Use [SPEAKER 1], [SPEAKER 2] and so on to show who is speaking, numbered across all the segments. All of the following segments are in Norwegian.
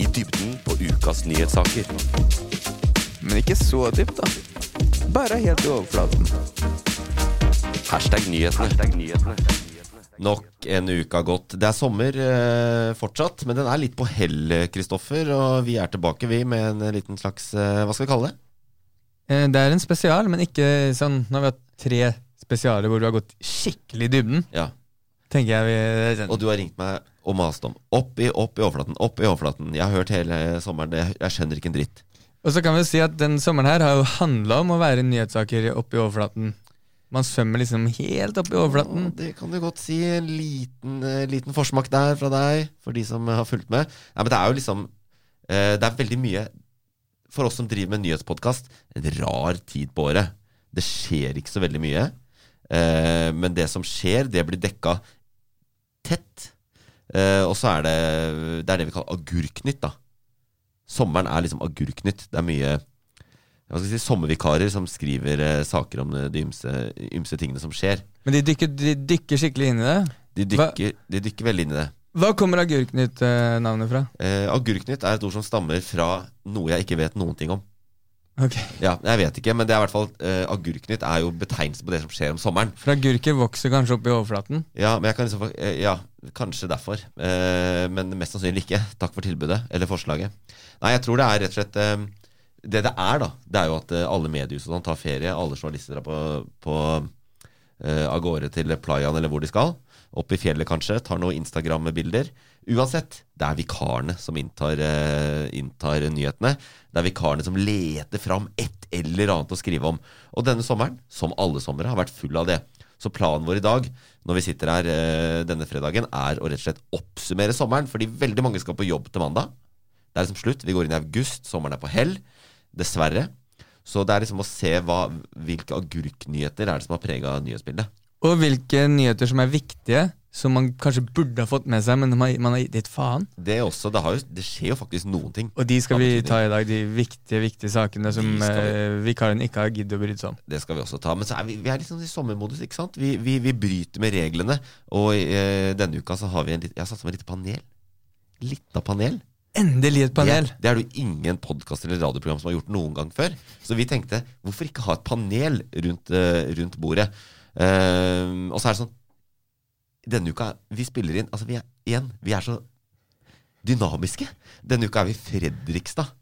[SPEAKER 1] I dybden på ukas nyhetssaker.
[SPEAKER 2] Men ikke så dypt, da. Bare helt i overflaten.
[SPEAKER 1] Hashtag nyhetene. Nok en uke har gått. Det er sommer eh, fortsatt, men den er litt på hell, Kristoffer. Og vi er tilbake, vi, med en liten slags eh, Hva skal vi kalle det?
[SPEAKER 2] Eh, Det er en spesial, men ikke sånn Nå har vi hatt tre spesialer hvor du har gått skikkelig i dybden.
[SPEAKER 1] Ja.
[SPEAKER 2] Tenker jeg vi det er
[SPEAKER 1] Og
[SPEAKER 2] sånn.
[SPEAKER 1] du har ringt meg og mast om. Opp i, opp i overflaten, opp i overflaten. Jeg har hørt hele sommeren, det- jeg skjønner ikke en dritt.
[SPEAKER 2] Og så kan vi jo si at den sommeren her har jo handla om å være nyhetssaker oppe i overflaten. Man svømmer liksom helt opp i
[SPEAKER 1] Ja,
[SPEAKER 2] overflaten.
[SPEAKER 1] Det kan du godt si. En liten, eh, liten forsmak der fra deg, for de som eh, har fulgt med. Nei, men det er jo liksom eh, Det er veldig mye For oss som driver med nyhetspodkast, en rar tid på året. Det skjer ikke så veldig mye. Eh, men det som skjer, det blir dekka tett. Eh, og så er det Det er det vi kaller agurknytt, da. Sommeren er liksom agurknytt. Det er mye hva skal jeg si, sommervikarer som skriver eh, saker om eh, de ymse, ymse tingene som skjer.
[SPEAKER 2] Men de dykker, de dykker skikkelig inn i det.
[SPEAKER 1] De
[SPEAKER 2] Hva-
[SPEAKER 1] dykker, de dykker veldig inn i det.
[SPEAKER 2] Hva kommer Agurknytt-navnet fra?
[SPEAKER 1] Eh, agurknytt er et ord som stammer fra noe jeg ikke vet noen ting om.
[SPEAKER 2] Ok,
[SPEAKER 1] Ja, jeg vet ikke, men det er i hvert fall eh, Agurknytt er jo betegnelsen på det som skjer om sommeren.
[SPEAKER 2] For agurker vokser kanskje opp i overflaten?
[SPEAKER 1] Ja, men jeg kan liksom, eh, ja kanskje derfor. Eh, men mest sannsynlig ikke. Takk for tilbudet, eller forslaget. Nei, jeg tror det er rett og slett eh, Det det er, da, det er jo at eh, alle mediehus og sånn tar ferie. Alle journalister drar på, på eh, av gårde til playaen eller hvor de skal. Opp i fjellet kanskje, tar noen Instagram-bilder. Uansett, det er vikarene som inntar, eh, inntar nyhetene. Det er vikarene som leter fram et eller annet å skrive om. Og denne sommeren, som alle somre, har vært full av det. Så planen vår i dag, når vi sitter her eh, denne fredagen, er å rett og slett oppsummere sommeren, fordi veldig mange skal på jobb til mandag. Det er liksom slutt. Vi går inn i august. Sommeren er på hell. Dessverre. Så det er liksom å se hva, hvilke agurknyheter er det som har prega nyhetsbildet.
[SPEAKER 2] Og hvilke nyheter som er viktige, som man kanskje burde ha fått med seg, men man man har gitt litt faen.
[SPEAKER 1] Det, er også, det, har jo, det skjer jo faktisk noen ting.
[SPEAKER 2] Og de skal vi ta i dag, de viktige viktige sakene som
[SPEAKER 1] De skal vi.
[SPEAKER 2] eh, vikaren ikke har giddet å bry seg om.
[SPEAKER 1] Det skal vi også ta. Men så er vi, vi er liksom i sommermodus, ikke sant? Vi, vi, vi bryter med reglene. Og eh, denne uka så har vi en litt, jeg har satt sammen et lite panel. Litt av panel.
[SPEAKER 2] Endelig et panel!
[SPEAKER 1] Det, det er det jo ingen podkast eller radioprogram som har gjort noen gang før. Så vi tenkte, hvorfor ikke ha et panel rundt, eh, rundt bordet? Ehm, og så er det sånn Denne uka, vi spiller inn Altså, vi er igjen. Vi er så dynamiske. Denne uka er vi i Fredrikstad.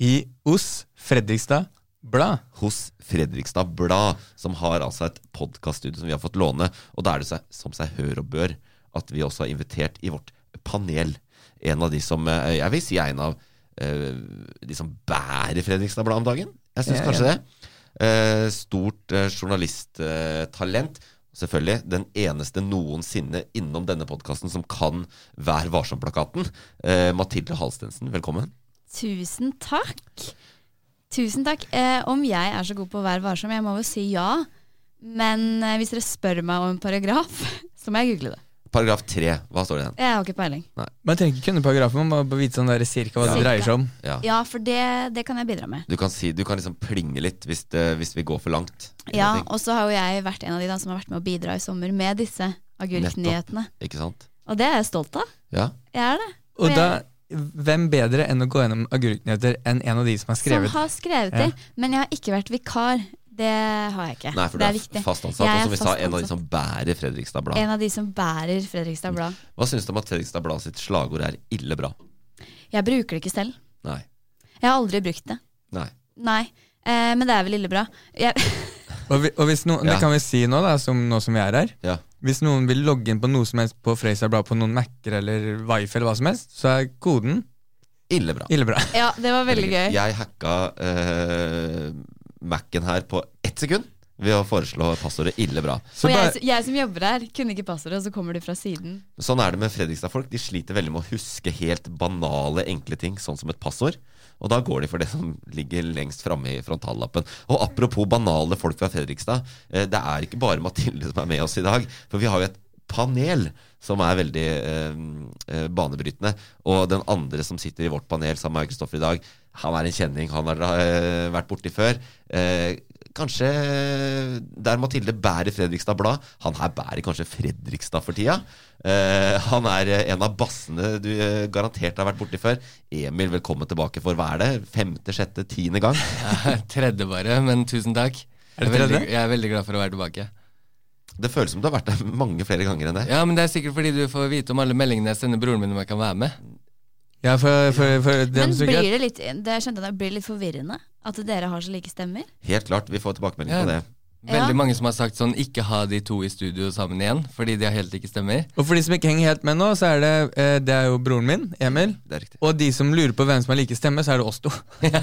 [SPEAKER 2] I OS Fredrikstad Blad.
[SPEAKER 1] Hos Fredrikstad Blad, som har altså et podkaststudio som vi har fått låne. Og da er det seg, som seg hør og bør at vi også har invitert i vårt panel en av de som eh, Jeg vil si er en av eh, de som bærer Fredrikstad Blad om dagen. Jeg syns
[SPEAKER 2] Ja,
[SPEAKER 1] kanskje det. Eh, Stort journalisttalent. Selvfølgelig den eneste noensinne innom denne podkasten som kan Vær varsom-plakaten. Eh, Mathilde Halstensen, velkommen.
[SPEAKER 3] Tusen takk. Tusen takk. Eh, om jeg er så god på å være varsom, jeg må jo si ja. Men eh, hvis dere spør meg om en paragraf, så må jeg google det.
[SPEAKER 1] Paragraf tre, hva står det i den?
[SPEAKER 3] Jeg har ikke peiling.
[SPEAKER 2] Man trenger ikke kunne paragrafen, man må bare vite sånn der cirka hva
[SPEAKER 3] Cirka.
[SPEAKER 2] det dreier seg om.
[SPEAKER 1] Ja.
[SPEAKER 3] Ja, for det, det kan jeg bidra med.
[SPEAKER 1] Du kan, si, du kan liksom plinge litt hvis, det, hvis vi går for langt.
[SPEAKER 3] Ja,
[SPEAKER 1] Ingenting,
[SPEAKER 3] Og så har jo jeg vært en av de da, som har vært med å bidra i sommer med disse agurknyhetene.
[SPEAKER 1] Ikke sant?
[SPEAKER 3] Og det er jeg stolt av.
[SPEAKER 1] Ja.
[SPEAKER 3] Jeg er det.
[SPEAKER 2] Og
[SPEAKER 3] jeg-
[SPEAKER 2] da, hvem bedre enn å gå gjennom agurknyheter enn en av de som har skrevet?
[SPEAKER 3] Som har skrevet
[SPEAKER 2] Ja.
[SPEAKER 3] det. Men jeg har ikke vært vikar. Det har jeg ikke.
[SPEAKER 1] Nei, for du
[SPEAKER 3] det
[SPEAKER 1] er,
[SPEAKER 3] viktig.
[SPEAKER 1] fast ansatt,
[SPEAKER 3] Jeg
[SPEAKER 1] og
[SPEAKER 3] er
[SPEAKER 1] som vi sa,
[SPEAKER 3] fast
[SPEAKER 1] en av de
[SPEAKER 3] ansatt.
[SPEAKER 1] som bærer Fredrikstad Blad.
[SPEAKER 3] En av de som bærer Fredrikstad Blad.
[SPEAKER 1] Hva syns du om at Fredrikstad Blad sitt slagord er 'ille bra'?
[SPEAKER 3] Jeg bruker det ikke selv.
[SPEAKER 1] Nei.
[SPEAKER 3] Jeg har aldri brukt det.
[SPEAKER 1] Nei.
[SPEAKER 3] Nei, eh, men det er vel ille bra. Jeg,
[SPEAKER 2] Og, vi, og hvis noen,
[SPEAKER 1] Ja.
[SPEAKER 2] Det kan vi si nå, da, som, nå som vi er her.
[SPEAKER 1] Ja.
[SPEAKER 2] Hvis noen vil logge inn på noe som helst på Freisa Blad, på noen Mac-er eller Wifi, eller hva som helst, så er koden
[SPEAKER 1] Ille bra.
[SPEAKER 2] ille bra.
[SPEAKER 3] ja, det var veldig gøy.
[SPEAKER 1] Jeg hacka eh, Mac-en her på ett sekund. ved å foreslå passordet 'ille bra'.
[SPEAKER 2] Så
[SPEAKER 3] og jeg,
[SPEAKER 2] bare-
[SPEAKER 3] s- jeg som jobber her, kunne ikke passordet, og så kommer de fra siden.
[SPEAKER 1] Sånn er det med Fredrikstad-folk. De sliter veldig med å huske helt banale, enkle ting, sånn som et passord. Og da går de for det som ligger lengst framme i frontallappen. Og apropos banale folk fra Fredrikstad. eh, Det er ikke bare Mathilde som er med oss i dag, for vi har jo et panel som er veldig eh, eh, banebrytende. Og den andre som sitter i vårt panel sammen med Kristoffer i dag, han er en kjenning. Han har eh, vært borti før. Eh, kanskje der Mathilde bærer Fredrikstad Blad. Han her bærer kanskje Fredrikstad for tida. Eh, han er eh, en av bassene du eh, garantert har vært borti før. Emil, velkommen tilbake for hva er det? Femte, sjette, tiende gang?
[SPEAKER 4] Tredje bare, men tusen takk.
[SPEAKER 2] Er det
[SPEAKER 4] Jeg er veldig-
[SPEAKER 2] tredje?
[SPEAKER 4] Jeg er veldig glad for å være tilbake.
[SPEAKER 1] Det føles som du har vært der mange flere ganger enn det.
[SPEAKER 4] Ja, men Det er sikkert fordi du får vite om alle meldingene jeg sender broren min om jeg kan være med.
[SPEAKER 2] Ja, for, for, for dem
[SPEAKER 3] Men
[SPEAKER 2] som ikke
[SPEAKER 3] blir det litt, det skjønte jeg, da, blir det litt forvirrende at dere har så like stemmer?
[SPEAKER 1] Helt klart, vi får tilbakemelding på
[SPEAKER 4] Ja.
[SPEAKER 1] det.
[SPEAKER 4] Veldig
[SPEAKER 3] Ja.
[SPEAKER 4] mange som har sagt sånn ikke ha de to i studio sammen igjen, fordi de har helt ikke stemmer.
[SPEAKER 2] Og for de som ikke henger helt med nå, så er det, eh, det er jo broren min, Emil.
[SPEAKER 1] Det er riktig.
[SPEAKER 2] Og de som lurer på hvem som har like stemme, så er det oss to.
[SPEAKER 4] Nei,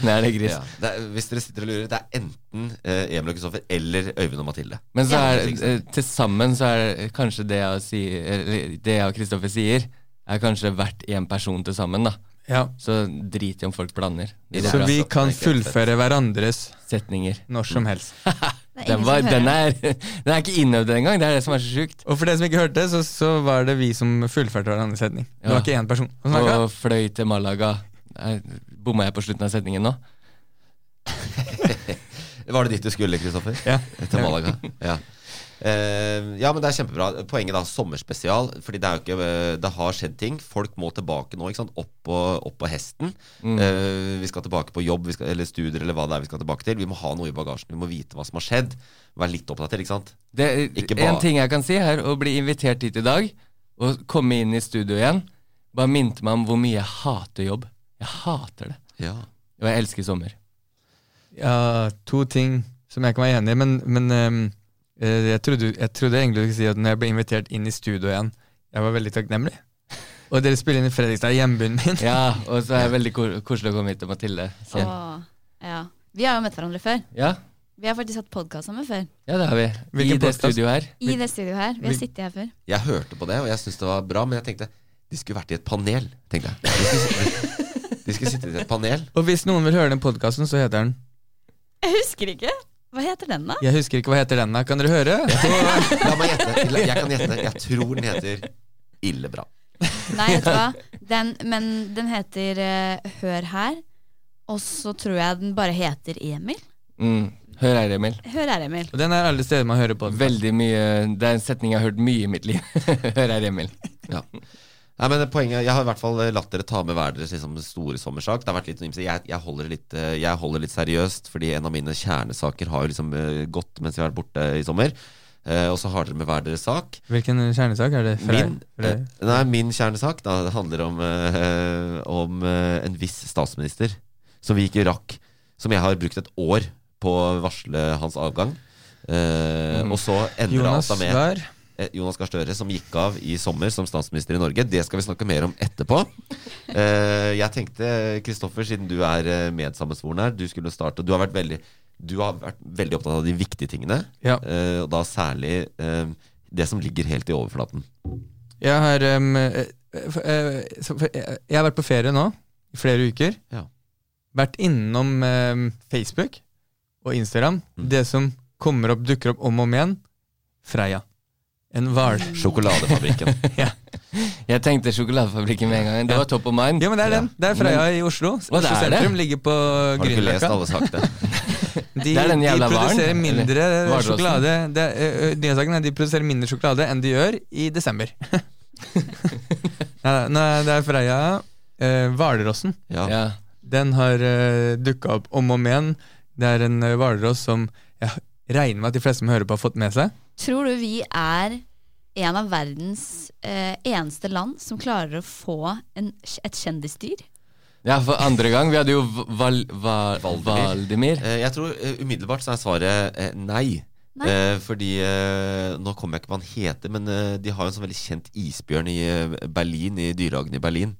[SPEAKER 4] det er gris.
[SPEAKER 1] Ja. Det er, hvis dere sitter og lurer, det er enten eh, Emil og Kristoffer eller Øyvind og Mathilde.
[SPEAKER 4] Men så
[SPEAKER 1] Ja.
[SPEAKER 4] er eh, til sammen så er det kanskje det jeg, sier, eller det jeg og Kristoffer sier, er kanskje verdt én person til sammen, da.
[SPEAKER 2] Ja.
[SPEAKER 4] Så drit i om folk blander. Det
[SPEAKER 2] Så
[SPEAKER 4] er altså
[SPEAKER 2] vi
[SPEAKER 4] bra.
[SPEAKER 2] kan
[SPEAKER 1] Det er ikke helt fett.
[SPEAKER 2] fullføre hverandres
[SPEAKER 4] Setninger.
[SPEAKER 2] når som helst.
[SPEAKER 3] Det
[SPEAKER 4] Den, var, den, er, den er ikke innøvd engang, det er det som er så sjukt.
[SPEAKER 2] Og for dere som ikke hørte, så, så var det vi som fullførte hverandres setning. Det
[SPEAKER 4] Ja.
[SPEAKER 2] var ikke én person. som snakket.
[SPEAKER 4] Og fløy til Malaga. Nei, Bomma jeg på slutten av setningen nå?
[SPEAKER 1] Var det dit du skulle, Kristoffer?
[SPEAKER 2] Ja.
[SPEAKER 1] Til Malaga. Ja. Eh, ja, men det er kjempebra. Poenget da, sommerspesial. Fordi det, er jo ikke, eh, det har skjedd ting. Folk må tilbake nå. ikke sant? Opp på, opp på hesten.
[SPEAKER 2] Mm.
[SPEAKER 1] Eh, vi skal tilbake på jobb vi skal, eller studier eller hva det er vi skal tilbake til. Vi må ha noe i bagasjen. Vi må vite hva som har skjedd. Være litt oppdatert, ikke sant?
[SPEAKER 4] Det,
[SPEAKER 1] Ikke
[SPEAKER 4] en
[SPEAKER 1] bare-
[SPEAKER 4] ting jeg kan si, er å bli invitert hit i dag og komme inn i studio igjen. Bare minte meg om hvor mye jeg hater jobb. Jeg hater det.
[SPEAKER 1] Ja.
[SPEAKER 4] Og jeg elsker sommer.
[SPEAKER 2] Ja, to ting som jeg kan være enig i, men, men ehm, eh, jeg, trodde, jeg trodde egentlig du skulle si at når jeg ble invitert inn i studio igjen, jeg var veldig takknemlig. Og dere spiller inn i Fredrikstad, hjembyen min.
[SPEAKER 4] Ja, Og så er det veldig ko- koselig å komme hit til Mathilde.
[SPEAKER 3] Åh,
[SPEAKER 4] Så,
[SPEAKER 3] ja. Vi har jo møtt hverandre før.
[SPEAKER 4] ja,
[SPEAKER 3] Vi har faktisk hatt podkast sammen før.
[SPEAKER 4] ja, det har vi.
[SPEAKER 2] Hvilken
[SPEAKER 4] I det
[SPEAKER 2] podcast?
[SPEAKER 4] studioet her.
[SPEAKER 3] I det studioet her. Vi har
[SPEAKER 2] Hvil-
[SPEAKER 3] sittet her før.
[SPEAKER 1] Jeg hørte på det, og jeg syntes det var bra, men jeg tenkte de skulle vært i et panel. tenkte jeg. De skulle, sit- de skulle sitte i et panel.
[SPEAKER 2] Og hvis noen vil høre den podkasten, så heter den
[SPEAKER 3] Jeg husker ikke. Hva heter den, da?
[SPEAKER 2] Jeg husker ikke hva heter den, da. Kan dere høre?
[SPEAKER 1] La meg gjette. La- Jeg kan gjette. Jeg tror den heter Ille bra.
[SPEAKER 3] Nei, vet du hva. Den, men den heter eh, Hør her. Og så tror jeg den bare heter Emil.
[SPEAKER 4] Mm. Hør her, Emil.
[SPEAKER 3] Hør her, Emil.
[SPEAKER 2] Og den er alle steder man hører på.
[SPEAKER 4] Veldig mye Det er en setning jeg har hørt mye i mitt liv. Hør her, Emil.
[SPEAKER 1] Ja. Nei, men poenget, Jeg har i hvert fall eh, latt dere ta med hver deres liksom, store sommersak. Det har vært litt sånn ymse. jeg, jeg, holder det litt, eh, jeg holder det litt seriøst, fordi en av mine kjernesaker har jo liksom eh, gått mens jeg har vært borte i sommer. Eh, og så har dere med hver deres sak.
[SPEAKER 2] Hvilken kjernesak er det? for deg?
[SPEAKER 1] Min,
[SPEAKER 2] For deg?
[SPEAKER 1] eh, nei, min kjernesak da, det handler om, eh, om eh, en viss statsminister som vi ikke rakk. Som jeg har brukt et år på å varsle hans avgang. Eh, Og så endra alt
[SPEAKER 2] Mm. Jonas
[SPEAKER 1] da med
[SPEAKER 2] Vær.
[SPEAKER 1] eh, Jonas Gahr Støre, som gikk av i sommer som statsminister i Norge. Det skal vi snakke mer om etterpå. Eh, jeg tenkte, Kristoffer, siden du er eh, medsammensvoren her, du skulle starte. og Du har vært veldig, du har vært veldig opptatt av de viktige tingene,
[SPEAKER 2] Ja.
[SPEAKER 1] eh, og da særlig eh, det som ligger helt i overflaten.
[SPEAKER 2] Jeg har, em, eh, f- eh, så- for- eh, jeg har vært på ferie nå i flere uker.
[SPEAKER 1] Ja.
[SPEAKER 2] Vært innom em, Facebook og Instagram.
[SPEAKER 1] Mm.
[SPEAKER 2] Det som kommer opp, dukker opp om og om igjen. Freia. En hval.
[SPEAKER 1] Mm. Sjokoladefabrikken.
[SPEAKER 4] Jeg tenkte sjokoladefabrikken med en gang. Det var top of mind.
[SPEAKER 2] Ja, men det er
[SPEAKER 1] Ja.
[SPEAKER 2] den. Det er Freia i Oslo. Oslo
[SPEAKER 4] det er det?
[SPEAKER 2] sentrum ligger på
[SPEAKER 1] Har du ikke lest
[SPEAKER 2] Grünerløkka.
[SPEAKER 1] alle sakene?
[SPEAKER 2] De,
[SPEAKER 4] Det er den
[SPEAKER 2] de
[SPEAKER 4] jævla hvalen,
[SPEAKER 2] produserer
[SPEAKER 4] eller?
[SPEAKER 2] mindre
[SPEAKER 4] Hvalrossen.
[SPEAKER 2] sjokolade det, er, ø, ø, Nyhetssaken er at de produserer mindre sjokolade enn de gjør i desember. Nei, nei, det er Freia. eh, Hvalrossen.
[SPEAKER 1] Ja.
[SPEAKER 4] Ja.
[SPEAKER 2] Den har uh, dukka opp om og om igjen. Det er en eh, hvalross som jeg regner med at de fleste som hører på, har fått med seg.
[SPEAKER 3] Tror du vi er en av verdens eh, eneste land som klarer å få en, et kjendisdyr?
[SPEAKER 4] ja, for andre gang. Vi hadde jo V- Val, Val, Valdemir.
[SPEAKER 1] Eh, Jeg tror eh, umiddelbart så er svaret eh, nei.
[SPEAKER 3] Nei.
[SPEAKER 1] Eh, fordi eh, Nå kommer jeg ikke på hva han heter, men eh, de har jo en sånn veldig kjent isbjørn i eh, Berlin, i dyrehagen i Berlin.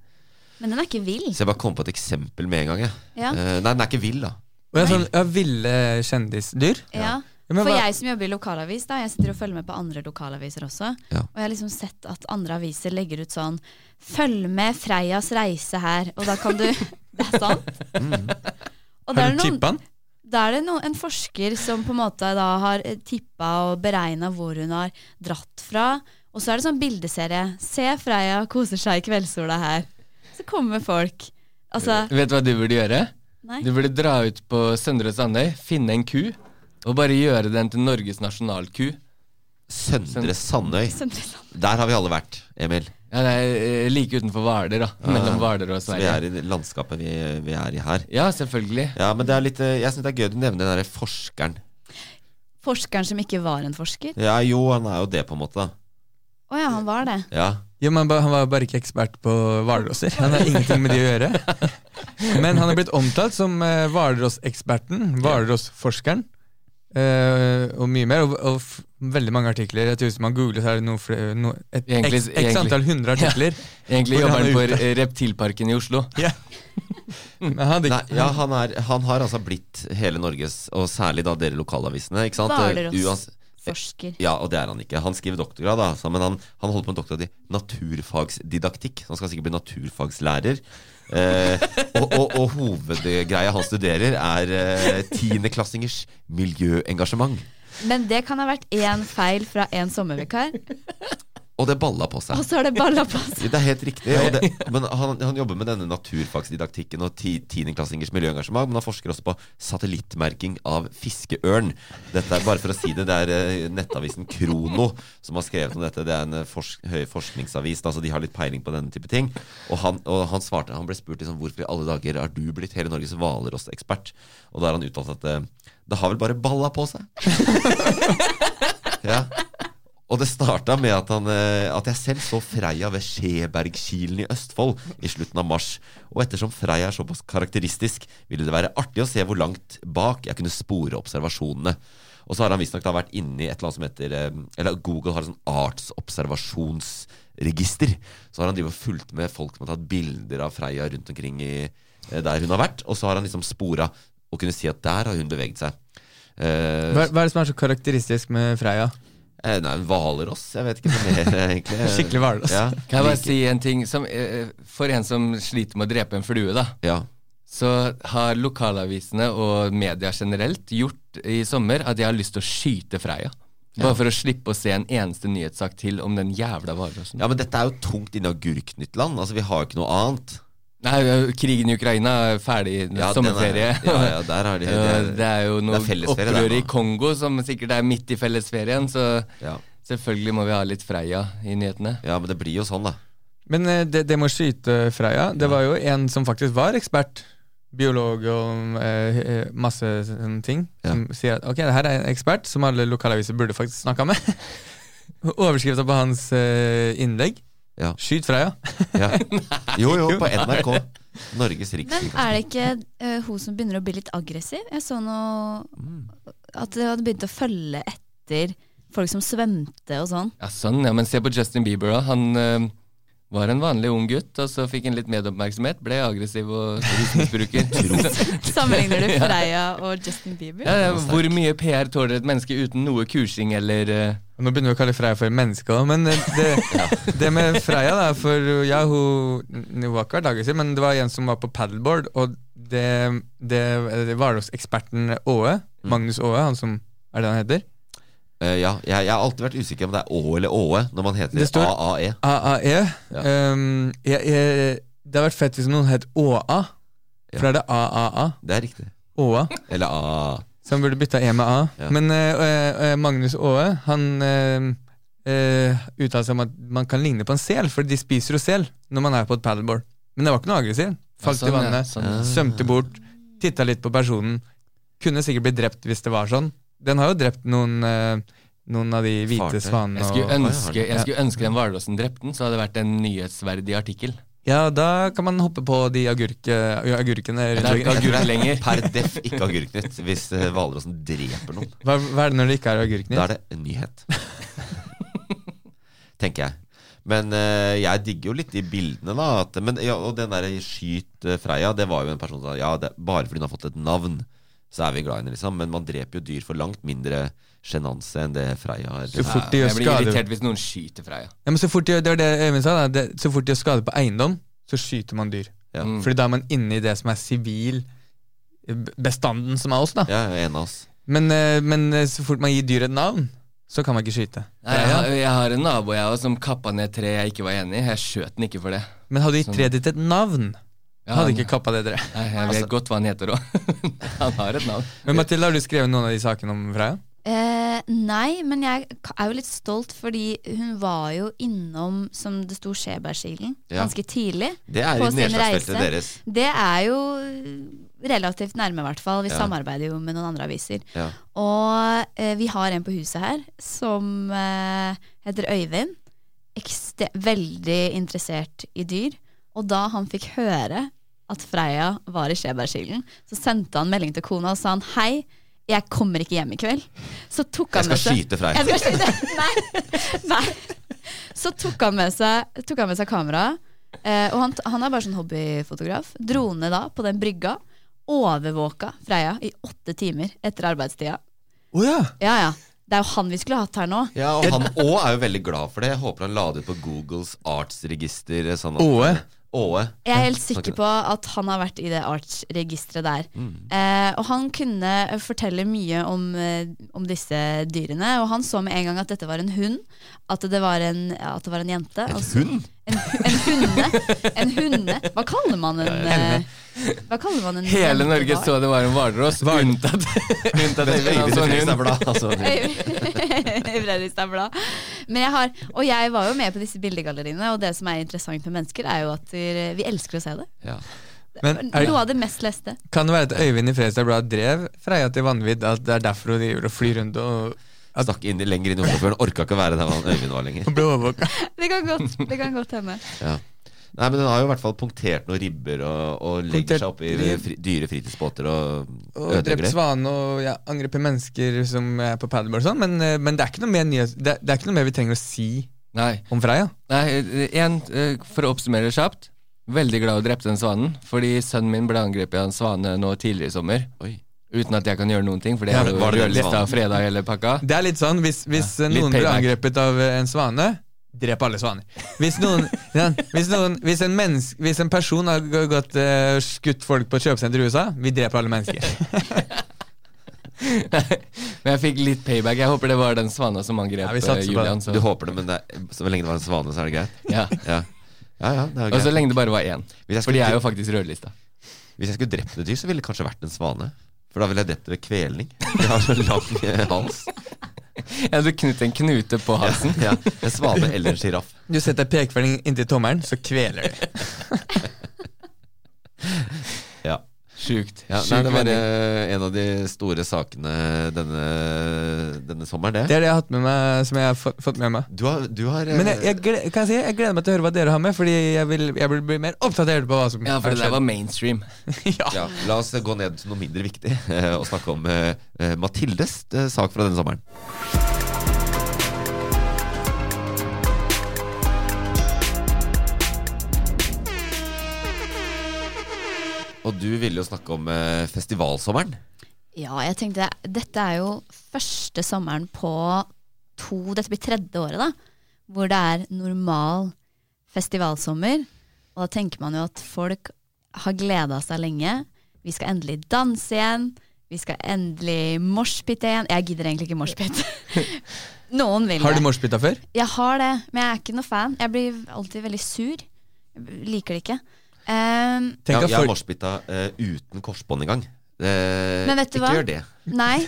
[SPEAKER 3] Men den er ikke vill.
[SPEAKER 1] Så jeg bare kom på et eksempel med en gang. Jeg.
[SPEAKER 3] Ja.
[SPEAKER 1] Eh, nei, den er ikke vill, da.
[SPEAKER 2] Og jeg er sånn, ja, Ville kjendisdyr.
[SPEAKER 3] Ja.
[SPEAKER 2] Ja, men
[SPEAKER 3] For
[SPEAKER 2] hva-
[SPEAKER 3] jeg som jobber i lokalavis, da, jeg sitter og følger med på andre lokalaviser også.
[SPEAKER 1] Ja.
[SPEAKER 3] Og jeg har liksom sett at andre aviser legger ut sånn Følg med Freias reise her, og da kan du Det er sant.
[SPEAKER 2] Mm. Har
[SPEAKER 3] Og da er
[SPEAKER 2] du
[SPEAKER 3] det,
[SPEAKER 2] tippa den?
[SPEAKER 3] noen, da er det noen, en forsker som på en måte da har tippa og beregna hvor hun har dratt fra. Og så er det sånn bildeserie. Se Freia koser seg i kveldssola her. Så kommer folk. Altså,
[SPEAKER 4] Vet du hva du burde gjøre?
[SPEAKER 3] nei.
[SPEAKER 4] Du burde dra ut på Søndre Sandøy, finne en ku, og bare gjøre den til Norges nasjonalku.
[SPEAKER 1] Søndre Sandøy.
[SPEAKER 3] Så interessant.
[SPEAKER 1] Der har vi alle vært, Emil.
[SPEAKER 4] Ja, det er eh, like utenfor Hvaler, da. Mellom Hvaler og
[SPEAKER 1] Så vi
[SPEAKER 4] Sverige.
[SPEAKER 1] er i det landskapet vi, vi er i her.
[SPEAKER 4] Ja, selvfølgelig.
[SPEAKER 1] Ja, men det er litt, eh, Jeg syns det er gøy du nevner den derre forskeren.
[SPEAKER 3] Forskeren som ikke var en forsker?
[SPEAKER 1] Ja, jo, han er jo det, på en måte. da.
[SPEAKER 3] Å ja, han var det.
[SPEAKER 1] Ja.
[SPEAKER 2] Ja, men han ba- han var bare ikke ekspert på hvalrosser. Han har ingenting med de å gjøre. Men han er blitt omtalt som eh, hvalrosseksperten, hvalrossforskeren, eh, og mye mer. Og, og f veldig mange artikler. Jeg tror Hvis man googler, så er det noe, fle- noe et
[SPEAKER 4] Egentlig-
[SPEAKER 2] x,
[SPEAKER 4] egentlig-
[SPEAKER 2] x antall hundre artikler.
[SPEAKER 4] Egentlig
[SPEAKER 2] Hvor
[SPEAKER 4] jobber
[SPEAKER 2] han
[SPEAKER 4] han
[SPEAKER 2] er
[SPEAKER 4] for eh, Reptilparken i Oslo.
[SPEAKER 2] Men han hadde
[SPEAKER 1] Nei,
[SPEAKER 2] ikke-
[SPEAKER 1] ja han, er, han har altså blitt hele Norges, og særlig da dere lokalavisene. ikke sant?
[SPEAKER 3] Hvaler også.
[SPEAKER 1] eh, Uans-
[SPEAKER 3] Forsker.
[SPEAKER 1] Ja, og det er han ikke. Han skriver doktorgrad, da, så- men han, han holder på med doktorgrad i naturfagsdidaktikk. Så han skal sikkert bli naturfagslærer. Eh, og, og, og hovedgreia han studerer, er eh, tiendeklassingers miljøengasjement.
[SPEAKER 3] Men det kan ha vært én feil fra én sommervikar,
[SPEAKER 1] Og det balla på
[SPEAKER 3] og
[SPEAKER 1] seg.
[SPEAKER 3] så har det balla på seg.
[SPEAKER 1] Det er helt riktig. Og det, men han, han jobber med denne naturfagsdidaktikken og ti- tiendeklassingers miljøengasjement, men han forsker også på satellittmerking av fiskeørn. Dette er bare for å si det, det er eh, nettavisen Krono som har skrevet om dette. Det er en eh, forsk, høy forskningsavis, altså de har litt peiling på denne type ting. Og han, og han svarte, han ble spurt liksom, hvorfor i alle dager har du blitt hele Norges hvalrossekspert? Og da har han uttalt at eh, det har vel bare balla på seg. ja. Og det starta med at, han, eh, at jeg selv så Freia ved Skjebergkilen i Østfold i slutten av mars. Og ettersom Freia er såpass karakteristisk, ville det være artig å se hvor langt bak jeg kunne spore observasjonene. Og så har han visstnok da vært inni et eller annet som heter eh, Eller Google har et sånn artsobservasjonsregister. Så har han drivet og fulgt med folk som har tatt bilder av Freia rundt omkring i, eh, der hun har vært. Og så har han liksom spora og kunne si at der har hun beveget seg. Eh,
[SPEAKER 2] hva, hva er det som er så karakteristisk med Freia?
[SPEAKER 1] Eh, Nei, en hvalross. Jeg vet ikke hva mer, eh, egentlig.
[SPEAKER 2] Skikkelig hvalross.
[SPEAKER 1] Ja.
[SPEAKER 4] Kan jeg bare
[SPEAKER 1] Like-
[SPEAKER 4] si en ting? Som, eh, for en som sliter med å drepe en flue, da.
[SPEAKER 1] Ja.
[SPEAKER 4] så har lokalavisene og media generelt gjort i sommer at jeg har lyst til å skyte Freia. Bare for å slippe å se en eneste nyhetssak til om den jævla hvalrossen.
[SPEAKER 1] ja, men dette er jo tungt inne i agurknyttland. Altså, vi har jo ikke noe annet.
[SPEAKER 4] Nei, ø, krigen i Ukraina er ferdig
[SPEAKER 1] Ja, den er-
[SPEAKER 4] sommerferie.
[SPEAKER 1] Ja, ja, der har de
[SPEAKER 4] Ø, det er jo noe
[SPEAKER 1] det er fellesferie der
[SPEAKER 4] opprør i
[SPEAKER 1] nå.
[SPEAKER 4] Kongo som sikkert er midt i fellesferien, så
[SPEAKER 1] ja.
[SPEAKER 4] selvfølgelig må vi ha litt Freia i nyhetene.
[SPEAKER 1] ja, men det blir jo sånn, da.
[SPEAKER 2] Men eh, det, det med å skyte Freia, det var jo en som faktisk var ekspert. Biolog og eh, eh, masse sånne ting. Som sier at ok, det her er en ekspert som alle lokalaviser burde faktisk snakka med. Overskrifta på hans eh, innlegg
[SPEAKER 1] Ja.
[SPEAKER 2] 'Skyt Freia'.
[SPEAKER 1] Ja. Jo, jo, på NRK. Norges
[SPEAKER 3] Men
[SPEAKER 1] Rikskringkasting.
[SPEAKER 3] er det ikke eh, hun som begynner å bli litt aggressiv? Jeg så noe
[SPEAKER 1] Mm.
[SPEAKER 3] At hun hadde begynt å følge etter folk som svømte og sånn.
[SPEAKER 4] Ja, sånn, ja, men se på Justin Bieber da. Han ø, var en vanlig ung gutt, og så fikk han litt medieoppmerksomhet, ble aggressiv og rusmisbruker.
[SPEAKER 3] Sammenligner du Freia og Justin Bieber?
[SPEAKER 4] Ja, ja, hvor mye PR tåler et menneske uten noe kursing eller eh,
[SPEAKER 2] Nå begynner vi å kalle Freia for menneske òg, men eh, det, det med Freia da, for ja, hun, hun har ikke vært aggressiv, men det var en som var på paddleboard, og det, det, eh, det var hos eksperten Åe, Magnus Åe, han som er det han heter.
[SPEAKER 1] Eh, ja, jeg, jeg har alltid vært usikker om det er Å eller Åe når man heter E.
[SPEAKER 2] Det står-
[SPEAKER 1] AAE.
[SPEAKER 2] AAE.
[SPEAKER 1] Ja.
[SPEAKER 2] E. Ehm, jeg, jeg, det hadde vært fett hvis noen het ÅA.
[SPEAKER 1] Ja.
[SPEAKER 2] For da er det AAA.
[SPEAKER 1] Det er riktig.
[SPEAKER 2] ÅA.
[SPEAKER 1] Eller AA.
[SPEAKER 2] Så han burde bytta E med A.
[SPEAKER 1] Ja.
[SPEAKER 2] Men eh, eh, eh, Magnus Aae han eh, eh, uttalte seg om at man kan ligne på en sel, for de spiser jo sel når man er på et paddleboard. Men det var ikke noe aggressiv. Falt
[SPEAKER 4] sånn,
[SPEAKER 2] i
[SPEAKER 4] ja,
[SPEAKER 2] vannet,
[SPEAKER 4] sånn, ja.
[SPEAKER 2] svømte bort, titta litt på personen. Kunne sikkert blitt drept hvis det var sånn. Den har jo drept noen, eh, noen av de hvite
[SPEAKER 1] Fartøy.
[SPEAKER 2] svanene.
[SPEAKER 4] jeg skulle,
[SPEAKER 2] og-
[SPEAKER 4] ønske,
[SPEAKER 1] ja.
[SPEAKER 4] jeg skulle ønske den hvalrossen drepte den, så hadde det vært en nyhetsverdig artikkel.
[SPEAKER 2] Ja, da kan man hoppe på de agurke, agurkene.
[SPEAKER 4] Det er ikke agurk lenger.
[SPEAKER 1] Per deff ikke agurknytt hvis eh, hvalrossen dreper noen.
[SPEAKER 2] Hva, hva er det når det ikke er agurkene?
[SPEAKER 1] Da er det en nyhet. Tenker jeg. Men eh, jeg digger jo litt de bildene, da. At, men, ja, og den der 'skyt eh, Freia', det var jo en person som sa ja, det, er bare fordi hun har fått et navn, så er vi glad i henne, liksom. Men man dreper jo dyr for langt mindre sjenanse enn det Freya har.
[SPEAKER 2] Så fort de
[SPEAKER 4] Ja,
[SPEAKER 2] gjør
[SPEAKER 4] jeg blir
[SPEAKER 2] skade
[SPEAKER 4] irritert hvis noen skyter Freya.
[SPEAKER 2] ja, men så fort de, Det var det Øyvind sa, da. Det, så fort de gjør skade på eiendom, så skyter man dyr.
[SPEAKER 1] Ja.
[SPEAKER 4] Mm.
[SPEAKER 2] Fordi da er man inne i det som er sivil eh, bestanden, som er oss, da.
[SPEAKER 1] Ja, jeg er enig, ass.
[SPEAKER 2] Men, eh, men eh, så fort man gir dyr et navn, så kan man ikke skyte.
[SPEAKER 4] Nei, jeg, har- jeg har en nabo jeg også, som kappa ned tre jeg ikke var enig i. Jeg skjøt den ikke for det.
[SPEAKER 2] Men hadde du gitt treet ditt et navn,
[SPEAKER 4] Sånn. Ja,
[SPEAKER 2] hadde
[SPEAKER 4] han-
[SPEAKER 2] ikke kappa det treet.
[SPEAKER 4] Nei, jeg vet godt hva han heter òg. han har et navn.
[SPEAKER 2] Men Mathilde, har du skrevet noen av de sakene om Freya?
[SPEAKER 3] Eh, nei, men jeg ka- er jo litt stolt, fordi hun var jo innom, som det sto, Skjebergkilen
[SPEAKER 1] Ja.
[SPEAKER 3] ganske tidlig.
[SPEAKER 1] Det er
[SPEAKER 3] På
[SPEAKER 1] i
[SPEAKER 3] sin
[SPEAKER 1] nedslagsfeltet
[SPEAKER 3] reise.
[SPEAKER 1] deres.
[SPEAKER 3] Det er jo relativt nærme, i hvert fall. Vi
[SPEAKER 1] Ja.
[SPEAKER 3] samarbeider jo med noen andre aviser.
[SPEAKER 1] Ja.
[SPEAKER 3] Og eh, vi har en på huset her som eh, heter Øyvind. Ekste veldig interessert i dyr. Og da han fikk høre at Freya var i Skjebergkilen, så sendte han melding til kona og sa han hei, jeg kommer ikke hjem i kveld. Så tok
[SPEAKER 1] Jeg
[SPEAKER 3] han med
[SPEAKER 1] skal
[SPEAKER 3] seg
[SPEAKER 1] skyte Freya.
[SPEAKER 3] jeg skal skyte. Nei. Nei. Så tok han med seg, tok han med seg kameraet. Eh, og han, han er bare sånn hobbyfotograf. Dro ned da på den brygga. Overvåka Freya i åtte timer etter arbeidstida.
[SPEAKER 2] Å ja.
[SPEAKER 3] Ja, ja. Det er jo han vi skulle hatt her nå.
[SPEAKER 1] Ja, og han òg er jo veldig glad for det. Jeg håper han la det ut på Googles artsregister. Sånn at-
[SPEAKER 2] Åe.
[SPEAKER 1] Åe.
[SPEAKER 3] Jeg er helt sikker på at han har vært i det artsregisteret der.
[SPEAKER 4] Mm.
[SPEAKER 3] Eh, og han kunne fortelle mye om, eh, om disse dyrene. Og han så med en gang at dette var en hund. At det var en, at det var en jente.
[SPEAKER 1] En
[SPEAKER 3] altså-
[SPEAKER 1] hund?
[SPEAKER 3] En, en hunde. En hunde. Hva kaller man en eh, Hva kaller man en
[SPEAKER 4] Hele Norge
[SPEAKER 3] jentevar?
[SPEAKER 4] så det var en hvalross, unntatt unntatt Øyvind. Han så en hund.
[SPEAKER 3] I Fredrikstad Blad. Men jeg har, og jeg var jo med på disse bildegalleriene, og det som er interessant med mennesker, er jo at eh, vi elsker å se det.
[SPEAKER 1] Ja.
[SPEAKER 2] Men er,
[SPEAKER 3] Noe av det mest leste.
[SPEAKER 2] kan det være at Øyvind i Fredrikstad Blad drev Freya til vanvidd? At det er derfor hun driver og flyr rundt og at
[SPEAKER 1] Stakk inn, lenger inn i Oslofjorden. Orka ikke å være der han Øyvind var lenger.
[SPEAKER 2] hun ble overvåka?
[SPEAKER 3] Det kan godt, det kan godt hende.
[SPEAKER 1] Ja. Nei, men Den har jo i hvert fall punktert noen ribber og, og legger
[SPEAKER 2] Punktert
[SPEAKER 1] seg oppi
[SPEAKER 2] ribb.
[SPEAKER 1] fri, dyre fritidsbåter og
[SPEAKER 2] Og drept
[SPEAKER 1] ødelegger det.
[SPEAKER 2] svane og ja, angreper mennesker som er på paddleboard og sånn. Men, eh, men det, er ikke noe mer nyhet, det, det er ikke noe mer vi trenger å si
[SPEAKER 4] Nei,
[SPEAKER 2] om Freya.
[SPEAKER 4] Nei, en, eh, for å oppsummere kjapt. Veldig glad hun drepte den svanen, fordi sønnen min ble angrepet av en svane nå tidligere i sommer.
[SPEAKER 1] Oi.
[SPEAKER 4] Uten at jeg kan gjøre noen ting, for det
[SPEAKER 2] Ja,
[SPEAKER 4] er jo
[SPEAKER 1] var det den
[SPEAKER 4] rødlista
[SPEAKER 1] svanen?
[SPEAKER 4] og fredag hele pakka.
[SPEAKER 2] Det er litt sånn hvis, hvis eh,
[SPEAKER 4] litt
[SPEAKER 2] noen blir
[SPEAKER 4] payback.
[SPEAKER 2] angrepet av eh, en svane Drep alle svaner. Hvis, noen, ja, hvis, noen, hvis, en, menneske, hvis en person har g- gått eh, skutt folk på et kjøpesenter i USA, vi dreper alle mennesker.
[SPEAKER 4] Men jeg fikk litt payback. Jeg håper det var den svana som angrep
[SPEAKER 2] Ja, vi
[SPEAKER 4] eh,
[SPEAKER 2] satser på
[SPEAKER 4] Julian. Så.
[SPEAKER 1] Du håper det, men det er, så lenge det var en svane, så er det greit?
[SPEAKER 4] Ja.
[SPEAKER 1] Ja, ja, ja det er
[SPEAKER 4] Og så
[SPEAKER 1] greit.
[SPEAKER 4] lenge det bare var én.
[SPEAKER 1] Hvis jeg
[SPEAKER 4] For de
[SPEAKER 1] skulle-
[SPEAKER 4] er jo faktisk rødlista.
[SPEAKER 1] Hvis jeg skulle drept noe dyr, så ville det kanskje vært en svane. For da ville jeg drept det ved kvelning. Jeg har så lang eh, hals.
[SPEAKER 4] Ja, du knytter en knute på halsen.
[SPEAKER 1] Ja, en svane eller en sjiraff.
[SPEAKER 2] Du setter pekefingeren inntil tommelen, så kveler du.
[SPEAKER 1] Ja.
[SPEAKER 4] Sjukt.
[SPEAKER 1] Ja, nei,
[SPEAKER 4] Sjuk
[SPEAKER 1] det var
[SPEAKER 4] vending.
[SPEAKER 1] eh, en av de store sakene denne, denne sommeren,
[SPEAKER 2] Det
[SPEAKER 1] det.
[SPEAKER 2] er det jeg har hatt med meg, som jeg har fått- fått med meg.
[SPEAKER 1] Du har, du har eh,
[SPEAKER 2] Men jeg, jeg, gled- kan jeg, si, jeg gleder meg til å høre hva dere har med, Fordi jeg vil, jeg vil bli mer oppdatert på hva som
[SPEAKER 4] Ja, for
[SPEAKER 2] har
[SPEAKER 4] det der
[SPEAKER 2] skjedd.
[SPEAKER 4] var mainstream.
[SPEAKER 1] ja, La oss gå ned til noe mindre viktig eh, og snakke om eh, eh, Mathildes eh, sak fra denne sommeren. Og du ville jo snakke om eh, festivalsommeren.
[SPEAKER 3] Ja, jeg tenkte Dette er jo første sommeren på to Dette blir tredje året, da. Hvor det er normal festivalsommer. Og da tenker man jo at folk har gleda seg lenge. Vi skal endelig danse igjen. Vi skal endelig moshpite igjen. Jeg gidder egentlig ikke moshpit. Noen vil
[SPEAKER 2] Har du
[SPEAKER 3] det.
[SPEAKER 2] moshpita før?
[SPEAKER 3] Jeg har det, men jeg er ikke noe fan. Jeg blir alltid veldig sur. Jeg liker det ikke. Ehm,
[SPEAKER 2] Tenk
[SPEAKER 1] ja,
[SPEAKER 2] at
[SPEAKER 1] jeg har
[SPEAKER 2] folk-
[SPEAKER 1] morsbitta uten korsbånd engang. Eh,
[SPEAKER 3] Men vet du
[SPEAKER 1] ikke
[SPEAKER 3] hva?
[SPEAKER 1] gjør det.
[SPEAKER 3] Nei,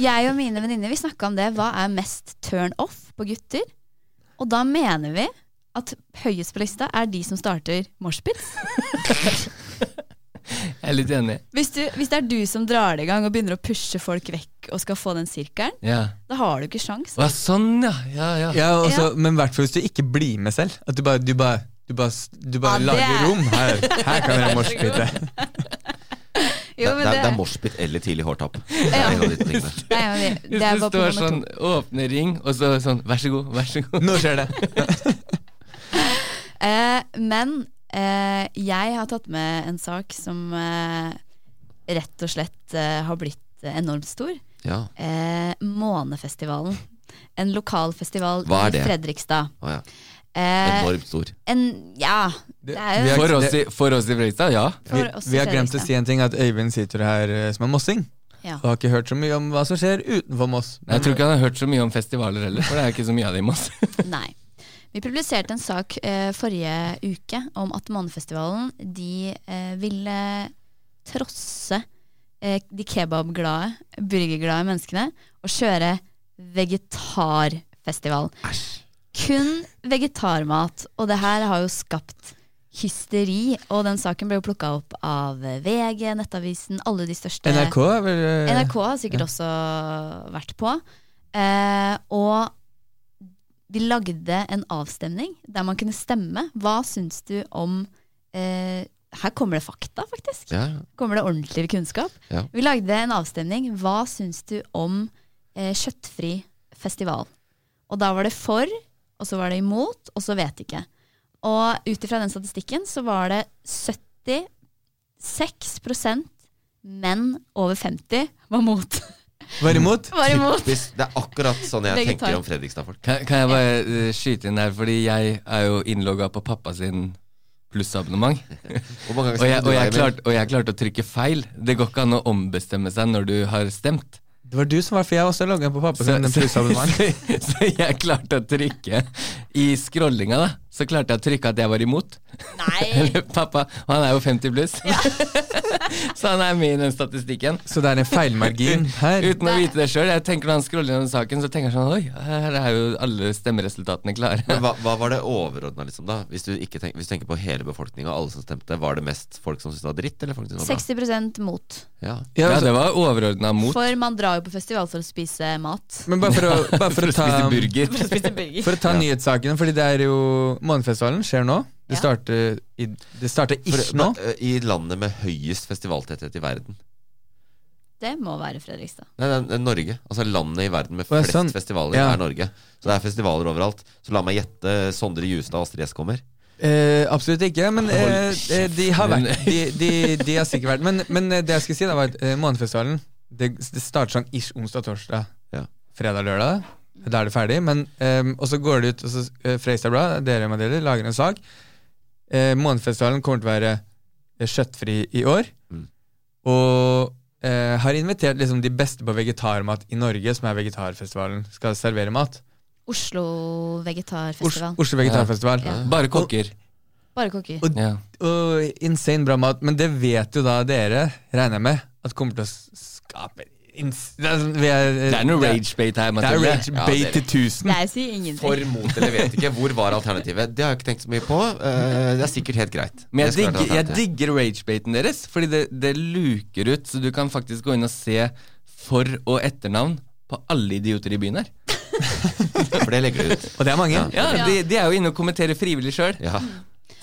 [SPEAKER 3] jeg og mine venninner Vi snakka om det. Hva er mest turn off på gutter? Og da mener vi at høyest på lista er de som starter moshpits.
[SPEAKER 4] Jeg er litt enig.
[SPEAKER 3] Hvis, du- hvis det er du som drar det i gang og begynner å pushe folk vekk og skal få den sirkelen,
[SPEAKER 4] Ja.
[SPEAKER 3] da har du ikke sjans.
[SPEAKER 4] Å, sånn, ja. Ja, ja.
[SPEAKER 2] ja, også, Men i hvert fall hvis du ikke blir med selv. At du bare, du bare, du bare, du bare
[SPEAKER 3] Ja, det
[SPEAKER 2] lager
[SPEAKER 3] er-
[SPEAKER 2] rom. Her, her kan dere moshpite.
[SPEAKER 1] det, det,
[SPEAKER 3] Jo, men
[SPEAKER 1] er- det er
[SPEAKER 3] det,
[SPEAKER 1] morsbitt eller tidlig hårtapp. Det er en av de to tingene.
[SPEAKER 3] nei, men det,
[SPEAKER 4] Hvis
[SPEAKER 3] det
[SPEAKER 4] det,
[SPEAKER 3] er bare på
[SPEAKER 4] står
[SPEAKER 3] nummer
[SPEAKER 4] sånn,
[SPEAKER 3] to.
[SPEAKER 4] åpne ring, og så sånn, vær så god, vær så god.
[SPEAKER 2] Nå skjer det.
[SPEAKER 3] Eh, men eh, jeg har tatt med en sak som eh, rett og slett eh, har blitt eh, enormt stor.
[SPEAKER 1] Ja.
[SPEAKER 3] Eh, Månefestivalen. En lokal festival
[SPEAKER 1] Hva er
[SPEAKER 3] i
[SPEAKER 1] det?
[SPEAKER 3] Fredrikstad.
[SPEAKER 1] Å, ja.
[SPEAKER 3] Eh,
[SPEAKER 1] Enormt stor.
[SPEAKER 3] en, ja, det er jo
[SPEAKER 2] vi har-
[SPEAKER 4] For oss i, for oss i Fredrikstad, ja.
[SPEAKER 3] for
[SPEAKER 2] Vi,
[SPEAKER 3] oss i
[SPEAKER 2] vi har glemt å
[SPEAKER 3] Fredrikstad.
[SPEAKER 2] si en ting, at Øyvind sitter her eh, som en mossing.
[SPEAKER 3] Ja.
[SPEAKER 2] Og har ikke hørt så mye om hva som skjer utenfor Moss.
[SPEAKER 4] Jeg tror ikke han har hørt så mye om festivaler heller, for det er ikke så mye av altså. det i Moss.
[SPEAKER 3] Nei. Vi publiserte en sak eh, forrige uke om at Månefestivalen de eh, ville trosse eh, de kebabglade, burgerglade menneskene og kjøre vegetarfestival. Kun vegetarmat. Og det her har jo skapt hysteri. Og den saken ble jo plukka opp av VG, Nettavisen, alle de største
[SPEAKER 2] NRK er vel eh,
[SPEAKER 3] NRK har sikkert også vært på. Eh, og de lagde en avstemning der man kunne stemme. Hva syns du om eh, Her kommer det fakta, faktisk.
[SPEAKER 1] Ja.
[SPEAKER 3] Kommer det ordentlig kunnskap.
[SPEAKER 1] Ja.
[SPEAKER 3] Vi lagde en avstemning. Hva syns du om eh, kjøttfri festival? Og da var det for, og så var det imot, og så vet ikke. Og ut ifra den statistikken så var det 76 menn over 50 var mot.
[SPEAKER 2] Var imot.
[SPEAKER 3] Var imot.
[SPEAKER 1] Typisk. Det er akkurat sånn jeg
[SPEAKER 3] Vegetar.
[SPEAKER 1] tenker om Fredrikstad-folk.
[SPEAKER 4] Kan, kan jeg bare eh, skyte inn her, fordi jeg er jo innlogga på pappa sin plussabonnement.
[SPEAKER 1] Hvor mange ganger skal du
[SPEAKER 4] Og jeg, og, jeg
[SPEAKER 1] deg med?
[SPEAKER 4] klarte, og jeg klarte å trykke feil. Det går ikke an å ombestemme seg når du har stemt.
[SPEAKER 2] Det var du som var, for jeg også logga på pappa sin plussabonnement.
[SPEAKER 4] så jeg klarte å trykke I scrollinga, da, så klarte jeg å trykke at jeg var imot.
[SPEAKER 3] Nei!
[SPEAKER 4] Eller pappa. Og han er jo 50 pluss. så han er med i den statistikken.
[SPEAKER 2] Så det er en feilmargin her.
[SPEAKER 4] Uten å vite det sjøl. Når han scroller gjennom saken, så tenker han sånn Oi, her er jo alle stemmeresultatene klare.
[SPEAKER 1] Men hva, hva var det overordna, liksom, da? Hvis du, ikke tenker, hvis du tenker på hele befolkninga, alle som stemte, var det mest folk som syntes det var dritt, eller folk som syntes det
[SPEAKER 3] 60
[SPEAKER 1] var bra?
[SPEAKER 3] mot.
[SPEAKER 1] Ja.
[SPEAKER 2] Ja,
[SPEAKER 4] Ja,
[SPEAKER 2] altså,
[SPEAKER 4] det var overordna mot.
[SPEAKER 3] For man drar jo på festival for å spise mat.
[SPEAKER 2] men bare for å, bare for å ta,
[SPEAKER 4] Spiste burger.
[SPEAKER 3] For å spise burger.
[SPEAKER 2] for å ta nyhetssakene, fordi det er jo Månefestivalen skjer nå. Det
[SPEAKER 3] Ja.
[SPEAKER 2] starter, i, det starter
[SPEAKER 1] For,
[SPEAKER 2] ish nå.
[SPEAKER 1] men, ø, I landet med høyest festivaltetthet i verden.
[SPEAKER 3] Det må være Fredrikstad.
[SPEAKER 1] Nei, det er- det er Norge. Altså landet i verden med
[SPEAKER 2] Å, ja,
[SPEAKER 1] flest
[SPEAKER 2] sånn.
[SPEAKER 1] festivaler
[SPEAKER 2] Ja.
[SPEAKER 1] er Norge. Så det er festivaler overalt. Så la meg gjette. Sondre Justad og Astrid S kommer.
[SPEAKER 2] Eh, absolutt ikke, men eh,
[SPEAKER 4] Hold kjeft.
[SPEAKER 2] de har vært. De, de, de har sikkert vært. Men, men eh, det jeg skulle si, da var at eh, Månefestivalen det, det starter sånn ish onsdag-torsdag.
[SPEAKER 1] Ja.
[SPEAKER 2] Fredag-lørdag. Da er det ferdig. Men, eh, og så går det ut og så eh, Fredrikstad Blad, dere med dere, lager en sak. Eh, Månefestivalen kommer til å være eh, kjøttfri i år.
[SPEAKER 1] Mm.
[SPEAKER 2] Og eh, har invitert liksom, de beste på vegetarmat i Norge, som er vegetarfestivalen, skal servere mat.
[SPEAKER 3] Oslo
[SPEAKER 2] Os
[SPEAKER 3] vegetarfestival.
[SPEAKER 2] Oslo vegetarfestival.
[SPEAKER 3] Ja.
[SPEAKER 4] Bare kokker.
[SPEAKER 3] Bare kokker.
[SPEAKER 2] Og
[SPEAKER 4] Ja.
[SPEAKER 2] og insane bra mat, men det vet jo da dere, regner jeg med, at kommer til å skape ins Det er, sånn- vi er,
[SPEAKER 4] Det er noe
[SPEAKER 2] det er-
[SPEAKER 4] rage bait her,
[SPEAKER 2] Det er
[SPEAKER 4] Mathilde.
[SPEAKER 2] rage bait til tusen.
[SPEAKER 3] Nei, jeg sier
[SPEAKER 1] For,
[SPEAKER 3] ingenting.
[SPEAKER 1] mot eller vet ikke. Hvor var alternativet? Det har jeg ikke tenkt så mye på. Eh, Det er sikkert helt greit.
[SPEAKER 4] Men jeg
[SPEAKER 1] Det skal være
[SPEAKER 4] digger, jeg
[SPEAKER 1] alternativet.
[SPEAKER 4] digger ragebaiten deres, fordi det, det luker ut, så du kan faktisk gå inn og se for- og etternavn på alle idioter i byen her.
[SPEAKER 1] For det legger du ut.
[SPEAKER 2] Og det er mange.
[SPEAKER 4] Ja, De, de er jo inne og kommenterer frivillig sjøl.
[SPEAKER 1] Ja.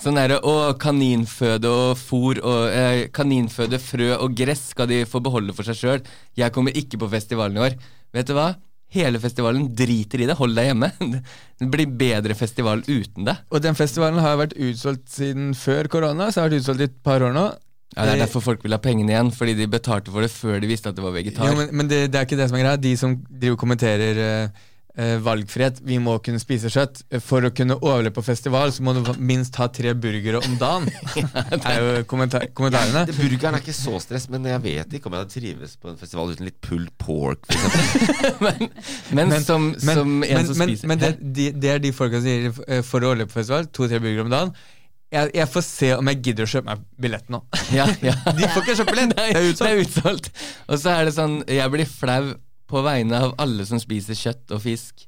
[SPEAKER 4] Sånn er det. Og kaninføde og fôr og eh, kaninføde, frø og gress skal de få beholde for seg sjøl. Jeg kommer ikke på festivalen i år. Vet du hva? Hele festivalen driter i det. Hold deg hjemme. Det blir bedre festival uten deg.
[SPEAKER 2] Og den festivalen har vært utsolgt siden før korona, så har den vært utsolgt i et par år nå.
[SPEAKER 4] Ja, Det er
[SPEAKER 2] Eh,
[SPEAKER 4] derfor folk vil ha pengene igjen, fordi de betalte for det før de visste at det var vegetar.
[SPEAKER 2] Jo, men men det, det er ikke det som er greia. De som driver og kommenterer eh, eh, valgfrihet, vi må kunne spise kjøtt. For å kunne overleve på festival, så må du minst ha tre burgere om dagen. Det er jo kommenta- kommentarene.
[SPEAKER 1] Det- Burgeren er ikke så stress, men jeg vet ikke om jeg hadde trives på en festival uten litt pulled pork. For eksempel.
[SPEAKER 4] men, men, som,
[SPEAKER 2] men,
[SPEAKER 4] som en
[SPEAKER 2] men,
[SPEAKER 4] som
[SPEAKER 2] men,
[SPEAKER 4] spiser
[SPEAKER 2] men det, de, det er de folka som sier eh, for å overleve på festival, to-tre burgere om dagen. Jeg, jeg får se om jeg gidder å kjøpe meg billett nå.
[SPEAKER 4] ja, ja.
[SPEAKER 2] De får ikke kjøpe billett!
[SPEAKER 4] Nei,
[SPEAKER 2] Det er
[SPEAKER 4] det
[SPEAKER 2] utsolgt.
[SPEAKER 4] er utsolgt. Og så er det sånn Jeg blir flau på vegne av alle som spiser kjøtt og fisk.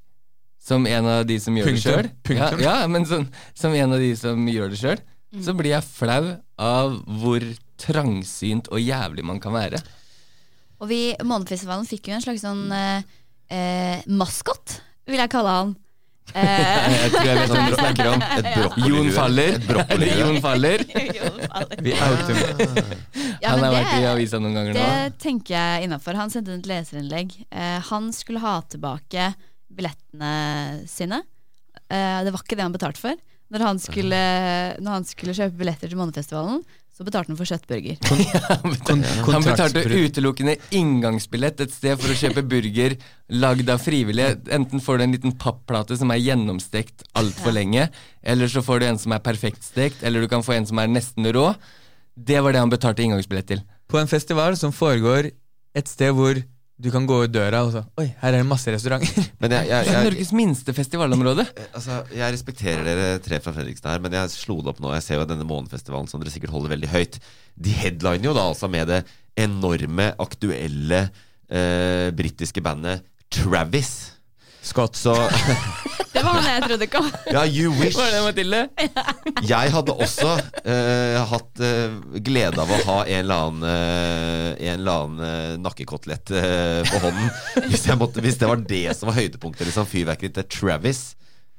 [SPEAKER 4] Som en av de som gjør
[SPEAKER 2] Punktum.
[SPEAKER 4] det sjøl. Ja,
[SPEAKER 2] Punktum.
[SPEAKER 4] ja, men sånn, som en av de som gjør det sjøl. Så blir jeg flau av hvor trangsynt og jævlig man kan være.
[SPEAKER 3] Og vi, Månefestivalen fikk jo en slags sånn eh, eh, maskot, vil jeg kalle han. Eh,
[SPEAKER 4] Jeg tror jeg vet hvem du snakker om.
[SPEAKER 1] Et brokkolilue.
[SPEAKER 4] Jon
[SPEAKER 1] Et
[SPEAKER 4] Faller. Er det
[SPEAKER 1] brokkolilue.
[SPEAKER 4] Jon Faller?
[SPEAKER 2] Vi outer dem.
[SPEAKER 3] ja, men
[SPEAKER 4] Han har
[SPEAKER 3] det-
[SPEAKER 4] vært i avisa noen ganger nå.
[SPEAKER 3] Det tenker jeg innafor. Han sendte et leserinnlegg. Eh, han skulle ha tilbake billettene sine. Eh, det var ikke det han betalte for. Når han skulle, når han skulle kjøpe billetter til Månefestivalen, Så betalte han for kjøttburger.
[SPEAKER 2] Kon
[SPEAKER 4] Han betalte
[SPEAKER 2] kontraktsbrudd.
[SPEAKER 4] utelukkende inngangsbillett et sted for å kjøpe burger lagd av frivillige. Enten får du en liten papplate som er gjennomstekt altfor lenge, eller så får du en som er perfekt stekt, eller du kan få en som er nesten rå. Det var det han betalte inngangsbillett til.
[SPEAKER 2] På en festival som foregår et sted hvor du kan gå ut døra og så Oi, her er det masse restauranter.
[SPEAKER 1] Men jeg, jeg,
[SPEAKER 4] Det er
[SPEAKER 1] jeg,
[SPEAKER 4] Norges minste festivalområde.
[SPEAKER 1] altså, jeg respekterer dere tre fra Fredrikstad her, men jeg slo det opp nå. Jeg ser jo denne månefestivalen som dere sikkert holder veldig høyt. De headliner jo da altså med det enorme, aktuelle eh, britiske bandet Travis.
[SPEAKER 2] Scott.
[SPEAKER 1] Så
[SPEAKER 3] Det var han jeg trodde kom.
[SPEAKER 1] ja, you wish.
[SPEAKER 4] Var det Mathilde?
[SPEAKER 1] Jeg hadde også eh, hatt eh, glede av å ha en eller annen, eh, en eller annen eh, nakkekotelett eh, på hånden. Hvis, jeg måtte, hvis det var det som var høydepunktet. Liksom, Fyrverkeri til Travis.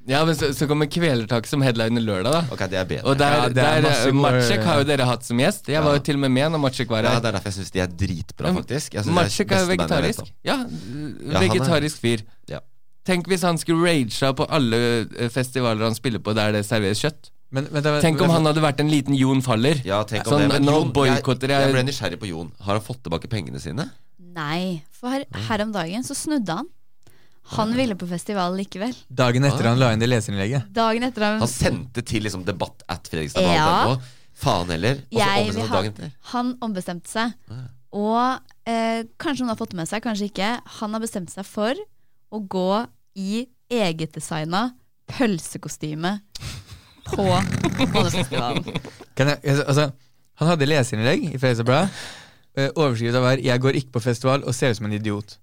[SPEAKER 4] Ja, men så, så kommer Kvelertak som headliner lørdag, da.
[SPEAKER 1] Ok, det er bedre.
[SPEAKER 4] Og der,
[SPEAKER 2] Ja, det er
[SPEAKER 4] der
[SPEAKER 2] masse gode-
[SPEAKER 4] Matsjek har jo dere hatt som gjest. Jeg var jo til og med med når Matsjek var
[SPEAKER 1] Ja,
[SPEAKER 4] her.
[SPEAKER 1] det er derfor jeg syns de er dritbra, faktisk. Jeg synes det
[SPEAKER 4] Matsjek er jo
[SPEAKER 1] beste bandet jeg vet
[SPEAKER 4] vegetarisk.
[SPEAKER 1] om.
[SPEAKER 4] Ja,
[SPEAKER 1] han er-
[SPEAKER 4] vegetarisk fyr.
[SPEAKER 1] Ja.
[SPEAKER 4] Tenk hvis han skulle raga på alle eh, festivaler han spiller på der det serveres kjøtt.
[SPEAKER 2] Men, vent, vent,
[SPEAKER 4] Tenk om han hadde vært en liten Jon Faller.
[SPEAKER 1] Ja, tenk om
[SPEAKER 4] sånn,
[SPEAKER 1] det. Men
[SPEAKER 4] nå
[SPEAKER 1] Jon, jeg,
[SPEAKER 4] boikotter
[SPEAKER 1] jeg
[SPEAKER 4] jeg,
[SPEAKER 1] ble nysgjerrig på Jon. Har han fått tilbake pengene sine?
[SPEAKER 3] Nei, for her, her om dagen så snudde han. Han ville på festival likevel.
[SPEAKER 2] Dagen
[SPEAKER 4] Ah.
[SPEAKER 2] etter han la inn det leserinnlegget.
[SPEAKER 3] Dagen etter han
[SPEAKER 1] Han sendte til liksom, debatt at Fredrikstad
[SPEAKER 3] Ja.
[SPEAKER 1] Faen heller. Og så
[SPEAKER 3] Jeg vil
[SPEAKER 1] ombestemte
[SPEAKER 3] ha
[SPEAKER 1] dagen etter.
[SPEAKER 3] Han ombestemte seg. Og eh, kanskje hun har fått det med seg, kanskje ikke. Han har bestemt seg for å gå i egetdesigna pølsekostyme på Månefestivalen.
[SPEAKER 2] Kan jeg, altså, han hadde leserinnlegg i Fredrikstad-bladet. eh, Overskrift av hver 'Jeg går ikke på festival og ser ut som en idiot'.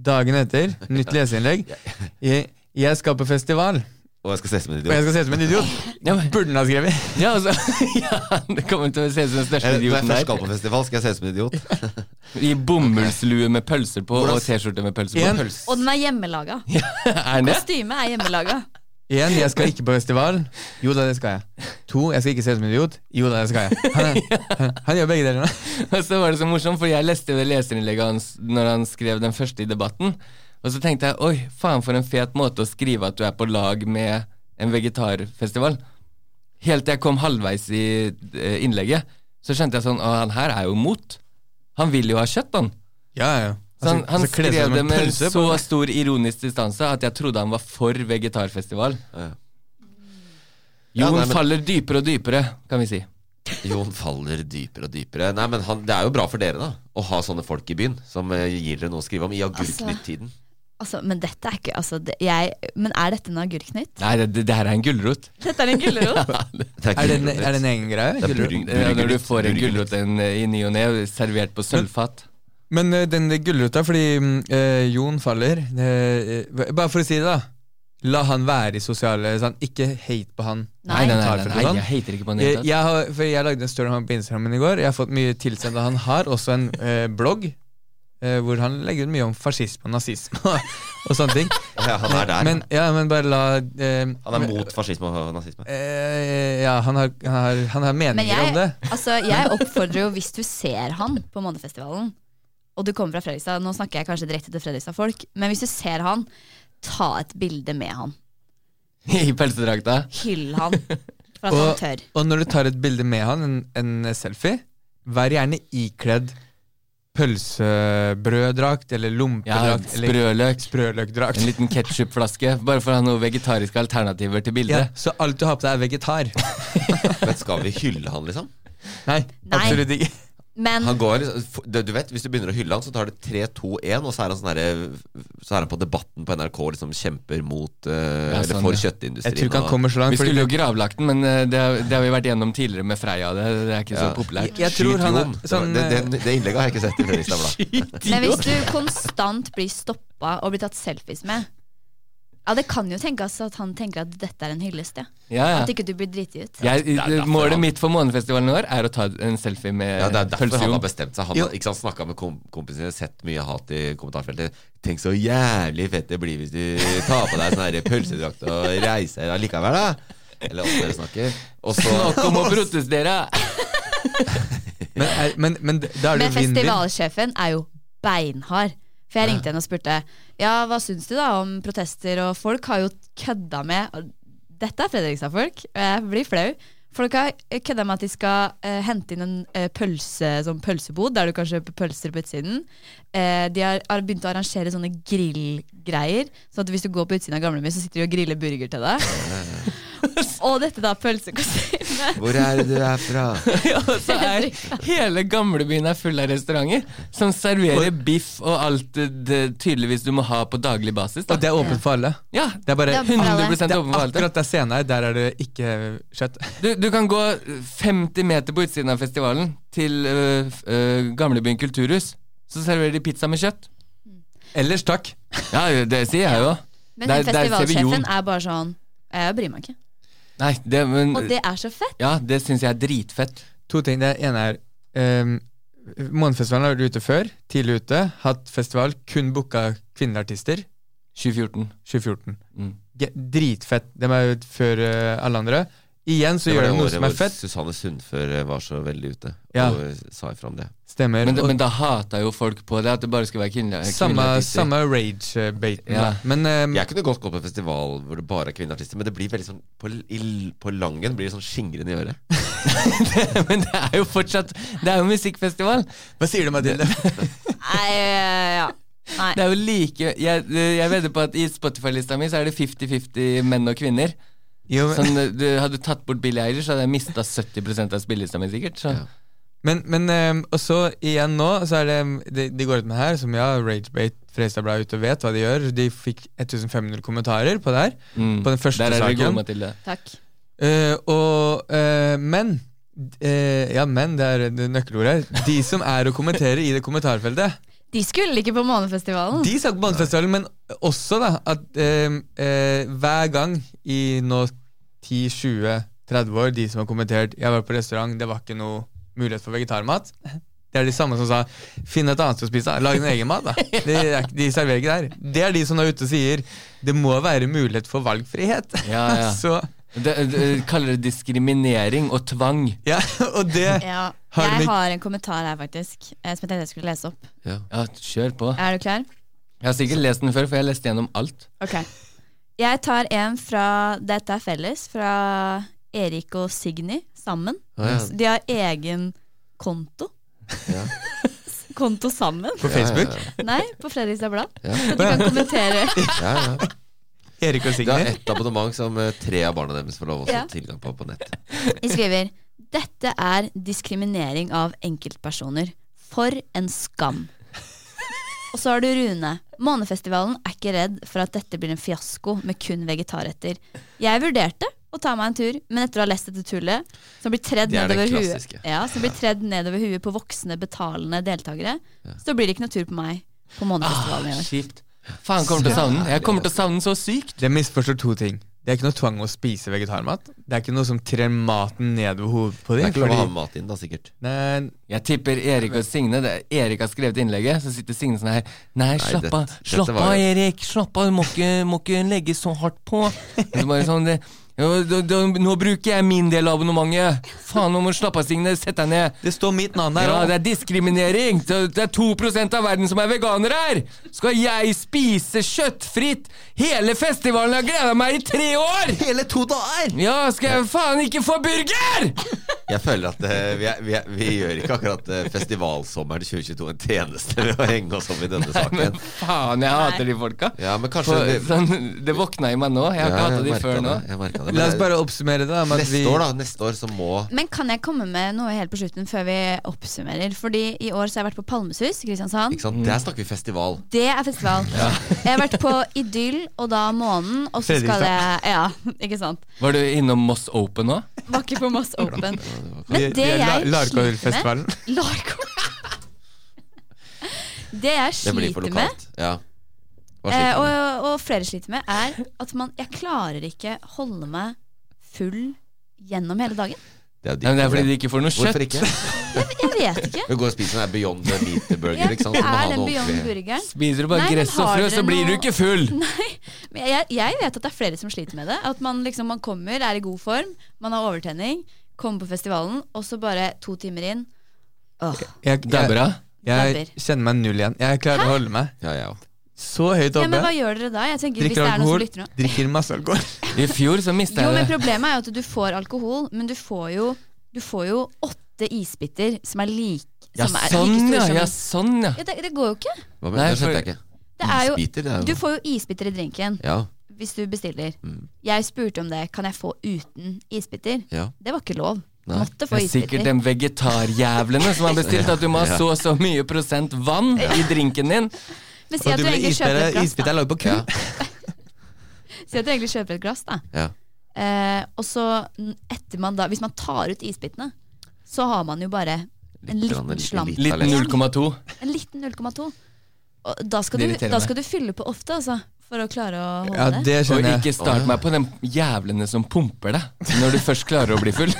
[SPEAKER 2] Dagen etter, nytt leserinnlegg. Jeg, 'Jeg skal på festival,
[SPEAKER 1] Og jeg skal se som en
[SPEAKER 2] og jeg
[SPEAKER 1] idiot.
[SPEAKER 2] skal se ut som en idiot'.
[SPEAKER 4] Ja, men-
[SPEAKER 2] Burde han ha skrevet.
[SPEAKER 4] ja, altså, ja, det kommer til å se ut som den største
[SPEAKER 1] Eh, Når jeg
[SPEAKER 4] idioten
[SPEAKER 1] først skal
[SPEAKER 4] der.
[SPEAKER 1] på festival, skal jeg se ut som en idiot.
[SPEAKER 4] I bomullslue med pølser på
[SPEAKER 1] Hvordan-
[SPEAKER 4] og T-skjorte med pølser på.
[SPEAKER 2] En-
[SPEAKER 1] Pølse.
[SPEAKER 3] Og den er hjemmelaga.
[SPEAKER 4] Er det?
[SPEAKER 3] Kostymet er hjemmelaga.
[SPEAKER 2] Én, jeg skal ikke på festival. Jo da, det skal jeg. To, jeg skal ikke se ut som en idiot. Jo da, det skal jeg. Han, er, han, han gjør begge delene.
[SPEAKER 4] Og så var det så morsomt, for jeg leste jo det leserinnlegget hans når han skrev den første i debatten. Og så tenkte jeg oi, faen for en fet måte å skrive at du er på lag med en vegetarfestival. Helt til jeg kom halvveis i eh, innlegget, så skjønte jeg sånn Å, han her er jo mot. Han vil jo ha kjøtt, han.
[SPEAKER 2] Ja, ja. Altså,
[SPEAKER 4] Så han, han
[SPEAKER 2] kler seg
[SPEAKER 4] skrev
[SPEAKER 2] som en
[SPEAKER 4] det med
[SPEAKER 2] pølse
[SPEAKER 4] så
[SPEAKER 2] på-
[SPEAKER 4] stor ironisk distanse at jeg trodde han var for vegetarfestival.
[SPEAKER 1] Ja. Ja,
[SPEAKER 4] Jon
[SPEAKER 1] nei, men-
[SPEAKER 4] faller dypere og dypere, kan vi si.
[SPEAKER 1] Jon faller dypere og dypere. Nei, men han, Det er jo bra for dere da å ha sånne folk i byen som eh, gir dere noe å skrive om i Agurknytt-tiden.
[SPEAKER 3] Altså, men dette er ikke altså, det, jeg, Men er dette en agurknytt?
[SPEAKER 4] Nei, det, det her er en gulrot.
[SPEAKER 3] Dette er en gulrot.
[SPEAKER 1] Det
[SPEAKER 2] Er det, en,
[SPEAKER 1] Gulrotnytt.
[SPEAKER 2] er det en egen greie?
[SPEAKER 1] Det er
[SPEAKER 2] gulrot?
[SPEAKER 1] burger-
[SPEAKER 4] Ja, når du
[SPEAKER 1] burgernytt,
[SPEAKER 4] får en
[SPEAKER 1] burgernytt.
[SPEAKER 4] gulrot en, eh, i ny og ne, servert på sølvfat.
[SPEAKER 2] Men ø, den gulrota, fordi mm, ø, Jon faller ø, ø, Bare for å si det, da. La han være i sosiale sånn. Ikke hate på han.
[SPEAKER 3] Nei, nei,
[SPEAKER 2] Tar for det sånn.
[SPEAKER 4] jeg hater ikke på den i
[SPEAKER 2] Jeg,
[SPEAKER 4] det hele tatt.
[SPEAKER 2] jeg, har, for jeg lagde en story om han på Instagramen i går. Jeg har fått mye tilsendt. og Han har også en eh, blogg eh, hvor han legger ut mye om fascisme og nazisme og, og sånne ting.
[SPEAKER 1] Ja, han er der.
[SPEAKER 2] Men, ja, men bare la eh,
[SPEAKER 1] han er mot fascisme og nazisme.
[SPEAKER 2] eh, Ja, han har, han har, han har
[SPEAKER 3] Men
[SPEAKER 2] meninger
[SPEAKER 3] jeg,
[SPEAKER 2] om det.
[SPEAKER 3] altså, jeg oppfordrer jo, hvis du ser han på Månefestivalen, og du kommer fra Fredrikstad Nå snakker jeg kanskje direkte til Fredrikstad-folk, men hvis du ser han, ta et bilde med han.
[SPEAKER 4] I pølsedrakta.
[SPEAKER 3] Hyll han for at
[SPEAKER 2] Og-
[SPEAKER 3] han tør.
[SPEAKER 2] Og når du tar et bilde med han, en, en selfie, vær gjerne ikledd pølsebrøddrakt eller
[SPEAKER 4] Ja,
[SPEAKER 2] lompedrakt eller
[SPEAKER 4] sprøløk. En
[SPEAKER 2] sprøløkdrakt.
[SPEAKER 4] liten ketsjupflaske. Bare for å ha noen vegetariske alternativer til
[SPEAKER 2] Ja,
[SPEAKER 4] bildet.
[SPEAKER 2] så alt du har på deg, er vegetar.
[SPEAKER 1] Men skal vi hylle han, liksom?
[SPEAKER 2] Nei,
[SPEAKER 3] Nei.
[SPEAKER 2] absolutt ikke.
[SPEAKER 3] Men
[SPEAKER 1] Han går, liksom- f- du du vet, Hvis du begynner å hylle han, så tar det 3-2-1, og så er han sånn herre Så er han på Debatten på NRK liksom kjemper mot eh,
[SPEAKER 4] Ja,
[SPEAKER 1] Eller
[SPEAKER 4] sånn,
[SPEAKER 1] for
[SPEAKER 4] ja.
[SPEAKER 1] kjøttindustrien.
[SPEAKER 2] Jeg tror ikke
[SPEAKER 1] og-
[SPEAKER 2] han kommer så
[SPEAKER 4] Vi
[SPEAKER 2] langt.
[SPEAKER 4] skulle
[SPEAKER 2] Fordi
[SPEAKER 4] jo gravlagt den, men eh, det, har- det har vi vært gjennom tidligere med Freia. Det, det er ikke så
[SPEAKER 1] Ja.
[SPEAKER 4] populært.
[SPEAKER 2] jeg tror
[SPEAKER 1] Skyt
[SPEAKER 2] han
[SPEAKER 1] Jon.
[SPEAKER 2] er
[SPEAKER 1] Det var-
[SPEAKER 2] sånn
[SPEAKER 1] det,
[SPEAKER 2] eh,
[SPEAKER 1] det, det innlegget har jeg ikke sett i Fredrikstad Blad.
[SPEAKER 3] Men hvis du konstant blir stoppa og blir tatt selfies med Ja, det kan jo tenkes at han tenker at dette er en hyllest, ja.
[SPEAKER 4] Ja,
[SPEAKER 3] At
[SPEAKER 4] ja.
[SPEAKER 3] ikke du blir driti ut.
[SPEAKER 4] Jeg,
[SPEAKER 1] derfor
[SPEAKER 4] målet
[SPEAKER 1] han-
[SPEAKER 4] mitt for Månefestivalen i år er å ta en selfie med
[SPEAKER 1] Ja, det er derfor han
[SPEAKER 4] pølsejon.
[SPEAKER 1] har bestemt seg. Han
[SPEAKER 2] Eh, Jo.
[SPEAKER 1] har ikke sant, snakka med kom kompisene, sett mye hat i kommentarfeltet. Tenk så jævlig fett det blir hvis du tar på deg sånn her pølsedrakt og reiser allikevel, da. Eller åssen dere snakker. Og så
[SPEAKER 4] Snakk om å protestere!
[SPEAKER 2] men, er, men, men da er det
[SPEAKER 3] Men
[SPEAKER 2] jo vinn-vinn.
[SPEAKER 3] festivalsjefen er jo beinhard. For jeg ringte henne og spurte Ja, hva syns du da om protester, og folk har jo kødda med Dette er Fredrikstad-folk, og jeg blir flau. Folk har kødda med at de skal eh, hente inn en eh, pølse, sånn pølsebod, der du kan kjøpe pølser på utsiden. Eh, de har, har begynt å arrangere sånne grillgreier. Så at hvis du går på utsiden av gamlebyen, så sitter de og griller burger til deg. og dette da pølsekostymet.
[SPEAKER 1] Hvor er det du er fra?
[SPEAKER 4] Ja, og så er hele gamlebyen er full av restauranter som serverer biff og alt eh, det tydeligvis du må ha på daglig basis.
[SPEAKER 2] Og
[SPEAKER 4] Da.
[SPEAKER 2] det er åpent for alle.
[SPEAKER 4] Ja,
[SPEAKER 2] Det er bare
[SPEAKER 3] Det er
[SPEAKER 4] 100
[SPEAKER 3] alle.
[SPEAKER 2] det er
[SPEAKER 4] åpen for alt.
[SPEAKER 2] akkurat der scenen er, der er det ikke kjøtt.
[SPEAKER 4] Du, du kan gå 50 meter på utsiden av festivalen til øh, f- øh, Gamlebyen kulturhus. Så serverer de pizza med kjøtt.
[SPEAKER 2] Ellers takk.
[SPEAKER 4] Ja, det sier jeg jo.
[SPEAKER 3] Men
[SPEAKER 4] Der-
[SPEAKER 3] den
[SPEAKER 4] der ser vi Jon.
[SPEAKER 3] festivalsjefen er bare sånn Jeg bryr meg ikke.
[SPEAKER 4] Nei, det, men,
[SPEAKER 3] Og det er så fett.
[SPEAKER 4] ja, det syns jeg er dritfett.
[SPEAKER 2] To ting. Det ene er ehm, Månefestivalen har vært ute før. Tidlig ute. Hatt festival, kun booka kvinnelige artister.
[SPEAKER 4] 2014.
[SPEAKER 2] 2014.
[SPEAKER 4] Mm.
[SPEAKER 2] Ge- Dritfett. De er jo før eh, alle andre. Igjen så
[SPEAKER 1] Det var
[SPEAKER 2] gjør
[SPEAKER 1] det
[SPEAKER 2] de noe
[SPEAKER 1] året
[SPEAKER 2] som er
[SPEAKER 1] hvor
[SPEAKER 2] fett.
[SPEAKER 1] Susanne Sundfør eh, var så veldig ute og eh,
[SPEAKER 2] Ja.
[SPEAKER 1] sa ifra om det. eh,
[SPEAKER 2] Stemmer.
[SPEAKER 4] Men, da-
[SPEAKER 2] Og
[SPEAKER 4] men da hata jo folk på det, at det bare skulle være kvinnelige
[SPEAKER 2] samme
[SPEAKER 4] kvinnelige artister.
[SPEAKER 2] samme rage-baiten.
[SPEAKER 4] Ja.
[SPEAKER 2] da. Men ehm,
[SPEAKER 1] Jeg kunne godt gå på en festival hvor det bare er kvinneartister, men det blir veldig sånn på, i, på langen blir det sånn skingrende i øret.
[SPEAKER 4] men det er jo fortsatt Det er jo musikkfestival.
[SPEAKER 2] hva sier du, Mathilde?
[SPEAKER 3] Nei, ja. Nei.
[SPEAKER 4] Det er jo like Jeg, jeg vedder på at i Spotify-lista mi så er det 50-50 menn og kvinner.
[SPEAKER 2] Jo, men-
[SPEAKER 4] Sånn, du Hadde du tatt bort Billie Eilish, hadde jeg mista 70 av spillelista mi, sikkert. Så.
[SPEAKER 2] Men, men ehm, og så igjen nå, så er det ehm, de, de går ut med her, som ja, Ragebait, Fredrikstad Blad er ute og vet hva de gjør. De fikk 1500 kommentarer på det her.
[SPEAKER 4] Mm.
[SPEAKER 2] På den første
[SPEAKER 4] Der er dere
[SPEAKER 2] saken.
[SPEAKER 4] gode, Mathilde.
[SPEAKER 3] Takk.
[SPEAKER 2] Eh, og eh, Men eh, Ja, men, det er det nøkkelordet her. De som er og kommenterer i det kommentarfeltet,
[SPEAKER 3] De skulle ikke på Månefestivalen.
[SPEAKER 2] de sa på Månefestivalen, men også da at ehm, eh, hver gang i nå 10-20-30 år, de som har kommentert 'jeg var på restaurant, det var ikke noe mulighet for vegetarmat', det er de samme som sa 'finn et annet sted å spise', da. lag din egen mat, da. De, er ikke- de serverer ikke der. Det er de som nå er ute og sier 'det må være mulighet for valgfrihet'.
[SPEAKER 4] Ja, ja.
[SPEAKER 2] Så
[SPEAKER 4] De, de kaller det diskriminering og tvang.
[SPEAKER 2] ja, og det
[SPEAKER 3] Ja.
[SPEAKER 2] Har du
[SPEAKER 3] Jeg
[SPEAKER 2] ikke-
[SPEAKER 3] har en kommentar her, faktisk, eh, som jeg tenkte jeg skulle lese opp.
[SPEAKER 4] Ja, kjør på.
[SPEAKER 3] Er du klar?
[SPEAKER 4] Jeg har sikkert lest den før, for jeg har lest gjennom alt.
[SPEAKER 3] Ok. Jeg tar en fra Dette er felles, fra Erik og Signy sammen. De har egen konto.
[SPEAKER 1] Ja.
[SPEAKER 3] konto sammen?
[SPEAKER 2] På Facebook?
[SPEAKER 3] Nei, på Fredrikstad Blad.
[SPEAKER 1] Ja.
[SPEAKER 3] Så du kan kommentere.
[SPEAKER 1] Ja, ja.
[SPEAKER 2] Erik og
[SPEAKER 1] Det er
[SPEAKER 2] Signe.
[SPEAKER 1] ett abonnement som eh, tre av barna deres får lov å få
[SPEAKER 3] Ja.
[SPEAKER 1] tilgang på på nett.
[SPEAKER 3] De skriver Dette er diskriminering av enkeltpersoner. For en skam. Og så har du Rune. Månefestivalen er ikke redd for at dette blir en fiasko med kun vegetarretter. Jeg vurderte å ta meg en tur, men etter å ha lest dette tullet, som blir tredd
[SPEAKER 1] Det er den
[SPEAKER 3] nedover huet
[SPEAKER 1] klassiske.
[SPEAKER 3] ja, som blir tredd nedover huet på voksne, betalende deltakere, så blir det ikke noe tur på meg på
[SPEAKER 1] Ah,
[SPEAKER 3] Månefestivalen i år.
[SPEAKER 4] Skift. Faen, kommer til å savne den. Jeg kommer til å savne den så sykt.
[SPEAKER 2] Det misforstår to ting. Det er ikke noe tvang å spise vegetarmat. Det er ikke noe som trer maten nedover hodet på
[SPEAKER 1] Det
[SPEAKER 2] dem.
[SPEAKER 1] er ikke lov å ha med mat inn, da, sikkert.
[SPEAKER 2] Nei,
[SPEAKER 4] Jeg tipper Erik og Signe det er Erik har skrevet innlegget, så sitter Signe sånn her Nei, slapp
[SPEAKER 1] det-
[SPEAKER 4] av,
[SPEAKER 1] dette
[SPEAKER 4] slapp
[SPEAKER 1] var
[SPEAKER 4] av,
[SPEAKER 1] jo-
[SPEAKER 4] Erik. Slapp av, du må ikke, må ikke legge så hardt på. Men så bare sånn det, ja, da, da, Nå bruker jeg min del av abonnementet. Faen, nå må du slappe av, Signe. Sett deg ned.
[SPEAKER 2] det står mitt navn der
[SPEAKER 4] Ja,
[SPEAKER 2] òg.
[SPEAKER 4] det er diskriminering! Det det er 2 av verden som er veganere her! Skal jeg spise kjøttfritt? Hele festivalen har gleda meg i tre år!
[SPEAKER 2] hele to dager!
[SPEAKER 4] Ja, skal jeg faen ikke få burger?!
[SPEAKER 1] Jeg føler at eh, vi, er, vi, er, vi gjør ikke akkurat eh, festivalsommeren 2022 en tjeneste ved å henge oss opp i denne saken.
[SPEAKER 4] Faen, jeg hater de folka.
[SPEAKER 1] Ja, men kanskje
[SPEAKER 4] For,
[SPEAKER 1] det,
[SPEAKER 4] sånn, det våkna i meg nå. Jeg har
[SPEAKER 1] Ja,
[SPEAKER 4] ikke hata de
[SPEAKER 1] merket
[SPEAKER 4] før nå.
[SPEAKER 1] det, jeg merket det. Men
[SPEAKER 2] La oss
[SPEAKER 1] det-
[SPEAKER 2] bare oppsummere det. da, Med at
[SPEAKER 1] Neste
[SPEAKER 2] vi,
[SPEAKER 1] år, da. Neste år så må
[SPEAKER 3] Men kan jeg komme med noe helt på slutten før vi oppsummerer? Fordi i år så har jeg vært på Palmesus i Kristiansand.
[SPEAKER 1] Ikke sant? Der snakker vi festival.
[SPEAKER 3] Det er festival. Jeg har vært på Idyll og da Månen, og så skal jeg Ja, ikke sant.
[SPEAKER 4] Var du innom Moss Open nå?
[SPEAKER 3] Var ikke på Moss Open.
[SPEAKER 2] vi,
[SPEAKER 3] Men det
[SPEAKER 2] vi er la-
[SPEAKER 3] jeg sliter med
[SPEAKER 2] Larkolfestivalen.
[SPEAKER 3] Larko. Det jeg
[SPEAKER 1] Det blir for
[SPEAKER 3] sliter med,
[SPEAKER 1] lokalt. Ja. Hva
[SPEAKER 3] eh,
[SPEAKER 1] sliter du
[SPEAKER 3] og,
[SPEAKER 1] med?
[SPEAKER 3] og flere sliter med, er at man Jeg klarer ikke holde meg full gjennom hele dagen.
[SPEAKER 1] Det er jo
[SPEAKER 4] Ja, men
[SPEAKER 1] ditt
[SPEAKER 4] det er fordi
[SPEAKER 1] problem.
[SPEAKER 4] de ikke får noe
[SPEAKER 1] Hvorfor
[SPEAKER 4] kjøtt.
[SPEAKER 1] ikke?
[SPEAKER 3] Jeg vet ikke.
[SPEAKER 1] Vi går og spiser den der Beyond the Meat
[SPEAKER 3] Ja,
[SPEAKER 1] Burger.
[SPEAKER 3] det
[SPEAKER 1] ikke sant? Så må ha
[SPEAKER 3] er den
[SPEAKER 1] noe
[SPEAKER 3] Beyond
[SPEAKER 1] ordentlig-
[SPEAKER 3] Burgeren.
[SPEAKER 4] Spiser du bare
[SPEAKER 3] Nei, men
[SPEAKER 4] gress og
[SPEAKER 3] har
[SPEAKER 4] frø,
[SPEAKER 3] dere
[SPEAKER 4] så blir du
[SPEAKER 3] noe-
[SPEAKER 4] ikke full!
[SPEAKER 3] Nei, men jeg, jeg vet at det er flere som sliter med det. At man liksom, man kommer, er i god form, man har overtenning, kommer på festivalen, og så bare to timer inn Åh,
[SPEAKER 2] Jeg, jeg,
[SPEAKER 4] Dabbera.
[SPEAKER 2] jeg
[SPEAKER 3] Dabber.
[SPEAKER 2] kjenner meg null igjen. Jeg klarer å holde meg.
[SPEAKER 1] Ja, jeg òg.
[SPEAKER 2] Så høyt
[SPEAKER 3] Ja, men
[SPEAKER 2] oppe.
[SPEAKER 3] hva gjør dere da? Jeg tenker hvis
[SPEAKER 2] drikker
[SPEAKER 3] det er noen som
[SPEAKER 2] alkohol.
[SPEAKER 3] lytter nå
[SPEAKER 2] Drikker masse alkohol.
[SPEAKER 4] I fjor så mista
[SPEAKER 3] Jo, men
[SPEAKER 4] jeg det.
[SPEAKER 3] problemet er jo at du får alkohol, men du får jo, du får jo åtte isbiter som er like
[SPEAKER 4] Ja,
[SPEAKER 3] som er
[SPEAKER 4] sånn
[SPEAKER 3] like store som
[SPEAKER 4] ja. ja, sånn ja.
[SPEAKER 3] ja, det, det går jo ikke.
[SPEAKER 1] Hva
[SPEAKER 4] Nei,
[SPEAKER 1] mener du? Det skjønte jeg ikke.
[SPEAKER 3] Det er jo,
[SPEAKER 1] Isbiter, det er jo
[SPEAKER 3] du får jo isbiter i drinken
[SPEAKER 1] Ja,
[SPEAKER 3] hvis du bestiller. Jeg spurte om det. Kan jeg få uten isbiter?
[SPEAKER 1] ja.
[SPEAKER 3] Det var ikke lov.
[SPEAKER 1] Nei.
[SPEAKER 3] Måtte
[SPEAKER 4] Det
[SPEAKER 3] få
[SPEAKER 4] er sikkert
[SPEAKER 3] isbiter.
[SPEAKER 4] de vegetarjævlene som har bestilt at du må ha
[SPEAKER 1] Ja.
[SPEAKER 4] så og så mye prosent vann i drinken din.
[SPEAKER 3] Men si
[SPEAKER 2] Og
[SPEAKER 3] at
[SPEAKER 2] du
[SPEAKER 3] du
[SPEAKER 2] blir
[SPEAKER 3] egentlig kjøper
[SPEAKER 2] isbiter
[SPEAKER 3] et glass,
[SPEAKER 2] isbiter
[SPEAKER 3] da.
[SPEAKER 2] er laget på ku.
[SPEAKER 1] Ja.
[SPEAKER 3] Si at du egentlig kjøper et glass, da.
[SPEAKER 1] Ja.
[SPEAKER 3] Eh, og så n- etter man da Hvis man tar ut isbitene, så har man jo bare en
[SPEAKER 1] Litt grann,
[SPEAKER 3] liten
[SPEAKER 1] litt-
[SPEAKER 3] slamp.
[SPEAKER 1] litt.
[SPEAKER 4] Litt 0,2.
[SPEAKER 3] En liten 0,2. Og Da, skal
[SPEAKER 2] Det
[SPEAKER 3] du-
[SPEAKER 2] irriterer
[SPEAKER 3] da
[SPEAKER 2] meg.
[SPEAKER 3] skal du fylle på ofte, altså. For å klare å holde
[SPEAKER 2] Ja,
[SPEAKER 3] det.
[SPEAKER 2] det
[SPEAKER 4] Og
[SPEAKER 2] skjønner jeg.
[SPEAKER 4] ikke start meg på de jævlene som pumper deg når du først klarer å bli full.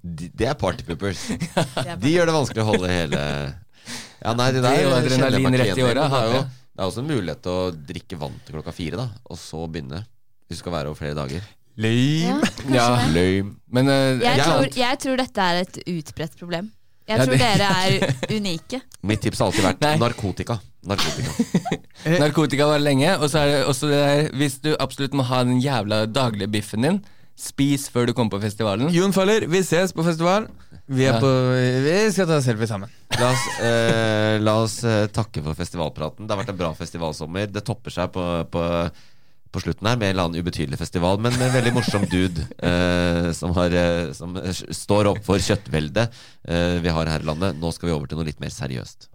[SPEAKER 1] De- Det er partypoopers.
[SPEAKER 3] Det er
[SPEAKER 1] De gjør det vanskelig å holde hele Ja, nei, de der
[SPEAKER 4] Det er
[SPEAKER 1] kjenner jeg
[SPEAKER 4] jo
[SPEAKER 1] meg
[SPEAKER 4] adrenalin
[SPEAKER 1] ikke
[SPEAKER 4] rett i
[SPEAKER 1] igjen i, men
[SPEAKER 4] året,
[SPEAKER 1] Det er jo
[SPEAKER 4] hater jeg.
[SPEAKER 1] det er også en mulighet til å drikke vann til klokka fire, da, og så begynne. Hvis du skal være over flere dager.
[SPEAKER 3] Ja,
[SPEAKER 2] Lame.
[SPEAKER 3] kanskje
[SPEAKER 4] Ja.
[SPEAKER 3] det.
[SPEAKER 1] Lame.
[SPEAKER 4] Men eh,
[SPEAKER 3] Jeg,
[SPEAKER 4] ja,
[SPEAKER 3] tror, jeg tror dette er et utbredt problem. Jeg
[SPEAKER 4] Ja,
[SPEAKER 3] tror
[SPEAKER 4] det-
[SPEAKER 3] dere er unike.
[SPEAKER 1] Mitt tips har alltid vært
[SPEAKER 4] Nei.
[SPEAKER 1] narkotika. Narkotika. Eh.
[SPEAKER 4] narkotika varer lenge, og så er det også det der Hvis du absolutt må ha den jævla daglige biffen din, spis før du kommer på festivalen.
[SPEAKER 2] Jon Faller, vi ses på festival. Vi, er
[SPEAKER 4] Ja.
[SPEAKER 2] på, vi skal ta selfie sammen.
[SPEAKER 1] La oss, eh, la oss eh, takke for festivalpraten. Det har vært en bra festivalsommer. Det topper seg på, på, på slutten her med en eller annen ubetydelig festival, men en veldig morsom dude eh, som, har, eh, som eh, står opp for kjøttveldet eh, vi har her i landet. Nå skal vi over til noe litt mer seriøst.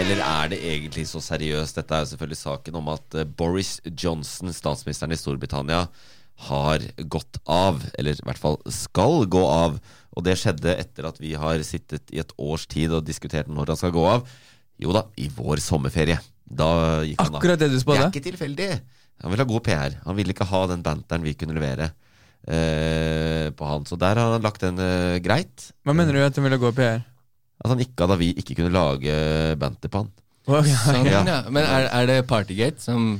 [SPEAKER 1] Eller er det egentlig så seriøst? Dette er jo selvfølgelig saken om at eh, Boris Johnson, statsministeren i Storbritannia, har gått av. Eller i hvert fall skal gå av. Og det skjedde etter at vi har sittet i et års tid og diskutert når han skal gå av. Jo da, i vår sommerferie. Da gikk han av.
[SPEAKER 2] Akkurat det du
[SPEAKER 1] Det
[SPEAKER 2] spådde.
[SPEAKER 1] er ikke tilfeldig. Han vil ha god PR. Han ville ikke ha den banteren vi kunne levere eh, på han. Så der har han lagt den eh, greit.
[SPEAKER 2] Hva mener du at hun ville gå PR?
[SPEAKER 1] At han ikke hadde vi ikke kunne lage eh, banter på han.
[SPEAKER 2] Å,
[SPEAKER 4] Sånn,
[SPEAKER 1] Ja.
[SPEAKER 4] ja. Men er, er det Partygate som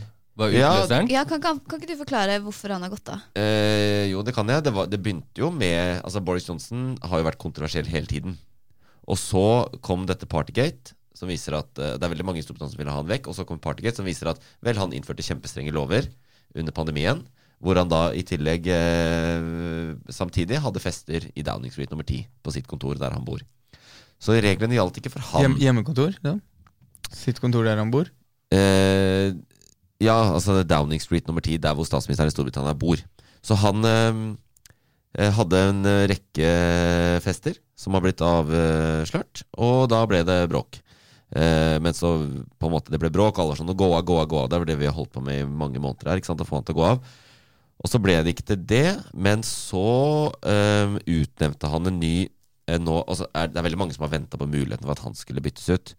[SPEAKER 4] var
[SPEAKER 1] Ja.
[SPEAKER 4] utløseren?
[SPEAKER 3] Ja, kan, kan, kan ikke du forklare hvorfor han har gått av?
[SPEAKER 1] Eh, jo, det kan jeg. Det, var, det begynte jo med Altså, Boris Johnson har jo vært kontroversiell hele tiden. Og så kom dette Partygate, som viser at eh, det er veldig mange i Storbritannia som ville ha han vekk. Og så kom Partygate, som viser at vel, han innførte kjempestrenge lover under pandemien. Hvor han da i tillegg eh, samtidig hadde fester i Downing Street nummer 10 på sitt kontor der han bor. Så reglene gjaldt ikke for han.
[SPEAKER 2] Hjem, hjemmekontor? Ja. Sitt kontor der han bor?
[SPEAKER 1] Eh, ja, altså det er Downing Street nummer 10, der hvor statsministeren i Storbritannia bor. Så han eh, hadde en eh, rekke fester som har blitt avslørt, og da ble det bråk. Eh, men så på en måte det ble bråk, alle var sånn gå av, gå av, gå av. Det var det vi har holdt på med i mange måneder her, ikke sant, å få han til å gå av. Og så ble det ikke til det, men så eh, utnevnte han en ny eh, nå, altså er, Det er veldig mange som har venta på muligheten for at han skulle byttes ut.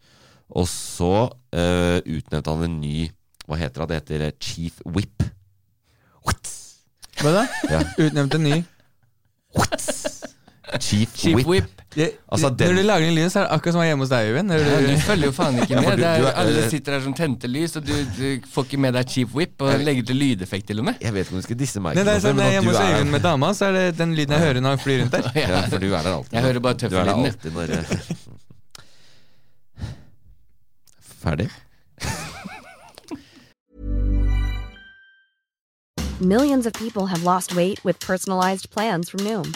[SPEAKER 1] Og så eh, utnevnte han en ny Hva heter det? Det heter eh, Chief Whip.
[SPEAKER 2] Hva da?
[SPEAKER 1] Ja.
[SPEAKER 2] Utnevnt en ny.
[SPEAKER 1] Chief,
[SPEAKER 4] Cheap
[SPEAKER 1] Whip.
[SPEAKER 4] whip.
[SPEAKER 1] Altså, den-
[SPEAKER 2] Når du lager den lyden, så er det akkurat som å være hjemme hos deg, Øyvind. Når
[SPEAKER 4] Ja,
[SPEAKER 2] du-
[SPEAKER 4] du følger jo faen ikke
[SPEAKER 1] Ja, for
[SPEAKER 4] med.
[SPEAKER 1] du-
[SPEAKER 4] Det
[SPEAKER 1] du
[SPEAKER 4] er,
[SPEAKER 1] er- eh,
[SPEAKER 4] alle sitter her som tente lys, og du, du får ikke med deg cheap whip, og legger til lydeffekt til og med.
[SPEAKER 1] Jeg vet ikke om du skal disse meg,
[SPEAKER 2] Nei, det er
[SPEAKER 1] men
[SPEAKER 2] sånn, når
[SPEAKER 1] at
[SPEAKER 2] jeg er
[SPEAKER 1] du
[SPEAKER 2] hjemme hos
[SPEAKER 1] er-
[SPEAKER 2] Øyvind med dama, så er det den lyden jeg hører når han flyr rundt der.
[SPEAKER 1] ja, for du er der alltid.
[SPEAKER 4] Jeg hører bare
[SPEAKER 1] Du er der
[SPEAKER 4] tøffellyden, jeg.
[SPEAKER 1] alltid når eh, Ferdig?
[SPEAKER 5] Millions of people have lost weight with personalized plans from Noom,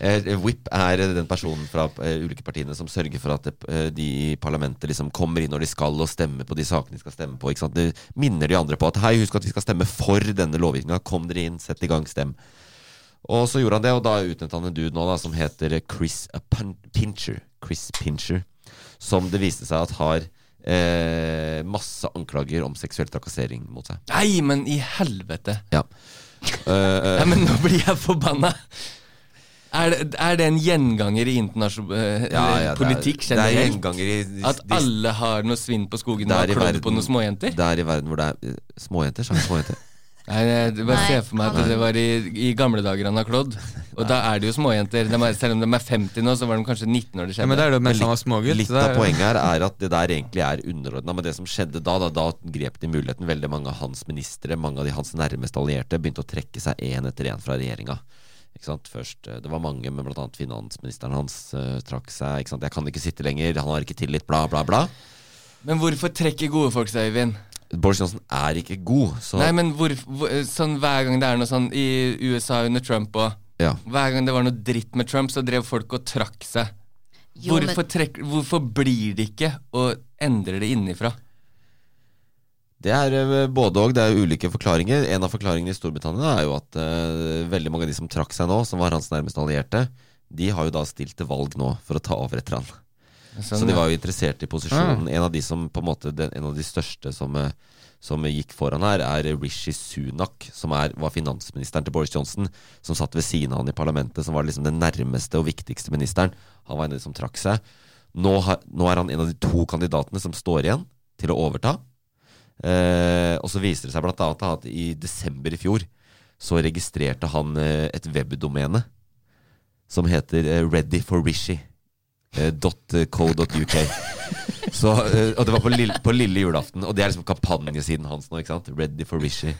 [SPEAKER 1] Eh, Whip er eh, den personen fra eh, ulike partiene som sørger for at eh, de i parlamentet liksom kommer inn når de skal, og stemmer på de sakene de skal stemme på. Ikke sant? Det minner de andre på at hei, husk at vi skal stemme for denne lovgivninga. Kom dere inn, sett i gang, stem. Og så gjorde han det, og da utnevnte han en dude nå da, som heter Chris Pin- Pincher. Chris Pincher. Som det viste seg at har eh, masse anklager om seksuell trakassering mot seg.
[SPEAKER 4] Nei, men i helvete!
[SPEAKER 1] Ja. Eh, eh,
[SPEAKER 4] Nei, men nå blir jeg forbanna! Er det, er det en gjenganger i internasjonal
[SPEAKER 1] ja,
[SPEAKER 4] eh,
[SPEAKER 1] ja, det er-
[SPEAKER 4] politikk
[SPEAKER 1] Det er
[SPEAKER 4] generelt?
[SPEAKER 1] gjenganger i
[SPEAKER 4] At alle har noe svinn på skogen og har klødd på noen småjenter?
[SPEAKER 1] Det er i verden hvor det er eh, småjenter. Sa jeg småjenter?
[SPEAKER 4] Nei, jeg bare
[SPEAKER 3] Nei,
[SPEAKER 4] ser for meg at
[SPEAKER 3] han-
[SPEAKER 4] det var i, i gamle dager han har klådd. Og da er det jo småjenter. De er, selv om de er 50 nå, så var de kanskje 19 når det
[SPEAKER 2] Ja, men
[SPEAKER 4] skjedde.
[SPEAKER 2] da er det jo
[SPEAKER 1] Men
[SPEAKER 2] mens han var smågutt.
[SPEAKER 1] Litt
[SPEAKER 2] så da-
[SPEAKER 1] av poenget her er at det der egentlig er underordna. Men det som skjedde da, da, da grep de muligheten. Veldig mange av hans ministre, mange av de hans nærmeste allierte, begynte å trekke seg én etter én fra regjeringa. Ikke sant? Først, eh, det var mange, men bl.a. finansministeren hans eh, trakk seg. Ikke sant? 'Jeg kan ikke sitte lenger, han har ikke tillit', bla, bla, bla.
[SPEAKER 4] Men hvorfor trekker gode folk seg, Øyvind?
[SPEAKER 1] Boris Johnson er ikke god, så
[SPEAKER 4] Nei, men hvor, hvor, sånn hver gang det er noe sånn i USA under Trump og
[SPEAKER 1] ja.
[SPEAKER 4] Hver gang det var noe dritt med Trump, så drev folk og trakk seg.
[SPEAKER 3] Jo, men-
[SPEAKER 4] hvorfor, trekk, hvorfor blir det ikke og endrer det innenfra?
[SPEAKER 1] Det er eh, både og. Det er ulike forklaringer. En av forklaringene i Storbritannia er jo at eh, veldig mange av de som trakk seg nå, som var hans nærmeste allierte, de har jo da stilt til valg nå for å ta over etter han.
[SPEAKER 4] Sånn,
[SPEAKER 1] Så de var jo interessert i posisjonen. En av de som på en måte den- En av de største som, eh, som gikk foran her, er Rishi Sunak, som er, var finansministeren til Boris Johnson. Som satt ved siden av han i parlamentet, som var liksom den nærmeste og viktigste ministeren. Han var en av de som trakk seg. Nå, har, nå er han en av de to kandidatene som står igjen til å overta. Eh, og så viser det seg blant annet at i desember i fjor så registrerte han eh, et webdomene som heter eh, Ready for Rishi eh, .co.uk. Så, eh, og det var på lille, på lille julaften, og det er liksom kampanjesiden hans nå. ikke sant? Ready for Rishi.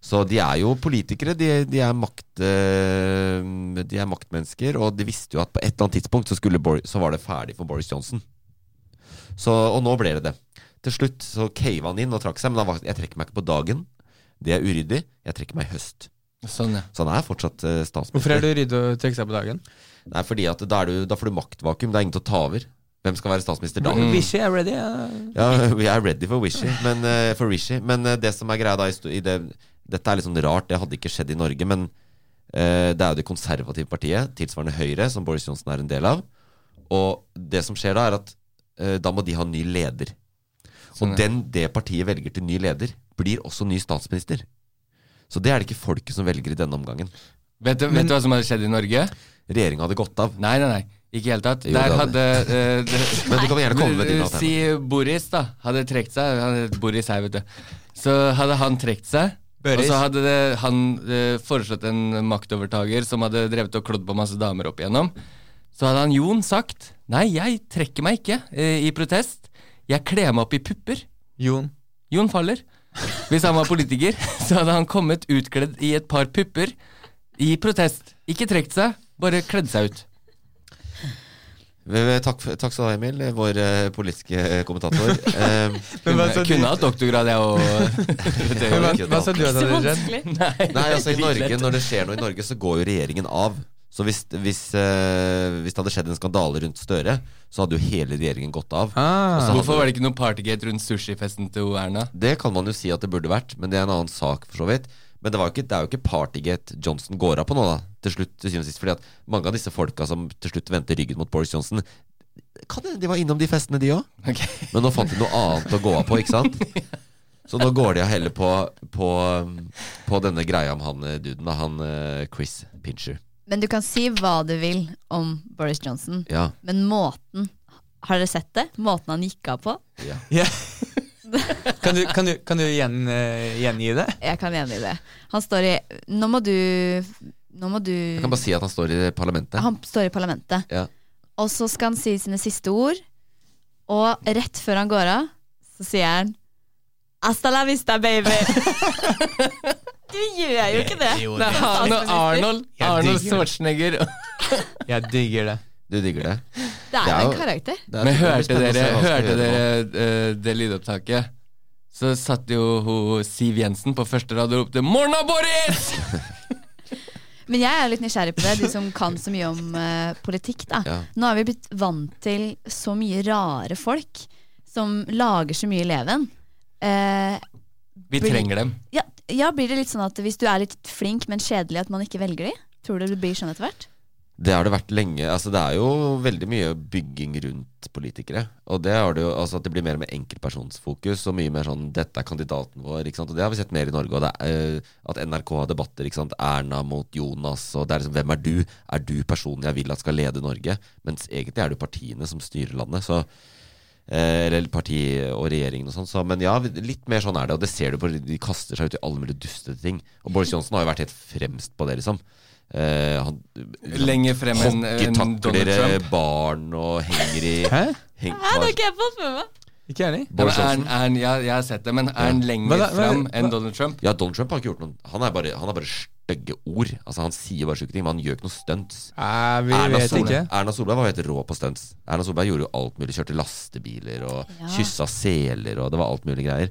[SPEAKER 1] Så de er jo politikere, de, de, er makt, eh, de er maktmennesker, og de visste jo at på et eller annet tidspunkt så, skulle Bor så var det ferdig for Boris Johnson. Så, og nå ble det det. Til slutt så cava han inn og trakk seg, men han var, jeg trekker meg ikke på dagen. Det er uryddig. Jeg trekker meg i høst.
[SPEAKER 4] sånn ja.
[SPEAKER 1] Så han er fortsatt eh, statsminister.
[SPEAKER 2] Hvorfor er det ryddig å trekke seg på dagen?
[SPEAKER 1] Nei, fordi at da, er du, da får du maktvakuum. Det er ingen til å ta over. Hvem skal være statsminister da?
[SPEAKER 2] Vishy er ready. ja.
[SPEAKER 1] Ja, we are ready for Rishi. Men, eh, for Rishi. men eh, det som er greia da i, sto- i det, Dette er litt sånn rart, det hadde ikke skjedd i Norge, men eh, det er jo det konservative partiet, tilsvarende Høyre, som Boris Johnson er en del av. Og det som skjer da, er at eh, da må de ha ny leder.
[SPEAKER 4] Sånn,
[SPEAKER 1] og
[SPEAKER 4] ja.
[SPEAKER 1] den det partiet velger til ny leder, blir også ny statsminister. Så det er det ikke folket som velger i denne omgangen.
[SPEAKER 4] Vet, du, vet du hva som hadde skjedd i Norge?
[SPEAKER 1] Regjeringa hadde gått av.
[SPEAKER 4] Nei, nei, nei. Ikke i det hele tatt.
[SPEAKER 1] Jo,
[SPEAKER 4] Der
[SPEAKER 1] det
[SPEAKER 4] hadde
[SPEAKER 1] hadde-
[SPEAKER 4] eh, det-
[SPEAKER 1] Men du kan gjerne komme med dine
[SPEAKER 4] Si
[SPEAKER 1] alternativer.
[SPEAKER 4] Boris, da. Hadde trukket seg. Han het Boris her, vet du. Så hadde han trukket seg. Og
[SPEAKER 2] Børis.
[SPEAKER 4] så hadde det, han eh, foreslått en maktovertager som hadde drevet og klådd på masse damer opp igjennom. Så hadde han Jon sagt Nei, jeg trekker meg ikke eh, i protest. Jeg kler meg opp i pupper.
[SPEAKER 2] Jon.
[SPEAKER 4] Jon Faller. Hvis han var politiker, så hadde han kommet utkledd i et par pupper i protest. Ikke trukket seg, bare kledd seg ut.
[SPEAKER 1] Takk, for- takk skal du ha, Emil, vår eh, politiske kommentator. Eh,
[SPEAKER 4] Kunne,
[SPEAKER 2] hva sa du-
[SPEAKER 4] kunne hatt doktorgrad, jeg òg.
[SPEAKER 1] det
[SPEAKER 2] Men
[SPEAKER 1] gjør
[SPEAKER 2] hva,
[SPEAKER 1] ikke det.
[SPEAKER 2] hva sa du
[SPEAKER 3] Ikke
[SPEAKER 2] at
[SPEAKER 3] så
[SPEAKER 2] hadde skjedd?
[SPEAKER 3] vanskelig.
[SPEAKER 1] Nei, altså i Norge, Når det skjer noe i Norge, så går jo regjeringen av. Så hvis, hvis, eh, hvis det hadde skjedd en skandale rundt Støre, så hadde jo hele regjeringen gått av.
[SPEAKER 2] Ah.
[SPEAKER 1] Så hadde-
[SPEAKER 4] Hvorfor var det ikke noe partygate rundt sushifesten til Erna?
[SPEAKER 1] Det kan man jo si at det burde vært, men det er en annen sak for så vidt. Men det, var jo ikke, det er jo ikke partygate Johnson går av på nå, da. Til slutt, til syvende og sist. Fordi at mange av disse folka som til slutt vendte ryggen mot Boris Johnson, kan hende de var innom de festene, de òg.
[SPEAKER 4] Ok.
[SPEAKER 1] Men nå fant de noe annet å gå av på, ikke sant? Så nå går de av heller på, på, på denne greia om han eh, duden, da. Han eh, Chris Pincher.
[SPEAKER 3] Men du kan si hva du vil om Boris Johnson,
[SPEAKER 1] Ja.
[SPEAKER 3] men måten Har dere sett det? Måten han gikk av på?
[SPEAKER 1] ja.
[SPEAKER 2] Ja. Kan du, kan du, kan du gjen, eh, gjengi det?
[SPEAKER 3] Jeg kan enig i det. Han står i Nå må du Nå må du
[SPEAKER 1] Jeg kan bare si at han står i parlamentet.
[SPEAKER 3] Han står i parlamentet.
[SPEAKER 1] Ja.
[SPEAKER 3] Og så skal han si sine siste ord, og rett før han går av, så sier han Hasta la vista, baby! du gjør jo ikke det.
[SPEAKER 4] Nei, han og Arnold,
[SPEAKER 2] Jeg
[SPEAKER 4] Arnold
[SPEAKER 2] digger det.
[SPEAKER 4] Schwarzenegger.
[SPEAKER 2] Jeg digger det.
[SPEAKER 1] Du digger det?
[SPEAKER 3] Det
[SPEAKER 1] Det er
[SPEAKER 3] er jo
[SPEAKER 1] jo-
[SPEAKER 3] en karakter.
[SPEAKER 1] det er-
[SPEAKER 4] Men
[SPEAKER 1] det blir
[SPEAKER 4] hørte
[SPEAKER 1] spennende å
[SPEAKER 4] dere,
[SPEAKER 1] se hva han skal
[SPEAKER 4] hørte
[SPEAKER 1] gjøre
[SPEAKER 4] dere
[SPEAKER 1] nå.
[SPEAKER 4] eh, det lydopptaket? Så satt jo ho, Siv Jensen på første rad og ropte 'Morna, Boris!'
[SPEAKER 3] Men jeg er jo litt nysgjerrig på det, du som kan så mye om eh, politikk. da.
[SPEAKER 1] Ja.
[SPEAKER 3] Nå er vi blitt vant til så mye rare folk som lager så mye leven. Eh,
[SPEAKER 4] Vi
[SPEAKER 3] Blir-
[SPEAKER 4] trenger dem.
[SPEAKER 3] ja, ja, blir det litt sånn at hvis du er litt flink, men kjedelig, at man ikke velger de? Tror du det blir sånn etter hvert?
[SPEAKER 1] Det har det vært lenge. Altså, det er jo veldig mye bygging rundt politikere. Og det har det jo, altså, at det blir mer med enkeltpersonsfokus og mye mer sånn 'dette er kandidaten vår'. Ikke sant? Og det har vi sett mer i Norge. Og det er, eh, at NRK har debatter. Ikke sant? Erna mot Jonas. Og det er liksom 'hvem er du'? Er du personen jeg vil at skal lede Norge? Mens egentlig er det jo partiene som styrer landet. Så Eh, Eller parti og regjeringen og sånn. Så, men ja, litt mer sånn er det. Og det ser du på De kaster seg ut i alle mulige dustete ting. Og Boris Johnson har jo vært helt fremst på det, liksom. Eh, han
[SPEAKER 4] Lenger frem enn enn Donald
[SPEAKER 1] hockeytakler
[SPEAKER 4] Trump.
[SPEAKER 1] eh, barn og henger i
[SPEAKER 2] Hæ?
[SPEAKER 1] heng-
[SPEAKER 3] ikke jeg fått med meg!
[SPEAKER 2] Ikke jeg heller?
[SPEAKER 4] Ja, men
[SPEAKER 1] Boris
[SPEAKER 4] er, han-
[SPEAKER 1] Johnson.
[SPEAKER 4] er, han- ja, jeg har sett det, men er han lenger
[SPEAKER 2] Men da-
[SPEAKER 4] frem
[SPEAKER 2] men-
[SPEAKER 4] enn Donald Trump?
[SPEAKER 1] Ja, Donald Trump har ikke gjort noen Han er bare, han er bare stygge ord. Altså Han sier bare sjuke ting, men han gjør ikke noe stunts.
[SPEAKER 2] Nei, Ah, vi
[SPEAKER 1] Erna
[SPEAKER 2] vet ikke.
[SPEAKER 1] Solberg, Erna Solberg var jo helt rå på stunts. Erna Solberg gjorde jo alt mulig. Kjørte lastebiler og
[SPEAKER 3] Ja.
[SPEAKER 1] kyssa seler og det var alt mulig greier.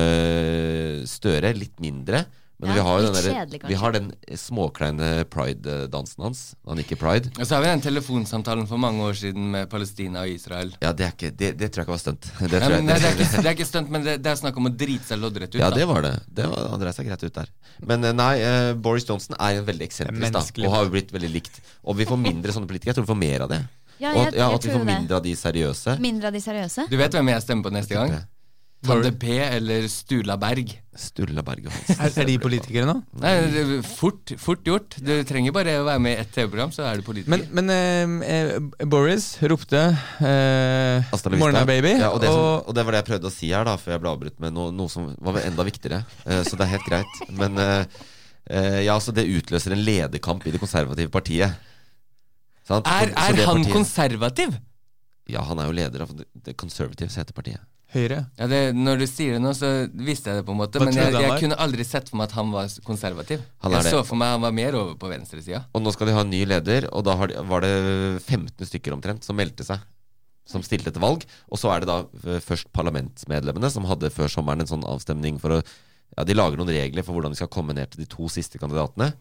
[SPEAKER 1] Eh, Støre litt mindre. Men
[SPEAKER 3] Ja,
[SPEAKER 1] vi har jo
[SPEAKER 3] litt
[SPEAKER 1] den, derre-
[SPEAKER 3] kjedelig, kanskje.
[SPEAKER 1] vi har den eh, småkleine pride-dansen hans. når Han gikk i pride.
[SPEAKER 4] Og så har vi den telefonsamtalen for mange år siden med Palestina og Israel.
[SPEAKER 1] Ja, det, er ikke, det, det tror jeg ikke var stunt. Det,
[SPEAKER 4] Nei,
[SPEAKER 1] tror jeg-
[SPEAKER 4] men, nei, det, er ikke, det er ikke stunt, men det, det er snakk om å drite seg loddrett ut.
[SPEAKER 1] Ja,
[SPEAKER 4] da.
[SPEAKER 1] det var det. det var, han dreit seg greit ut der. Men eh, nei, eh, Boris Johnson er en veldig eksentrisk, da.
[SPEAKER 2] Menneskelig.
[SPEAKER 1] Og har jo blitt veldig likt. Og vi får mindre sånne politikere. Jeg tror vi får mer av det.
[SPEAKER 3] Ja,
[SPEAKER 1] og
[SPEAKER 3] jeg-
[SPEAKER 1] at, ja,
[SPEAKER 3] jeg
[SPEAKER 1] at vi
[SPEAKER 3] tror
[SPEAKER 1] får
[SPEAKER 3] det.
[SPEAKER 1] mindre av de seriøse.
[SPEAKER 3] Mindre av de seriøse?
[SPEAKER 4] Du vet hvem jeg stemmer på neste gang? Tande P eller Stula Berg.
[SPEAKER 1] Sturla Berge Hansen.
[SPEAKER 2] Er, er de politikere nå?
[SPEAKER 4] Nei, det- fort, fort gjort. Du trenger bare å være med i ett TV-program, så er du politiker.
[SPEAKER 2] Men, men eh, eh, Boris ropte eh,
[SPEAKER 1] Hasta la vista.
[SPEAKER 2] 'Morna, baby'.
[SPEAKER 1] Ja, og, det sånn- som,
[SPEAKER 2] og,
[SPEAKER 1] og det var det jeg prøvde å si her, da før jeg ble avbrutt med noe, noe som var enda viktigere. Eh, Så det er helt greit. Men eh, eh, ja, så det utløser en lederkamp i det konservative partiet. Sant? Så-
[SPEAKER 4] er,
[SPEAKER 1] så
[SPEAKER 4] er
[SPEAKER 1] det
[SPEAKER 4] han
[SPEAKER 1] partiet-
[SPEAKER 4] konservativ?
[SPEAKER 1] Ja, han er jo leder av det Conservatives heter partiet.
[SPEAKER 2] Høyre.
[SPEAKER 4] Ja, det, når du sier det nå, så visste jeg det på en måte.
[SPEAKER 2] Hva
[SPEAKER 4] Men
[SPEAKER 2] trodde
[SPEAKER 4] jeg,
[SPEAKER 2] han
[SPEAKER 4] jeg
[SPEAKER 2] var?
[SPEAKER 4] kunne aldri sett for meg at han var s- konservativ.
[SPEAKER 1] Han er
[SPEAKER 4] Jeg
[SPEAKER 1] det.
[SPEAKER 4] så for meg han var mer over på venstresida.
[SPEAKER 1] Og nå skal de ha en ny leder, og da har de, var det 15 stykker omtrent som meldte seg. Som stilte til valg. Og så er det da eh, først parlamentsmedlemmene som hadde før sommeren en sånn avstemning for å Ja, de lager noen regler for hvordan de skal komme ned til de to siste kandidatene.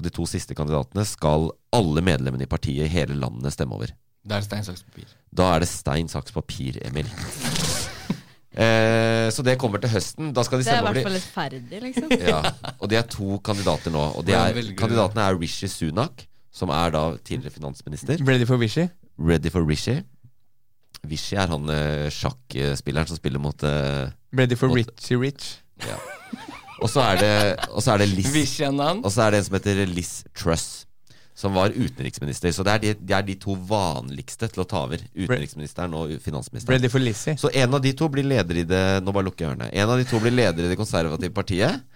[SPEAKER 1] Og de to siste kandidatene skal alle medlemmene i partiet i hele landet stemme over.
[SPEAKER 4] Da er det stein, saks, papir.
[SPEAKER 1] Da er det stein, saks, papir, Emil. eh, så det kommer til høsten. Da skal de
[SPEAKER 3] Det er i
[SPEAKER 1] stemme over
[SPEAKER 3] hvert
[SPEAKER 1] de
[SPEAKER 3] fall rettferdig, liksom.
[SPEAKER 1] ja. Og det er to kandidater nå. Og det
[SPEAKER 4] Hvordan
[SPEAKER 1] er,
[SPEAKER 4] velger du?
[SPEAKER 1] kandidatene er Rishi Sunak, som er da tidligere finansminister.
[SPEAKER 2] Ready for Vishy?
[SPEAKER 1] Ready for Rishi. Rishi er han eh, sjakkspilleren som spiller mot eh,
[SPEAKER 2] Ready for
[SPEAKER 1] Måtte-
[SPEAKER 2] Richie Rich?
[SPEAKER 1] Og så er det, og så er det Liz
[SPEAKER 4] Vishyanan.
[SPEAKER 1] Og så er det en som heter Liz Truss. Som var utenriksminister. Så det er de, det er de to vanligste til å ta over. Utenriksministeren og finansministeren.
[SPEAKER 2] Ready for Lizzie?
[SPEAKER 1] Så en av de to blir leder i det Nå bare lukker jeg ørene. En av de to blir leder i det konservative partiet.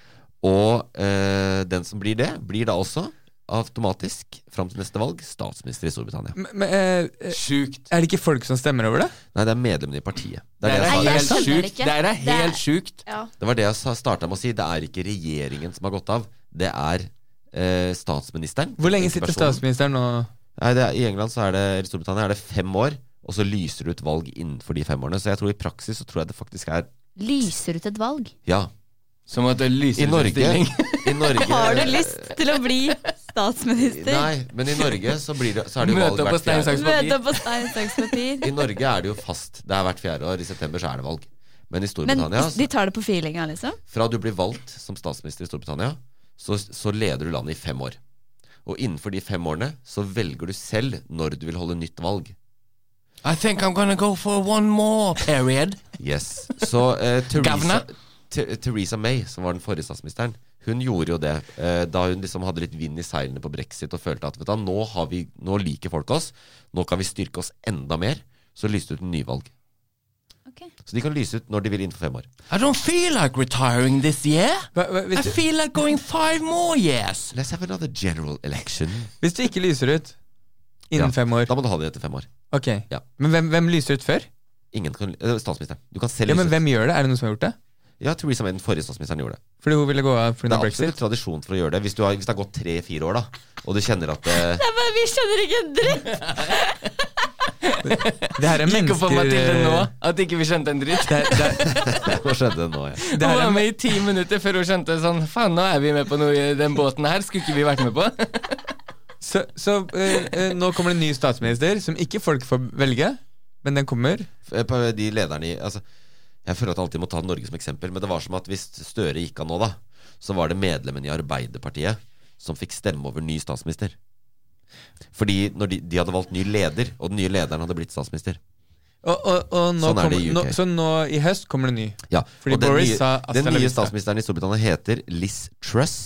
[SPEAKER 1] Og eh, den som blir det, blir da også automatisk, fram til neste valg, statsminister i Storbritannia.
[SPEAKER 2] Men, men, eh, eh,
[SPEAKER 4] Sjukt.
[SPEAKER 2] er det ikke folk som stemmer over det?
[SPEAKER 1] Nei, det er medlemmene i partiet. Det,
[SPEAKER 4] Det
[SPEAKER 1] er
[SPEAKER 4] er
[SPEAKER 1] det,
[SPEAKER 3] Nei,
[SPEAKER 1] jeg
[SPEAKER 3] jeg
[SPEAKER 4] helt
[SPEAKER 3] skjønner det
[SPEAKER 4] sjukt.
[SPEAKER 3] ikke.
[SPEAKER 4] Det er
[SPEAKER 3] Det er-
[SPEAKER 4] helt sjukt.
[SPEAKER 1] sa. det var det jeg starta med å si. Det er ikke regjeringen som har gått av. Det er eh, statsministeren.
[SPEAKER 2] Hvor lenge sitter
[SPEAKER 1] Enkeltpersonen.
[SPEAKER 2] statsministeren nå?
[SPEAKER 1] Nei, det er, I England så er det, eller Storbritannia er det fem år, og så lyser det ut valg innenfor de fem årene. Så jeg tror i praksis så tror jeg det faktisk er
[SPEAKER 3] Lyser ut et valg.
[SPEAKER 1] Ja.
[SPEAKER 4] Som at det lyser
[SPEAKER 1] I
[SPEAKER 4] ut en
[SPEAKER 1] Norge,
[SPEAKER 4] stilling.
[SPEAKER 1] i Norge
[SPEAKER 3] Har du lyst til å bli statsminister?
[SPEAKER 1] Nei, men i Norge så, blir det, så er det jo valg
[SPEAKER 4] Møte opp på
[SPEAKER 1] hvert
[SPEAKER 4] stein,
[SPEAKER 1] fjerde
[SPEAKER 4] saks,
[SPEAKER 3] Møte
[SPEAKER 4] papir.
[SPEAKER 3] opp på stein, saks, papir.
[SPEAKER 1] I Norge er det jo fast. Det er hvert fjerde år. I september så er det valg. Men i
[SPEAKER 3] Men
[SPEAKER 1] Storbritannia,
[SPEAKER 4] altså.
[SPEAKER 1] altså,
[SPEAKER 3] de tar det på feelinga, liksom?
[SPEAKER 1] fra du blir valgt som statsminister i Storbritannia, så, så leder du landet i fem år. Og innenfor de fem årene så velger du selv når du vil holde nytt valg.
[SPEAKER 4] I think I'm gonna go for one more period.
[SPEAKER 1] Yes. Så eh, Theresa,
[SPEAKER 4] Gavna?
[SPEAKER 1] Th- Theresa May, som var den forrige statsministeren, hun gjorde jo det eh, da hun liksom hadde litt vind i seilene på brexit og følte at vet du, hva, nå, har vi, nå liker folk oss, nå kan vi styrke oss enda mer. Så lyste ut en nyvalg.
[SPEAKER 3] Ok.
[SPEAKER 1] Så de kan lyse ut når de vil innenfor fem år.
[SPEAKER 4] I don't feel like retiring this year.
[SPEAKER 2] Hva, hva,
[SPEAKER 4] I
[SPEAKER 2] hvis, du,
[SPEAKER 4] feel like going five more years.
[SPEAKER 1] Let's have another general election.
[SPEAKER 2] hvis du ikke lyser ut innen
[SPEAKER 1] Ja.
[SPEAKER 2] fem år
[SPEAKER 1] Da må du ha det etter fem år.
[SPEAKER 2] Ok,
[SPEAKER 1] Ja.
[SPEAKER 2] Men hvem, hvem lyser ut før?
[SPEAKER 1] Ingen kan, eh, statsministeren. Du kan selv
[SPEAKER 2] Ja, men
[SPEAKER 1] lyse ut.
[SPEAKER 2] hvem gjør det? Er det noen som har gjort det?
[SPEAKER 1] Ja, Theresa May, den forrige statsministeren, gjorde det.
[SPEAKER 2] Fordi hun ville gå av
[SPEAKER 1] Det
[SPEAKER 2] pga.
[SPEAKER 1] er absolutt
[SPEAKER 2] brexit?
[SPEAKER 1] tradisjon for å gjøre det. Hvis, du har, hvis det har gått tre-fire år, da, og du kjenner at eh,
[SPEAKER 3] Jeg bare, vi skjønner ikke en dritt!
[SPEAKER 2] Det her er
[SPEAKER 4] Gikk opp for meg til det nå
[SPEAKER 2] mennesker
[SPEAKER 4] at ikke vi skjønte en dritt.
[SPEAKER 2] det, det,
[SPEAKER 1] Hva skjedde nå? Ja.
[SPEAKER 2] det
[SPEAKER 4] Hun
[SPEAKER 2] her
[SPEAKER 4] var
[SPEAKER 2] er
[SPEAKER 4] med i ti minutter før hun skjønte sånn Faen, nå er vi med på noe i den båten her. Skulle ikke vi vært med på?
[SPEAKER 2] Så, så eh, eh, nå kommer det en ny statsminister, som ikke folk får velge, men den kommer.
[SPEAKER 1] Eh, på de lederne i altså, Jeg føler at jeg alltid må ta Norge som eksempel, men det var som at hvis Støre gikk av nå, da, så var det medlemmene i Arbeiderpartiet som fikk stemme over ny statsminister. Fordi når de, de hadde valgt ny leder, og den nye lederen hadde blitt statsminister.
[SPEAKER 2] Og, og, og
[SPEAKER 1] Sånn
[SPEAKER 2] nå
[SPEAKER 1] er det
[SPEAKER 2] kommer,
[SPEAKER 1] i
[SPEAKER 2] nå,
[SPEAKER 1] UK.
[SPEAKER 2] så nå i høst kommer det en ny.
[SPEAKER 1] Ja,
[SPEAKER 2] Fordi
[SPEAKER 1] og den
[SPEAKER 2] Boris
[SPEAKER 1] nye,
[SPEAKER 2] sa hasta
[SPEAKER 1] Den
[SPEAKER 2] la
[SPEAKER 1] nye
[SPEAKER 2] vista.
[SPEAKER 1] statsministeren i Storbritannia heter Liz Truss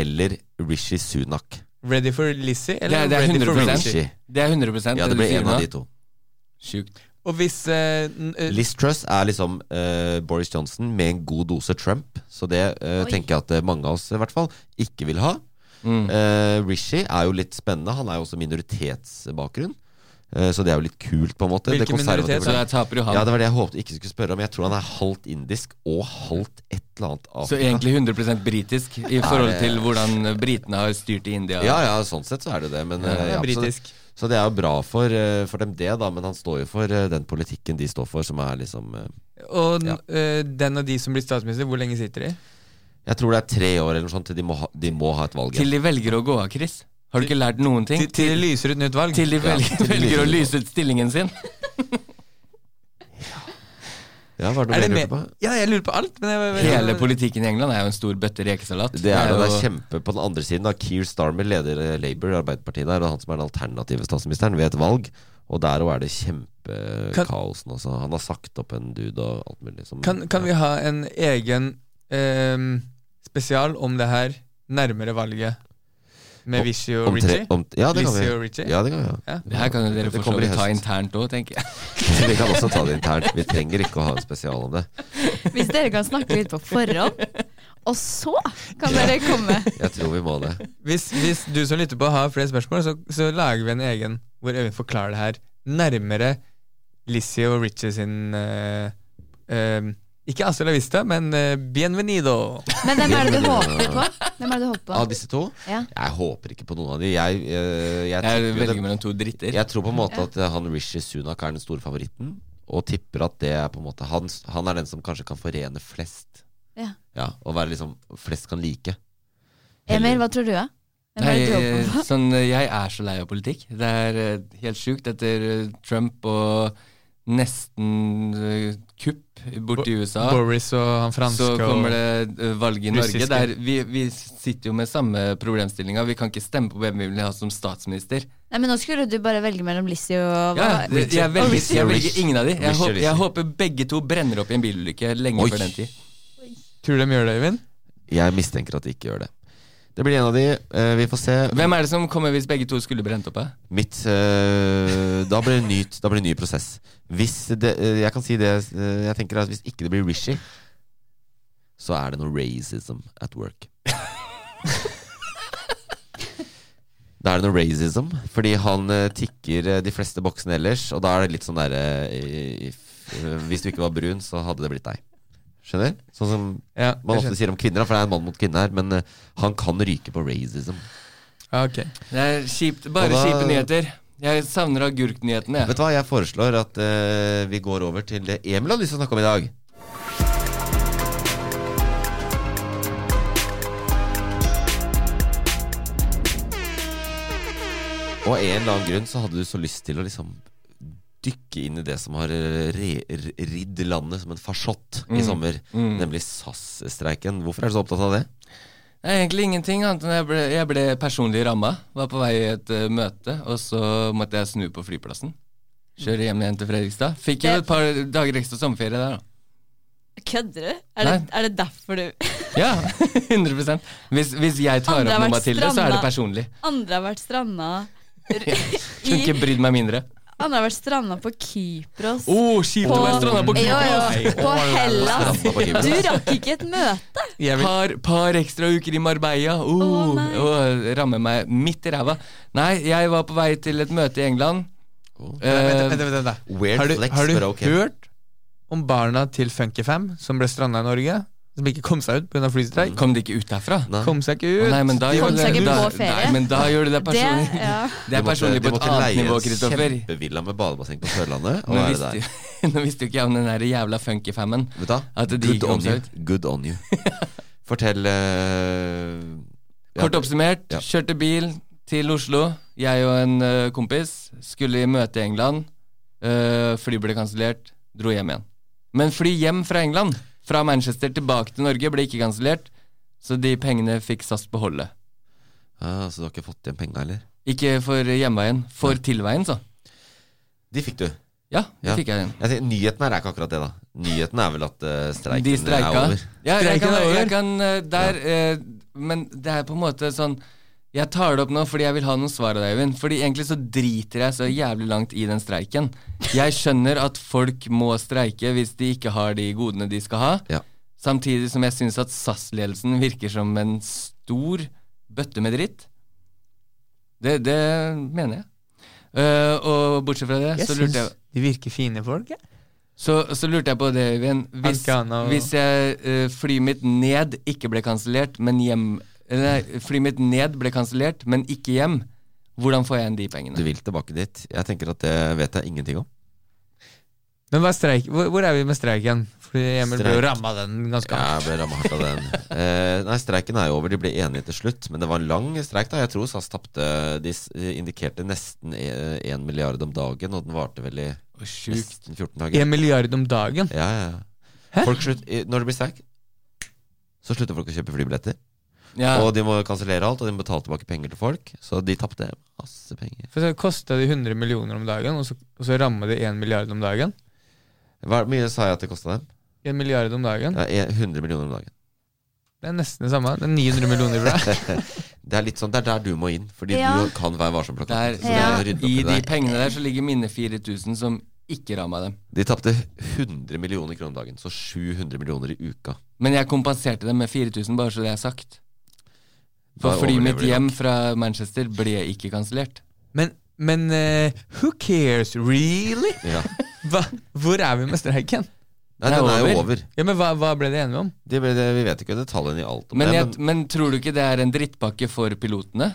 [SPEAKER 1] eller Rishi Sunak.
[SPEAKER 2] Ready for Lizzie? Eller
[SPEAKER 4] Det er- det er
[SPEAKER 2] ready for
[SPEAKER 4] 100%.
[SPEAKER 2] Rishi?
[SPEAKER 1] Rishi.
[SPEAKER 4] Det er 100
[SPEAKER 1] Ja, det ble en av de to.
[SPEAKER 4] Sjukt.
[SPEAKER 2] Og hvis eh, n- eh,
[SPEAKER 1] Liz Truss er liksom eh, Boris Johnson med en god dose Trump, så det eh,
[SPEAKER 3] Oi.
[SPEAKER 1] tenker jeg at eh, mange av oss i hvert fall ikke vil ha.
[SPEAKER 2] Mm.
[SPEAKER 1] Eh, Rishi er jo litt spennende. Han er jo også minoritetsbakgrunn. Eh, så det er jo litt kult, på en måte.
[SPEAKER 2] Hvilken
[SPEAKER 1] Det konservative-
[SPEAKER 2] minoritet?
[SPEAKER 4] Så der taper jo han.
[SPEAKER 1] Ja, Det var det jeg håpet ikke skulle spørre om. Jeg tror han er halvt indisk og halvt et eller annet Afrika.
[SPEAKER 4] Så egentlig 100 britisk i forhold til hvordan britene har styrt i India.
[SPEAKER 1] Ja, ja, sånn sett så er det det. Men, eh,
[SPEAKER 2] han er
[SPEAKER 1] ja, så,
[SPEAKER 2] britisk.
[SPEAKER 1] så det er jo bra for, eh, for dem, det, da. Men han står jo for eh, den politikken de står for, som er liksom eh,
[SPEAKER 2] Og n-
[SPEAKER 1] Ja.
[SPEAKER 2] eh, den og de som blir statsminister, hvor lenge sitter de?
[SPEAKER 1] Jeg tror det er tre år eller noe sånt til de må ha, de må ha et valg.
[SPEAKER 4] Til de velger å gå av, Chris. Har du ikke lært noen ting?
[SPEAKER 2] Til, til det lyser ut nytt valg?
[SPEAKER 4] Til de velger,
[SPEAKER 1] til de
[SPEAKER 4] velger å
[SPEAKER 1] lyser.
[SPEAKER 4] lyse ut stillingen sin.
[SPEAKER 1] Ja, hva er det
[SPEAKER 2] er
[SPEAKER 1] du
[SPEAKER 2] det
[SPEAKER 1] mer
[SPEAKER 2] mer?
[SPEAKER 1] lurte på?
[SPEAKER 2] Ja, jeg lurer på alt. Men jeg,
[SPEAKER 4] Hele politikken i England er jo en stor bøtte rekesalat.
[SPEAKER 1] Det er, det, det er
[SPEAKER 4] jo-
[SPEAKER 1] kjempe på den andre siden. da Keir Starmer leder eh, Labour, Arbeiderpartiet der, og han som er den alternative statsministeren, ved et valg. Og der òg er det
[SPEAKER 2] Kan-
[SPEAKER 1] kjempekaos nå. Så han har sagt opp en dude og alt mulig. Som,
[SPEAKER 2] kan, kan vi ha en egen eh, spesial om det her nærmere valget? Med
[SPEAKER 1] Om-
[SPEAKER 2] Vishy
[SPEAKER 1] ja.
[SPEAKER 2] og
[SPEAKER 1] om tre,
[SPEAKER 2] Richie?
[SPEAKER 1] om, ja, det kan vi.
[SPEAKER 2] Lizzie og Richie?
[SPEAKER 1] Ja, det kan vi. Ja.
[SPEAKER 2] Ja.
[SPEAKER 4] Det her kan jo dere
[SPEAKER 1] Det
[SPEAKER 4] for så
[SPEAKER 1] kommer i
[SPEAKER 4] vidt ta
[SPEAKER 1] høst.
[SPEAKER 4] internt òg, tenker jeg.
[SPEAKER 1] Vi kan også ta det internt. Vi trenger ikke å ha en spesial om det.
[SPEAKER 3] Hvis dere kan snakke litt på forhånd, og så kan dere komme.
[SPEAKER 1] Jeg tror vi må det.
[SPEAKER 2] Hvis, hvis du som lytter på har flere spørsmål, så, så lager vi en egen hvor Øyvind forklarer det her nærmere Lizzie og Richie sin eh, eh, Ikke Hasta la Vista, men eh, Bienvenido.
[SPEAKER 3] Men hvem er det du håper på? Hvem er det du håper
[SPEAKER 1] Av
[SPEAKER 3] på?
[SPEAKER 1] disse to?
[SPEAKER 3] Ja.
[SPEAKER 1] Jeg håper ikke på noen av de. Jeg, eh, jeg,
[SPEAKER 4] Jeg
[SPEAKER 1] tenker jo
[SPEAKER 4] velger
[SPEAKER 1] det-
[SPEAKER 4] mellom to dritter.
[SPEAKER 1] Jeg tror på en måte at eh, han Rishi Sunak er den store favoritten, og tipper at det er på en måte han, han er den som kanskje kan forene flest.
[SPEAKER 3] Ja.
[SPEAKER 1] Og være liksom flest kan like.
[SPEAKER 3] Emil, hva tror du? da? Hvem er
[SPEAKER 4] Nei,
[SPEAKER 3] det du håper på?
[SPEAKER 4] eh, sånn, eh, jeg er så lei av politikk. Det er eh, helt sjukt etter eh, Trump og nesten eh, kupp borti USA.
[SPEAKER 2] Boris og han franske
[SPEAKER 4] Så kommer
[SPEAKER 2] og
[SPEAKER 4] det eh, valg i Norge.
[SPEAKER 2] russiske.
[SPEAKER 4] Der vi, vi sitter jo med samme problemstillinga. Vi kan ikke stemme på hvem vi vil ha som statsminister.
[SPEAKER 3] Nei, men nå skulle du bare velge mellom Lizzie og hva?
[SPEAKER 4] Ja, det- jeg, velger,
[SPEAKER 1] Richie.
[SPEAKER 4] jeg velger ingen av de. Jeg,
[SPEAKER 1] Richie,
[SPEAKER 4] håper, jeg
[SPEAKER 1] Richie.
[SPEAKER 4] håper begge to brenner opp i en bilulykke lenge
[SPEAKER 1] Oi.
[SPEAKER 4] før den tid.
[SPEAKER 2] Tror du de gjør det, Øyvind?
[SPEAKER 1] Jeg mistenker at de ikke gjør det. Det blir en av de. eh, vi får se.
[SPEAKER 4] Hvem er det som kommer hvis begge to skulle brent opp? eh?
[SPEAKER 1] Mitt eh, Da blir det nytt Da blir det ny prosess. Hvis det eh, Jeg kan si det eh, jeg tenker at hvis ikke det blir Rishi, så er det noe racism at work. Da er det noe racism, fordi han eh, tikker eh, de fleste boksene ellers. Og da er det litt sånn derre eh, if- eh, Hvis du ikke var brun, så hadde det blitt deg. Skjønner? Sånn som
[SPEAKER 2] Ja,
[SPEAKER 1] man
[SPEAKER 2] jeg
[SPEAKER 1] ofte sier om kvinner, da, for det er en mann mot kvinne her. Men eh, han kan ryke på racism.
[SPEAKER 2] skjønner. Ja, ok.
[SPEAKER 4] Det er kjipt. Bare
[SPEAKER 1] Og da-
[SPEAKER 4] kjipe nyheter. Jeg savner agurknyhetene. jeg.
[SPEAKER 1] Vet du hva, jeg foreslår at eh, vi går over til det Emil har lyst til å snakke om i dag. Og av en eller annen grunn så hadde du så lyst til å liksom dykke inn i det som har eh, re r- ridd landet som en farsott
[SPEAKER 4] Mm.
[SPEAKER 1] i sommer, nemlig SAS-streiken. Hvorfor er du så opptatt av det?
[SPEAKER 4] Nei, egentlig ingenting, annet enn jeg ble, jeg ble personlig ramma. Var på vei i et eh, møte, og så måtte jeg snu på flyplassen. Kjøre hjem igjen til Fredrikstad. Fikk jo
[SPEAKER 3] Det-
[SPEAKER 4] et par dager ekstra sommerferie der, da.
[SPEAKER 3] Kødder du?
[SPEAKER 4] Er det-
[SPEAKER 3] derfor du
[SPEAKER 4] Ja, 100 Hvis, hvis jeg tar
[SPEAKER 3] Andre har
[SPEAKER 4] opp med
[SPEAKER 3] vært
[SPEAKER 4] Mathilde, så er det
[SPEAKER 3] stranda.
[SPEAKER 4] personlig.
[SPEAKER 3] Andre har vært stranda
[SPEAKER 4] Kunne ikke brydd meg mindre.
[SPEAKER 3] Andre har vært stranda på Kypros.
[SPEAKER 4] Å, kjipt å være stranda på
[SPEAKER 3] Ja, ja,
[SPEAKER 4] Kypros!
[SPEAKER 3] på Hellas.
[SPEAKER 1] Stranda på Kypros.
[SPEAKER 3] Du rakk ikke et møte.
[SPEAKER 2] Jeg vil,
[SPEAKER 4] Par, par ekstra uker i Marbella. Oh,
[SPEAKER 3] Å, nei.
[SPEAKER 4] å, rammer meg midt i ræva. Nei, jeg var på vei til et møte i England.
[SPEAKER 2] vent,
[SPEAKER 4] Eh,
[SPEAKER 2] vent, vent, vent, da.
[SPEAKER 1] Weird
[SPEAKER 2] Har du,
[SPEAKER 1] flex,
[SPEAKER 2] har du
[SPEAKER 1] but okay.
[SPEAKER 2] hørt om barna til Funky Fam som ble stranda i Norge? som ikke kom seg ut pga. flystreik.
[SPEAKER 4] Kom de ikke ut derfra?
[SPEAKER 1] Nei.
[SPEAKER 2] Kom seg ikke
[SPEAKER 4] Å,
[SPEAKER 2] ut!
[SPEAKER 4] Nei, men da
[SPEAKER 3] Kom
[SPEAKER 4] gjorde
[SPEAKER 3] seg
[SPEAKER 4] det-
[SPEAKER 3] ikke
[SPEAKER 4] da,
[SPEAKER 3] på ferie.
[SPEAKER 4] Nei, men da gjør du det
[SPEAKER 3] Det,
[SPEAKER 4] personlig.
[SPEAKER 3] ja.
[SPEAKER 4] Det er personlig på et annet nivå, Kristoffer.
[SPEAKER 1] kjempevilla med badebasseng på Sørlandet. Og
[SPEAKER 4] Nå
[SPEAKER 1] være
[SPEAKER 4] visste,
[SPEAKER 1] der.
[SPEAKER 4] jo- nå visste jo ikke jeg om den der jævla funky-fammen.
[SPEAKER 1] Vet du hva?
[SPEAKER 4] At de
[SPEAKER 1] Good
[SPEAKER 4] ikke kom
[SPEAKER 1] on
[SPEAKER 4] seg
[SPEAKER 1] you. Good on you. Fortell eh, ja.
[SPEAKER 4] Kort oppsummert,
[SPEAKER 1] Ja.
[SPEAKER 4] kjørte bil til Oslo. Jeg og en ø, kompis skulle i møte i England. Ø, fly ble kansellert, dro hjem igjen. Men fly hjem fra England, fra Manchester tilbake til Norge, ble ikke kansellert. Så de pengene fikk SAS beholde.
[SPEAKER 1] Ah, så du har ikke fått igjen penga, eller?
[SPEAKER 4] Ikke for hjemveien, for tilveien, så.
[SPEAKER 1] De fikk du.
[SPEAKER 4] Ja, det
[SPEAKER 1] Ja.
[SPEAKER 4] fikk jeg inn.
[SPEAKER 1] Jeg sier, nyheten her er ikke akkurat det, da. Nyheten er vel at eh, streiken
[SPEAKER 4] De streika.
[SPEAKER 1] er over.
[SPEAKER 4] Ja, jeg
[SPEAKER 2] Streiken
[SPEAKER 4] kan,
[SPEAKER 2] er over.
[SPEAKER 4] jeg kan eh, der, eh, Men det er på en måte sånn Jeg tar det opp nå fordi jeg vil ha noen svar av deg, Øyvind. Fordi egentlig så driter jeg så jævlig langt i den streiken. Jeg skjønner at folk må streike hvis de ikke har de godene de skal ha.
[SPEAKER 1] Ja.
[SPEAKER 4] Samtidig som jeg syns at SAS-ledelsen virker som en stor bøtte med dritt. Det, det mener jeg. Eh, og bortsett fra det,
[SPEAKER 2] Jeg
[SPEAKER 4] så
[SPEAKER 2] syns
[SPEAKER 4] lurte jeg
[SPEAKER 2] de virker fine folk. jeg.
[SPEAKER 4] så, så lurte jeg på det, Øyvind. Hvis,
[SPEAKER 2] Anka, nå-
[SPEAKER 4] hvis jeg, eh, flyet mitt ned ikke ble kansellert, men hjem Eller nei, flyet mitt ned ble kansellert, men ikke hjem, hvordan får jeg igjen de
[SPEAKER 1] Du
[SPEAKER 4] pengene?
[SPEAKER 1] vil tilbake dit. Jeg tenker at det vet jeg ingenting om.
[SPEAKER 2] Men hva er streik, hvor, hvor er vi med streiken? Fordi Emil ble jo
[SPEAKER 1] Streik.
[SPEAKER 2] ramma den ganske
[SPEAKER 1] Jeg
[SPEAKER 2] hardt.
[SPEAKER 1] ble ramma hardt av den. Eh, nei, streiken er jo over. De ble enige til slutt. Men det var en lang streik, da. Jeg tror SAS tapte De s- indikerte nesten 1 milliard om dagen, og den varte vel i
[SPEAKER 4] Å, Sjukt.
[SPEAKER 1] nesten 14 dager.
[SPEAKER 2] En milliard om dagen.
[SPEAKER 1] Ja, ja, ja. Folk slutt, i- når det blir streik, så slutter folk å kjøpe flybilletter.
[SPEAKER 4] Ja,
[SPEAKER 1] Og de må kansellere alt, og de må betale tilbake penger til folk. Så de tapte masse penger.
[SPEAKER 2] For så kosta det 100 millioner om dagen, og så, og så ramma det 1 milliard om dagen.
[SPEAKER 1] Hvor mye sa jeg at det kosta dem?
[SPEAKER 2] 1 milliard om dagen.
[SPEAKER 1] Ja, e- 100 millioner om dagen.
[SPEAKER 2] Det er nesten det samme. Det er 900 millioner bra.
[SPEAKER 1] Det er litt sånn, det er der du må inn, fordi
[SPEAKER 3] Ja.
[SPEAKER 1] du kan være varsom-plakaten.
[SPEAKER 4] der,
[SPEAKER 1] Så
[SPEAKER 3] Ja.
[SPEAKER 1] det er å rydde opp
[SPEAKER 4] I
[SPEAKER 1] i
[SPEAKER 4] de
[SPEAKER 1] det der.
[SPEAKER 4] pengene der så ligger mine 4000 som ikke ramma dem.
[SPEAKER 1] De tapte 100 millioner kroner om dagen, så 700 millioner i uka.
[SPEAKER 4] Men jeg kompenserte dem med 4000, bare så det er sagt. For
[SPEAKER 1] Da
[SPEAKER 4] flyet
[SPEAKER 1] overlever
[SPEAKER 4] mitt
[SPEAKER 1] de
[SPEAKER 4] hjem fra Manchester ble ikke kansellert.
[SPEAKER 2] Men, men eh, who cares? Really?
[SPEAKER 1] Ja.
[SPEAKER 2] Hva, hvor er vi med streiken?
[SPEAKER 1] Nei,
[SPEAKER 4] Det er
[SPEAKER 1] den er jo
[SPEAKER 4] over.
[SPEAKER 1] over.
[SPEAKER 2] Ja, men hva, hva ble de enige om?
[SPEAKER 1] Det ble det, vi vet ikke detaljene i alt om
[SPEAKER 4] Men,
[SPEAKER 1] det.
[SPEAKER 4] jeg, men tror du ikke det er en drittpakke for pilotene?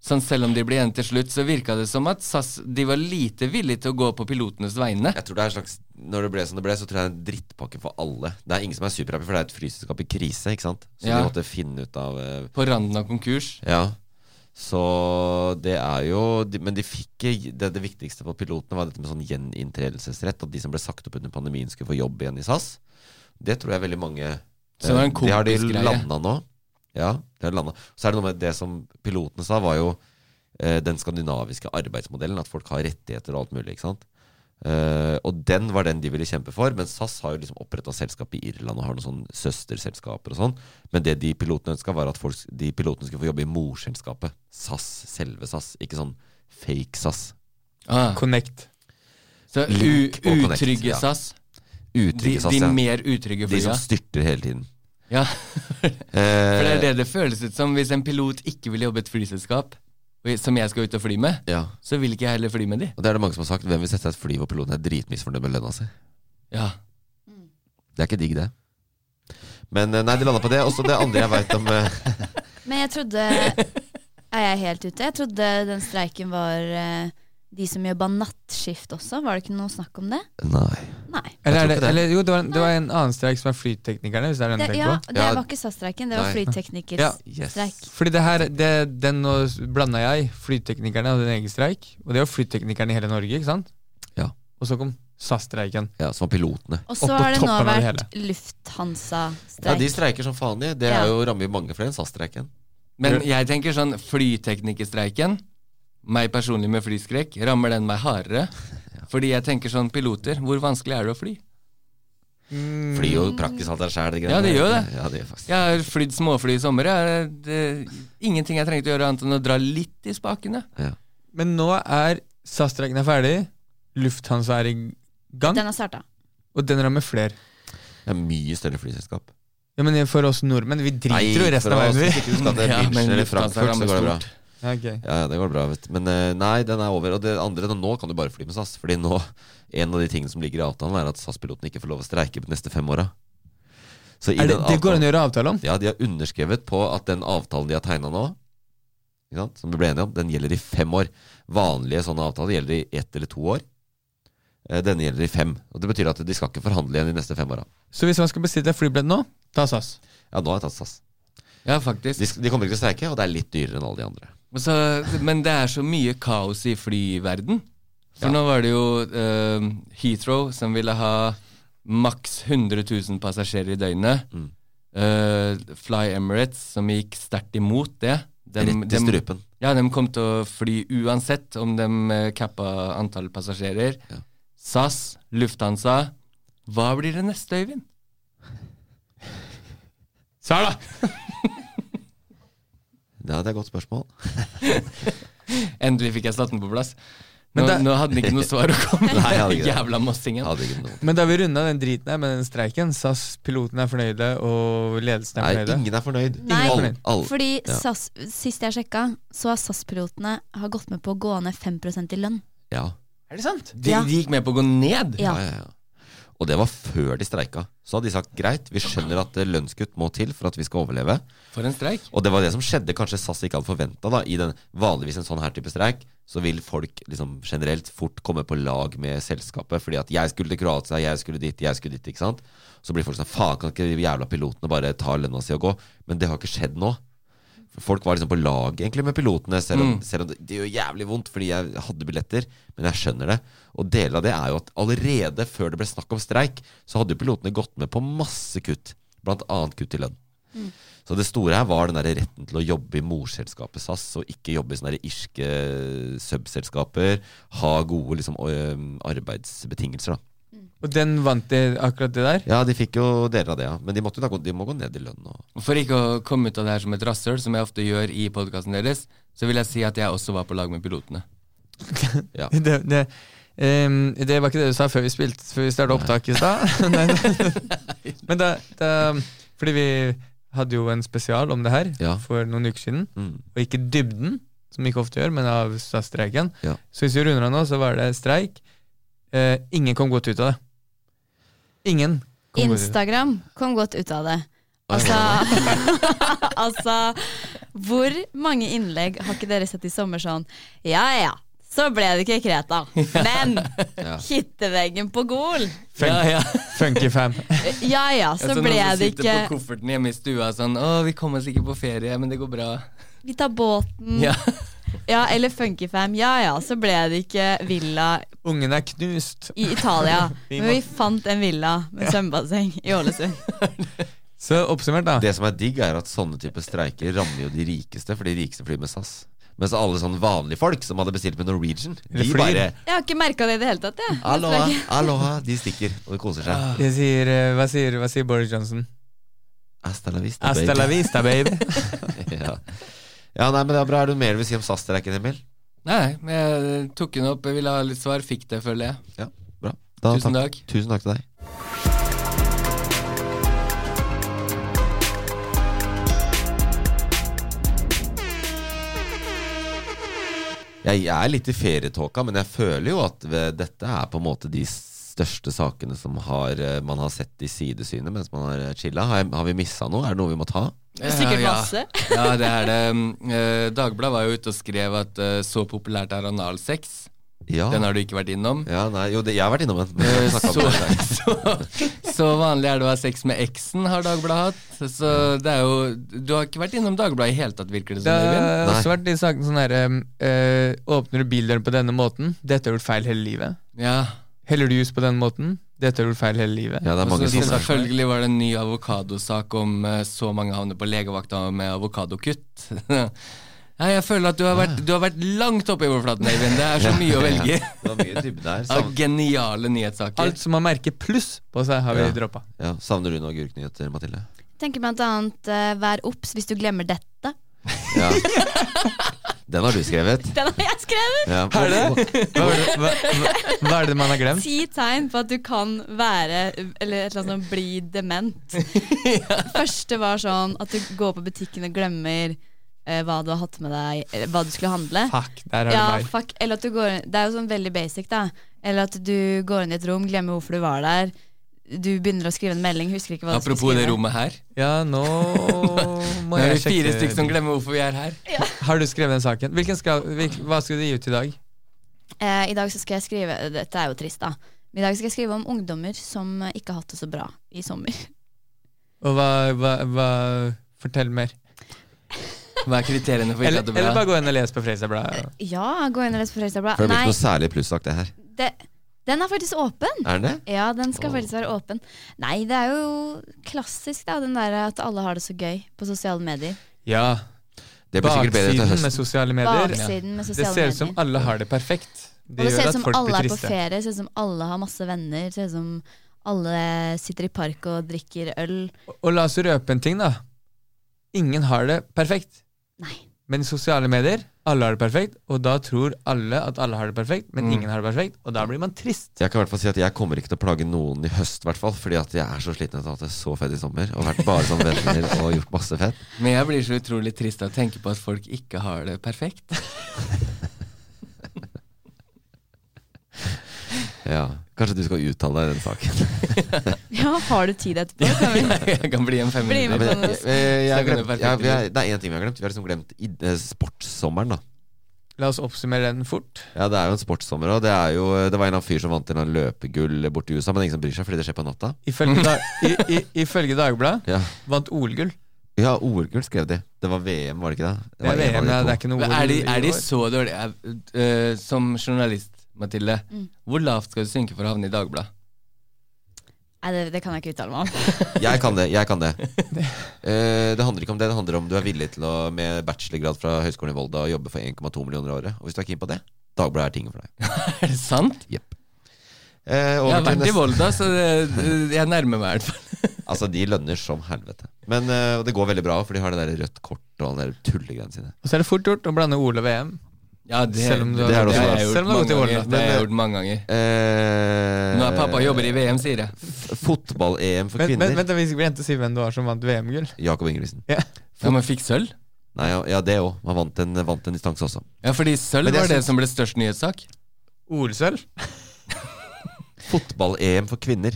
[SPEAKER 4] Sånn Selv om de ble enige til slutt, så virka det som at SAS de var lite villige til å gå på pilotenes vegne.
[SPEAKER 1] Jeg tror det er en slags Når det ble som det ble, så tror jeg det er en drittpakke for alle. Det er ingen som er superhappy, for det er et flyselskap i krise, ikke sant. Så
[SPEAKER 4] Ja.
[SPEAKER 1] de måtte finne ut av eh,
[SPEAKER 4] På randen av konkurs.
[SPEAKER 1] Ja. Så det er jo de- Men de fikk ikke- det, det viktigste for pilotene var dette med sånn gjeninntredelsesrett. At de som ble sagt opp under pandemien, skulle få jobb igjen i SAS. Det tror jeg veldig mange eh,
[SPEAKER 4] Så det var en
[SPEAKER 1] har de
[SPEAKER 4] kompisgreie.
[SPEAKER 1] landa nå. Ja, det har de landet. Så er det noe med det som pilotene sa, var jo eh, den skandinaviske arbeidsmodellen. At folk har rettigheter og alt mulig. ikke sant? Eh, og den var den de ville kjempe for. Men SAS har jo liksom oppretta selskap i Irland og har noen sånne søsterselskaper og sånn. Men det de pilotene ønska, var at folk, de pilotene skulle få jobbe i morselskapet. SAS, selve SAS. Ikke sånn fake SAS.
[SPEAKER 4] Ah,
[SPEAKER 2] Connect.
[SPEAKER 4] så u
[SPEAKER 1] Link og Connect,
[SPEAKER 4] utrygge
[SPEAKER 1] ja.
[SPEAKER 4] SAS. De,
[SPEAKER 1] Utrygge SAS,
[SPEAKER 4] de
[SPEAKER 1] ja.
[SPEAKER 4] mer utrygge
[SPEAKER 1] De som
[SPEAKER 4] flya.
[SPEAKER 1] styrter hele tiden.
[SPEAKER 4] Ja,
[SPEAKER 1] Eh,
[SPEAKER 4] for det er det det føles ut som. Hvis en pilot ikke vil jobbe i et flyselskap, og- som jeg skal ut og fly med,
[SPEAKER 1] ja.
[SPEAKER 4] så vil ikke jeg heller fly med de.
[SPEAKER 1] Og det er det mange som har sagt. Hvem vil sette seg et fly hvor piloten er dritmisfornøyd med lønna si?
[SPEAKER 4] Ja.
[SPEAKER 1] Det er ikke digg, det. Men eh, nei, de landa på det. Og så det andre jeg veit om eh,
[SPEAKER 3] Men jeg trodde Er jeg helt ute? Jeg trodde den streiken var eh, de som jobba nattskift også. Var det ikke noe snakk om det?
[SPEAKER 1] Nei.
[SPEAKER 3] Nei.
[SPEAKER 1] Jeg
[SPEAKER 2] Eller, er
[SPEAKER 1] tror
[SPEAKER 2] det,
[SPEAKER 1] ikke det.
[SPEAKER 2] eller jo, det var, en- det var en annen streik som er flyteknikerne, hvis det er den du
[SPEAKER 3] Det,
[SPEAKER 2] tenker
[SPEAKER 3] ja,
[SPEAKER 2] på.
[SPEAKER 3] det var ikke SAS-streiken, det var
[SPEAKER 1] Nei.
[SPEAKER 3] flyteknikerstreik.
[SPEAKER 1] Yes.
[SPEAKER 2] Fordi det her, det, den nå blanda jeg. Flyteknikerne hadde en egen streik. Og det var flyteknikerne i hele Norge, ikke sant?
[SPEAKER 1] Ja.
[SPEAKER 2] Og så kom SAS-streiken.
[SPEAKER 1] Ja, som var pilotene.
[SPEAKER 3] Og
[SPEAKER 2] Og
[SPEAKER 3] så
[SPEAKER 2] på
[SPEAKER 3] har det nå
[SPEAKER 2] toppen av det
[SPEAKER 3] vært Lufthansa-streik.
[SPEAKER 1] Ja, de streiker som faen, de. Det
[SPEAKER 3] Ja.
[SPEAKER 1] er jo rammer jo mange flere enn SAS-streiken.
[SPEAKER 4] Men jeg tenker sånn flyteknikerstreiken, meg personlig med flyskrekk, rammer den meg hardere. Fordi jeg tenker sånn, piloter, hvor vanskelig er det å fly?
[SPEAKER 1] Flyr jo praktisk alt er sjæl,
[SPEAKER 4] Ja, det gjør det.
[SPEAKER 1] Ja, det gjør faktisk.
[SPEAKER 4] Jeg har flydd småfly i sommer. Jeg, det, ingenting jeg trengte å gjøre annet enn å dra litt i spakene.
[SPEAKER 2] Men nå er SAS-streiken er ferdig, Lufthansa er i gang,
[SPEAKER 3] Den har starta.
[SPEAKER 2] og den rammer flere.
[SPEAKER 1] Det er mye større flyselskap.
[SPEAKER 2] Ja, men for oss nordmenn, vi driter jo i resten
[SPEAKER 1] for
[SPEAKER 2] av
[SPEAKER 1] oss,
[SPEAKER 2] verden,
[SPEAKER 1] hvis
[SPEAKER 2] vi.
[SPEAKER 1] ikke du skal til
[SPEAKER 4] Ja, men
[SPEAKER 1] München eller
[SPEAKER 4] Lufthansa
[SPEAKER 1] Frankfurt, så
[SPEAKER 4] rammer
[SPEAKER 1] går det bra.
[SPEAKER 4] stort.
[SPEAKER 2] Ja, ok.
[SPEAKER 1] Ja, ja, det går bra, vet du. Men eh, nei, den er over. Og det andre, nå kan du bare fly med SAS. Fordi nå, en av de tingene som ligger i avtalen, er at SAS-pilotene ikke får lov å streike på de neste fem åra. Så i
[SPEAKER 2] Er det,
[SPEAKER 1] den
[SPEAKER 2] det
[SPEAKER 1] avtalen-
[SPEAKER 2] går an å gjøre avtale om?
[SPEAKER 1] Ja, de har underskrevet på at den avtalen de har tegna nå, ikke sant, som vi ble enige om, den gjelder i fem år. Vanlige sånne avtaler gjelder i ett eller to år. Eh, Denne gjelder i fem. Og Det betyr at de skal ikke forhandle igjen de neste fem åra.
[SPEAKER 2] Så hvis man skal bestille en flybillett nå, ta SAS.
[SPEAKER 1] Ja, nå har jeg tatt SAS.
[SPEAKER 4] Ja, faktisk.
[SPEAKER 1] De, sk- de kommer ikke til å streike, og det er litt dyrere enn alle de andre.
[SPEAKER 4] Og Så, men det er så mye kaos i flyverden. For
[SPEAKER 1] Ja.
[SPEAKER 4] nå var det jo eh, Heathrow som ville ha maks 100 000 passasjerer i døgnet.
[SPEAKER 1] Mm.
[SPEAKER 4] Eh, Fly Emirates som gikk sterkt imot det. Dem-
[SPEAKER 1] Rett i
[SPEAKER 4] dem-
[SPEAKER 1] strupen.
[SPEAKER 4] ja, de kom til å fly uansett om de eh, cappa antall passasjerer.
[SPEAKER 1] Ja.
[SPEAKER 4] SAS, Lufthansa. Hva blir det neste, Øyvind?
[SPEAKER 2] Svar, da!
[SPEAKER 1] Ja, det er et godt spørsmål.
[SPEAKER 4] Endelig fikk jeg satt den på plass. Nå,
[SPEAKER 2] Men det-
[SPEAKER 4] nå hadde den ikke noe svar å komme
[SPEAKER 1] Nei, jeg hadde
[SPEAKER 4] med.
[SPEAKER 1] ikke det.
[SPEAKER 4] Jævla mossingen.
[SPEAKER 1] Jeg hadde ikke noe.
[SPEAKER 2] Men da har vi runda den driten her med den streiken. SAS-piloten er fornøyde, og ledelsen er
[SPEAKER 1] Nei,
[SPEAKER 2] fornøyde.
[SPEAKER 1] ingen er fornøyd.
[SPEAKER 3] Nei.
[SPEAKER 1] Alle, alle.
[SPEAKER 3] Fordi
[SPEAKER 1] Ja.
[SPEAKER 3] SAS, sist jeg sjekka, så har SAS-pilotene har gått med på å gå ned 5 i lønn.
[SPEAKER 1] Ja.
[SPEAKER 2] Er det sant?
[SPEAKER 4] De,
[SPEAKER 3] Ja.
[SPEAKER 4] de gikk med på å gå ned?
[SPEAKER 3] Ja.
[SPEAKER 1] Ja, ja, ja. Og det var før de streika. Så hadde de sagt greit, vi skjønner at eh, lønnskutt må til for at vi skal overleve.
[SPEAKER 4] For en streik.
[SPEAKER 1] Og det var det som skjedde, kanskje SAS ikke hadde forventa i den vanligvis en sånn her type streik. Så vil folk liksom generelt fort komme på lag med selskapet. Fordi at jeg skulle til Kroatia, jeg skulle dit, jeg skulle dit. ikke sant? Så blir folk sånn faen, kan ikke de jævla pilotene bare ta lønna si og gå? Men det har ikke skjedd nå. Folk var liksom på lag egentlig med pilotene, selv om, selv om det, det gjør jævlig vondt fordi jeg hadde billetter. Men jeg skjønner det. Og deler av det er jo at allerede før det ble snakk om streik, så hadde jo pilotene gått med på masse kutt. Blant annet kutt i lønn. Så det store her var den der retten til å jobbe i morselskapet SAS, og ikke jobbe i sånne der irske eh, subselskaper. Ha gode liksom, ø- arbeidsbetingelser, da.
[SPEAKER 2] Og den vant de akkurat det der?
[SPEAKER 1] Ja, de fikk jo deler av det, ja. Men de, måtte jo da gå, de må gå ned i lønn. Og...
[SPEAKER 4] For ikke å komme ut av det her som et rasshøl, som jeg ofte gjør i podkasten deres, så vil jeg si at jeg også var på lag med pilotene.
[SPEAKER 1] Ja.
[SPEAKER 2] Det, det, ehm, det var ikke det du sa før vi spilte Før vi starta opptak i stad. Nei. Men da, da Fordi vi hadde jo en spesial om det her
[SPEAKER 1] Ja.
[SPEAKER 2] for noen uker siden.
[SPEAKER 1] Mm.
[SPEAKER 2] Og ikke dybden, som vi ikke ofte gjør, men av SAS-streiken.
[SPEAKER 1] Ja.
[SPEAKER 2] Så hvis vi runder av nå, så var det streik. Eh, ingen kom godt ut av det. Ingen. kom godt ut av det.
[SPEAKER 3] Instagram kom godt ut av det. Altså, altså Hvor mange innlegg har ikke dere sett i sommer sånn Ja ja, så ble det ikke Kreta. Men hitteveggen på Gol!
[SPEAKER 4] Ja, ja.
[SPEAKER 2] Funky fam.
[SPEAKER 3] Ja ja, så ble
[SPEAKER 4] noen som
[SPEAKER 3] det
[SPEAKER 4] sitter
[SPEAKER 3] ikke
[SPEAKER 4] på kofferten hjemme i stua sånn Å, vi kommer oss ikke på ferie, men det går bra.
[SPEAKER 3] Vi tar båten.
[SPEAKER 4] Ja.
[SPEAKER 3] Ja, eller Funkyfam. Ja ja, så ble det ikke villa
[SPEAKER 2] Ungen er knust.
[SPEAKER 3] i Italia.
[SPEAKER 2] Vi
[SPEAKER 3] Men
[SPEAKER 2] må-
[SPEAKER 3] vi fant en villa med svømmebasseng i Ålesund.
[SPEAKER 2] Så oppsummert, da.
[SPEAKER 1] Det som er digg, er at sånne type streiker rammer jo de rikeste, for de rikeste flyr med SAS. Mens alle sånne vanlige folk som hadde bestilt med Norwegian, de
[SPEAKER 2] flyr.
[SPEAKER 1] bare
[SPEAKER 3] Jeg har ikke merka det i det hele tatt, jeg.
[SPEAKER 1] Aloha, aloha, de stikker og de koser seg.
[SPEAKER 2] Jeg sier, eh, hva, sier, hva sier Boris Johnson?
[SPEAKER 1] Hasta la vista, baby.
[SPEAKER 2] Hasta la vista, baby.
[SPEAKER 1] ja. ja, nei, men det er bra. Er det noe mer du vil si om SAS-streiken, Emil?
[SPEAKER 4] Nei, men jeg tok den opp, jeg ville ha litt svar, fikk det, føler jeg.
[SPEAKER 1] Ja, bra. Da,
[SPEAKER 4] Tusen
[SPEAKER 1] takk.
[SPEAKER 4] takk.
[SPEAKER 1] Tusen takk til deg. Jeg, jeg er litt i ferietåka, men jeg føler jo at ved, dette er på en måte de største sakene som har, eh, man har sett i sidesynet mens man har chilla. Har, jeg- har vi missa noe? Er det noe vi må ta?
[SPEAKER 3] Sikkert
[SPEAKER 4] Eh, ja.
[SPEAKER 3] masse.
[SPEAKER 4] Ja, det er det. Eh, Dagbladet var jo ute og skrev at eh, så populært er analsex.
[SPEAKER 1] Ja.
[SPEAKER 4] Den har du ikke vært innom.
[SPEAKER 1] Ah. ja nei, jo, det, jeg har vært innom den. men
[SPEAKER 4] Eh,
[SPEAKER 1] vi har
[SPEAKER 4] så,
[SPEAKER 1] snakket om det.
[SPEAKER 4] så, så vanlig er det å ha sex med eksen, har Dagbladet hatt. Så det er jo Du har ikke vært innom Dagbladet i hele tatt, virker det
[SPEAKER 2] Det
[SPEAKER 4] som, Øyvind?
[SPEAKER 2] har
[SPEAKER 1] Nei.
[SPEAKER 2] også vært de sakene sånn herre Åpner du bildøren på denne måten? Dette har du gjort feil hele livet.
[SPEAKER 4] Ja.
[SPEAKER 2] Heller du jus på denne måten? Dette har du gjort feil hele livet.
[SPEAKER 1] Ja, det er
[SPEAKER 4] Og
[SPEAKER 1] mange
[SPEAKER 4] så
[SPEAKER 1] sånne.
[SPEAKER 4] selvfølgelig var det en ny avokadosak om eh, så mange havner på legevakta med avokadokutt. Nei, jeg føler at du har
[SPEAKER 1] Ah.
[SPEAKER 4] vært, du har vært langt oppe i overflaten, Øyvind. Det er så mye å velge i.
[SPEAKER 1] Det var mye dybde her.
[SPEAKER 4] Av
[SPEAKER 1] Savn-
[SPEAKER 4] geniale nyhetssaker.
[SPEAKER 2] Sånn. Alt som har merket pluss på seg, har vi
[SPEAKER 1] Ja.
[SPEAKER 2] droppa.
[SPEAKER 1] Ja, savner du noen agurknyheter, Mathilde?
[SPEAKER 3] Tenker blant annet eh, vær obs hvis du glemmer dette.
[SPEAKER 1] Ja. Den har du skrevet.
[SPEAKER 3] Den har jeg skrevet!
[SPEAKER 1] Ja. Er det?
[SPEAKER 2] Hva, er det- hva, hva, hva er det man har glemt?
[SPEAKER 3] Ti tegn på at du kan være Eller et eller annet sånn bli dement. Første var sånn at du går på butikken og glemmer eh, hva du har hatt med deg, eller hva du skulle handle.
[SPEAKER 2] Fuck, der har
[SPEAKER 3] Ja,
[SPEAKER 2] du meg.
[SPEAKER 3] fuck. Eller at du går Det er jo sånn veldig basic, da. Eller at du går inn i et rom, glemmer hvorfor du var der. du begynner å skrive en melding. Husker ikke hva du
[SPEAKER 4] Apropos
[SPEAKER 3] skal
[SPEAKER 4] det
[SPEAKER 3] skrive.
[SPEAKER 4] rommet her.
[SPEAKER 2] Ja, nå
[SPEAKER 4] Nå
[SPEAKER 2] må
[SPEAKER 4] er
[SPEAKER 2] jeg
[SPEAKER 4] vi fire
[SPEAKER 2] sjekke
[SPEAKER 4] stykker som glemmer hvorfor vi er her.
[SPEAKER 2] Har du skrevet den saken? Hvilken skal, hvil, hva skal du gi ut i dag?
[SPEAKER 3] Eh, I dag så skal jeg skrive Dette er jo trist, da. Men I dag skal jeg skrive om ungdommer som eh, ikke har hatt det så bra i sommer.
[SPEAKER 2] Og hva, hva, hva Fortell mer.
[SPEAKER 4] Hva er kriteriene for ikke
[SPEAKER 2] Eller,
[SPEAKER 4] at det
[SPEAKER 2] eller
[SPEAKER 4] er
[SPEAKER 2] bare
[SPEAKER 4] bra?
[SPEAKER 2] gå inn og les på Freistadbladet.
[SPEAKER 3] Ja, gå inn og les på
[SPEAKER 1] For det
[SPEAKER 3] Fredrikstad-bladet.
[SPEAKER 1] blir
[SPEAKER 3] Nei,
[SPEAKER 1] ikke noe særlig plussak, det her.
[SPEAKER 3] det, den er faktisk åpen.
[SPEAKER 1] Er den det?
[SPEAKER 3] Ja, den skal faktisk være åpen. Nei, det er jo klassisk, da. Den der at alle har det så gøy på sosiale medier.
[SPEAKER 2] Ja.
[SPEAKER 1] Det blir sikkert bedre til
[SPEAKER 2] Baksiden
[SPEAKER 1] høsten.
[SPEAKER 2] med sosiale medier.
[SPEAKER 3] Baksiden med
[SPEAKER 2] Det
[SPEAKER 3] sosiale
[SPEAKER 2] ser ut som
[SPEAKER 3] medier.
[SPEAKER 2] alle har det perfekt.
[SPEAKER 3] Og
[SPEAKER 2] Det
[SPEAKER 3] det ser
[SPEAKER 2] gjør
[SPEAKER 3] ut
[SPEAKER 2] at
[SPEAKER 3] som
[SPEAKER 2] folk
[SPEAKER 3] alle
[SPEAKER 2] blir
[SPEAKER 3] er på
[SPEAKER 2] triste.
[SPEAKER 3] ferie, ser ut som alle har masse venner, ser ut som alle sitter i park og drikker øl.
[SPEAKER 2] Og la oss røpe en ting, da. Ingen har det perfekt.
[SPEAKER 3] Nei.
[SPEAKER 2] Men i sosiale medier, alle har det perfekt, og da tror alle at alle har det perfekt, men
[SPEAKER 4] Mm.
[SPEAKER 2] ingen har det perfekt, og da blir man trist.
[SPEAKER 1] Jeg kan i hvert fall si at jeg kommer ikke til å plage noen i høst, i hvert fall. Fordi at jeg er så sliten etter å ha hatt det så fett i sommer. Og vært bare sånn venner og gjort masse fett.
[SPEAKER 4] Men jeg blir så utrolig trist av å tenke på at folk ikke har det perfekt.
[SPEAKER 1] Ja. Kanskje du skal uttale deg i den saken.
[SPEAKER 3] Ja, har du tid etterpå? Kan vi?
[SPEAKER 4] Jeg kan bli en
[SPEAKER 3] Bli
[SPEAKER 1] Ja,
[SPEAKER 3] med.
[SPEAKER 4] femhundre.
[SPEAKER 1] men,
[SPEAKER 3] Sånn,
[SPEAKER 1] jeg, jeg, jeg,
[SPEAKER 4] snakker
[SPEAKER 1] glemt-
[SPEAKER 4] om det perfekte
[SPEAKER 1] ja, vi har- det er én ting vi har glemt. Vi har liksom glemt i- eh, sportssommeren. da
[SPEAKER 2] La oss oppsummere den fort.
[SPEAKER 1] Ja, Det er jo en sportssommer. Og det, er jo, eh, det var en eller annen fyr som vant en eller annen løpegull borte i USA, men det er ingen som bryr seg fordi det skjer på natta.
[SPEAKER 2] Ifølge, da, i, i, ifølge Dagbladet
[SPEAKER 1] Ja,
[SPEAKER 2] vant OL-gull.
[SPEAKER 1] ja OL-gull skrev de. Det var VM, var det ikke det?
[SPEAKER 2] Det er VM, ja, det er ikke noe
[SPEAKER 4] Men
[SPEAKER 2] OL
[SPEAKER 4] Er de,
[SPEAKER 2] i
[SPEAKER 4] er de
[SPEAKER 2] år.
[SPEAKER 4] så dårlige Er- øh, Som journalist, Mathilde, hvor lavt skal du synke for å havne i Dagbladet?
[SPEAKER 3] Nei, det, det kan jeg ikke uttale meg om.
[SPEAKER 1] Jeg kan det. jeg kan Det Eh, Det handler ikke om det. Det handler om du er villig til å med bachelorgrad fra Høgskolen i Volda å jobbe for 1,2 millioner i året. Og hvis du er keen på det, Dagbladet er tinget for deg.
[SPEAKER 4] Er det sant?
[SPEAKER 1] Eh,
[SPEAKER 4] Jeg
[SPEAKER 1] over
[SPEAKER 4] har
[SPEAKER 1] til
[SPEAKER 4] vært i
[SPEAKER 1] neste-
[SPEAKER 4] Volda, så det, det- jeg nærmer meg i hvert fall.
[SPEAKER 1] Altså, De lønner som helvete. Men eh, og det går veldig bra, for de har det der rødt kort og alle de der tullegreiene sine.
[SPEAKER 2] Og så er det fort gjort å blande OL og VM.
[SPEAKER 4] Ja, det,
[SPEAKER 2] Selv om du-
[SPEAKER 1] Det er det også
[SPEAKER 4] har jeg
[SPEAKER 2] bra.
[SPEAKER 4] gjort
[SPEAKER 2] Selv om du har
[SPEAKER 4] mange
[SPEAKER 2] gått i
[SPEAKER 4] ganger.
[SPEAKER 2] Volda.
[SPEAKER 4] Det har jeg
[SPEAKER 1] Men-
[SPEAKER 4] gjort mange ganger.
[SPEAKER 1] Eh,
[SPEAKER 4] Nå er pappa jobber i VM, sier jeg.
[SPEAKER 1] f- Fotball-EM for
[SPEAKER 2] Men,
[SPEAKER 1] kvinner.
[SPEAKER 2] men, vent, da, vi glemte å si hvem det var som vant VM-gull.
[SPEAKER 1] Jakob Ingebrigtsen.
[SPEAKER 4] Ja, men fikk sølv?
[SPEAKER 1] Nei, ja, ja det òg. Han vant en, vant en distanse også.
[SPEAKER 4] Ja, fordi sølv
[SPEAKER 1] Men det
[SPEAKER 4] var det
[SPEAKER 1] syns-
[SPEAKER 4] som ble størst nyhetssak.
[SPEAKER 2] OL-sølv?
[SPEAKER 1] Fotball-EM for kvinner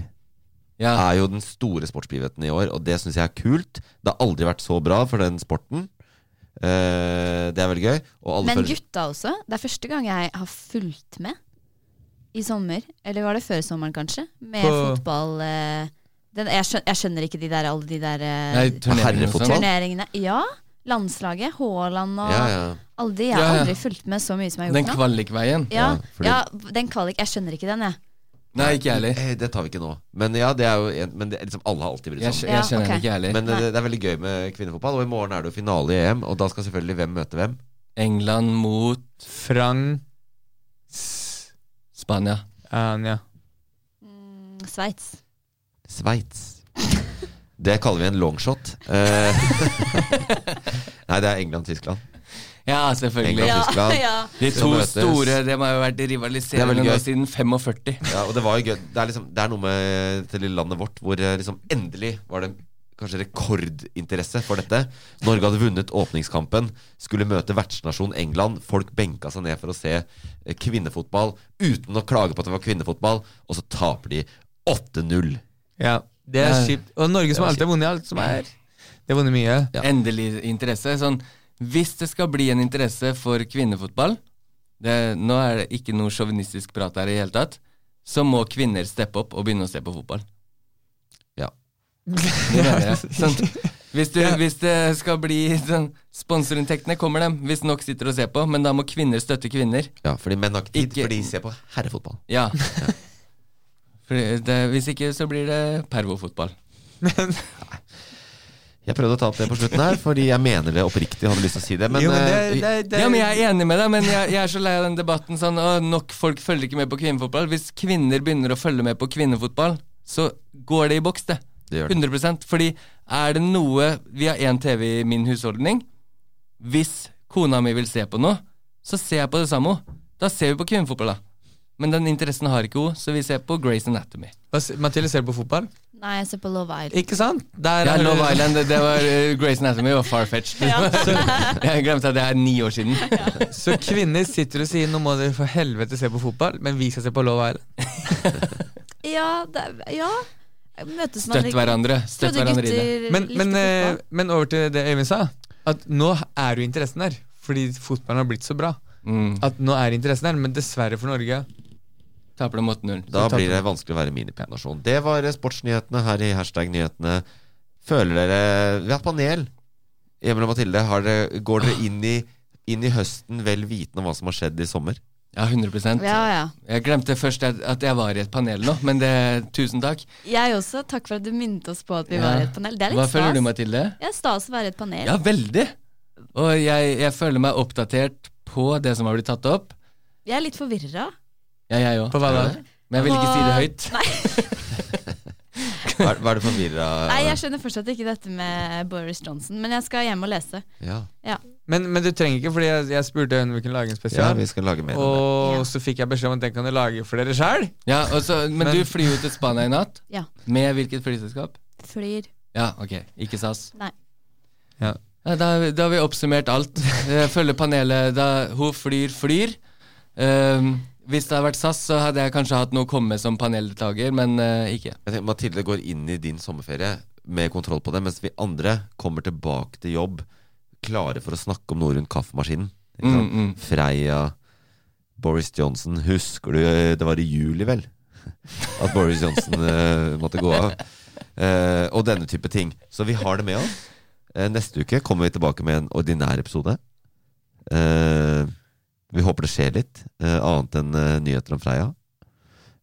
[SPEAKER 4] Ja,
[SPEAKER 1] er jo den store sportsbegivenheten i år, og det syns jeg er kult. Det har aldri vært så bra for den sporten. Eh, det er veldig gøy. Og alle
[SPEAKER 3] Men
[SPEAKER 1] følger-
[SPEAKER 3] gutta også. Det er første gang jeg har fulgt med i sommer. Eller var det før sommeren, kanskje? Med
[SPEAKER 2] På-
[SPEAKER 3] fotball eh, den, jeg, skjønner, jeg skjønner ikke de der, alle de der eh,
[SPEAKER 4] Nei, turneringen og
[SPEAKER 1] Herrefotball?
[SPEAKER 4] sånn.
[SPEAKER 3] turneringene. Ja, landslaget, Haaland og
[SPEAKER 1] ja, ja.
[SPEAKER 3] alle de. Jeg
[SPEAKER 4] Ja,
[SPEAKER 3] har
[SPEAKER 4] ja.
[SPEAKER 3] aldri fulgt med så mye som jeg har
[SPEAKER 4] Den
[SPEAKER 3] gjort nå.
[SPEAKER 4] kvalikveien.
[SPEAKER 3] Ja,
[SPEAKER 1] Ja, fordi-
[SPEAKER 3] ja, den kvalik. Jeg skjønner ikke den, jeg.
[SPEAKER 4] Nei, ikke jeg heller.
[SPEAKER 1] Eh, det tar vi ikke nå. Men ja, det er jo en, men det, er liksom, alle har alltid brydd
[SPEAKER 4] Jeg,
[SPEAKER 1] seg om det.
[SPEAKER 4] skj-
[SPEAKER 3] Ja,
[SPEAKER 4] jeg skjønner
[SPEAKER 3] ok.
[SPEAKER 4] den ikke jeg heller.
[SPEAKER 1] Men eh, det, det er veldig gøy med kvinnefotball, og i morgen er det jo finale i EM, og da skal selvfølgelig hvem møte hvem?
[SPEAKER 4] England mot
[SPEAKER 2] Frank
[SPEAKER 4] Spania.
[SPEAKER 2] Anja.
[SPEAKER 3] Mm, Sveits.
[SPEAKER 1] Sveits. Det kaller vi en longshot. Eh, Nei, det er England-Tyskland.
[SPEAKER 4] Ja, selvfølgelig.
[SPEAKER 1] England, Tyskland.
[SPEAKER 4] De
[SPEAKER 1] Skal
[SPEAKER 4] to
[SPEAKER 1] møtes.
[SPEAKER 4] store, de har jo vært
[SPEAKER 1] Det er
[SPEAKER 4] rivaliserende
[SPEAKER 1] veldig
[SPEAKER 4] nå
[SPEAKER 1] gøy.
[SPEAKER 4] siden 45.
[SPEAKER 1] Ja, og det var jo gøy. Det er, liksom, det er noe med til lille landet vårt hvor eh, liksom endelig var det kanskje rekordinteresse for dette. Norge hadde vunnet åpningskampen, skulle møte vertsnasjon England. Folk benka seg ned for å se eh, kvinnefotball uten å klage på at det var kvinnefotball, og så taper de 8-0.
[SPEAKER 2] Ja, det er
[SPEAKER 4] Nei.
[SPEAKER 2] kjipt. Og Norge som
[SPEAKER 1] var
[SPEAKER 2] alltid har vunnet alt som er. Det har vunnet mye.
[SPEAKER 1] Ja.
[SPEAKER 4] Endelig interesse. Sånn, hvis det skal bli en interesse for kvinnefotball det, Nå er det ikke noe sjåvinistisk prat her i hele tatt. Så må kvinner steppe opp og begynne å se på fotball.
[SPEAKER 1] Ja.
[SPEAKER 4] Det mener jeg. Sånn, hvis, du, hvis det skal bli sånn, Sponsorinntektene kommer dem, hvis nok sitter og ser på, men da må kvinner støtte kvinner.
[SPEAKER 1] ja, fordi menn har ikke tid,
[SPEAKER 4] Ikke-
[SPEAKER 1] for de ser på herrefotball.
[SPEAKER 4] Ja. Fordi det, hvis ikke, så blir det pervofotball.
[SPEAKER 1] Jeg prøvde å ta opp det på slutten her, fordi jeg mener det oppriktig. Hadde lyst til å si det, men,
[SPEAKER 2] jo, men det,
[SPEAKER 1] eh,
[SPEAKER 2] det, det,
[SPEAKER 4] Ja, men Jeg er enig med deg, men jeg, jeg er så lei av den debatten sånn «Å, Nok folk følger ikke med på kvinnefotball. Hvis kvinner begynner å følge med på kvinnefotball, så går det i boks, det.
[SPEAKER 1] Det gjør det.
[SPEAKER 4] 100 Fordi er det noe Vi har én TV i min husholdning. Hvis kona mi vil se på noe, så ser jeg på det samme. Da ser vi på kvinnefotball, da. Men den interessen har ikke hun, så vi ser på Grace Anatomy.
[SPEAKER 2] Hva s- Mathilde ser på fotball.
[SPEAKER 3] Nei, jeg ser på Love Island.
[SPEAKER 2] Ikke sant? Der
[SPEAKER 4] Ja,
[SPEAKER 2] er-
[SPEAKER 4] Love Island, det, det var eh, Grace Anatomy var far-fetched. jeg glemte at det er ni år siden.
[SPEAKER 2] Så kvinner sitter og sier nå må dere for helvete se på fotball, men vi skal se på Love Island.
[SPEAKER 3] Ja, det, ja. møtes man
[SPEAKER 4] Støtt hverandre. Støtt
[SPEAKER 3] Trodde
[SPEAKER 4] hverandre i det.
[SPEAKER 3] gutter
[SPEAKER 2] Men,
[SPEAKER 3] likte
[SPEAKER 2] men, eh,
[SPEAKER 3] fotball.
[SPEAKER 2] men over til det Øyvind sa. At nå er jo interessen der. Fordi fotballen har blitt så bra.
[SPEAKER 4] Mm.
[SPEAKER 2] At nå er interessen der, men dessverre for Norge
[SPEAKER 4] Taper dem 8-0.
[SPEAKER 1] Da
[SPEAKER 2] Så takk.
[SPEAKER 1] blir det vanskelig å være minipenasjon. Det var eh, sportsnyhetene her i hashtag nyhetene. Føler dere Vi har hatt panel. Emil og Mathilde, har dere, går dere inn i, inn i høsten vel vitende om hva som har skjedd i sommer?
[SPEAKER 4] Ja, 100
[SPEAKER 3] Ja, ja.
[SPEAKER 4] Jeg glemte først at, at jeg var i et panel nå, men det, tusen takk.
[SPEAKER 3] Jeg også. Takk for at du minnet oss på at vi
[SPEAKER 4] Ja.
[SPEAKER 3] var i et panel. Det er litt
[SPEAKER 4] Hva
[SPEAKER 3] stas.
[SPEAKER 4] føler du, Mathilde?
[SPEAKER 3] Ja, stas å være i et panel.
[SPEAKER 4] Ja, veldig. Og jeg, jeg føler meg oppdatert på det som har blitt tatt opp.
[SPEAKER 3] Jeg er litt forvirra.
[SPEAKER 4] Ja, jeg òg.
[SPEAKER 2] På hva da?
[SPEAKER 4] Men jeg vil ikke si det høyt.
[SPEAKER 3] Nei,
[SPEAKER 1] Hva er, hva er det forvirra
[SPEAKER 3] nei, jeg skjønner fortsatt ikke dette med Boris Johnson, men jeg skal hjem og lese.
[SPEAKER 1] ja.
[SPEAKER 2] Men, men du trenger ikke, fordi jeg, jeg spurte Øyvind om vi kunne lage en
[SPEAKER 1] ja,
[SPEAKER 2] spesial.
[SPEAKER 1] vi skal lage mer. om det.
[SPEAKER 2] og
[SPEAKER 3] Ja.
[SPEAKER 2] så fikk jeg beskjed om at den kan du lage for dere sjøl.
[SPEAKER 4] Ja, og så, men,
[SPEAKER 2] Men-
[SPEAKER 4] du flyr jo til Spania i natt.
[SPEAKER 3] Ja.
[SPEAKER 4] Med hvilket flyselskap?
[SPEAKER 3] Flyr.
[SPEAKER 4] Ja, ok. Ikke SAS.
[SPEAKER 3] Nei.
[SPEAKER 2] Ja.
[SPEAKER 4] Ja, da, da har vi oppsummert alt. Jeg følger panelet. Da, hun flyr, flyr. Ehm, hvis det hadde vært SAS, så hadde jeg kanskje hatt noe å komme med som paneldeltaker, men eh, ikke.
[SPEAKER 1] Jeg tenker, Mathilde går inn i din sommerferie med kontroll på det, mens vi andre kommer tilbake til jobb klare for å snakke om noe rundt kaffemaskinen. Ikke sant?
[SPEAKER 4] Mm, mm.
[SPEAKER 1] Freia, Boris Johnson Husker du eh, det var i juli, vel? At Boris Johnson eh, måtte gå av. Eh, og denne type ting. Så vi har det med oss. Eh, neste uke kommer vi tilbake med en ordinær episode. Eh, vi håper det skjer litt, eh, annet enn eh, nyheter om Freia.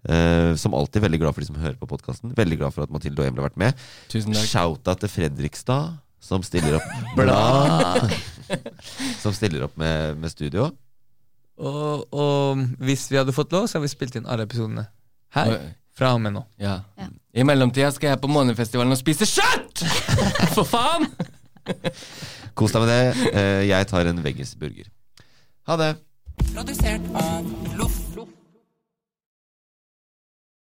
[SPEAKER 1] Eh, som alltid veldig glad for de som hører på podkasten. Veldig glad for at Mathilde og Emil har vært med.
[SPEAKER 4] Tusen takk.
[SPEAKER 1] Shout-out til Fredrikstad, som stiller opp Bla! som stiller opp med, med studio.
[SPEAKER 2] Og, og hvis vi hadde fått lov, så hadde vi spilt inn alle episodene her.
[SPEAKER 4] Og-
[SPEAKER 2] Fra og med nå.
[SPEAKER 4] Ja.
[SPEAKER 3] Ja.
[SPEAKER 4] I mellomtida skal jeg på Månefestivalen og spise kjøtt! For faen!
[SPEAKER 1] Kos deg med det. Eh, Jeg tar en veggisburger. Ha det.
[SPEAKER 6] produsert av Loff.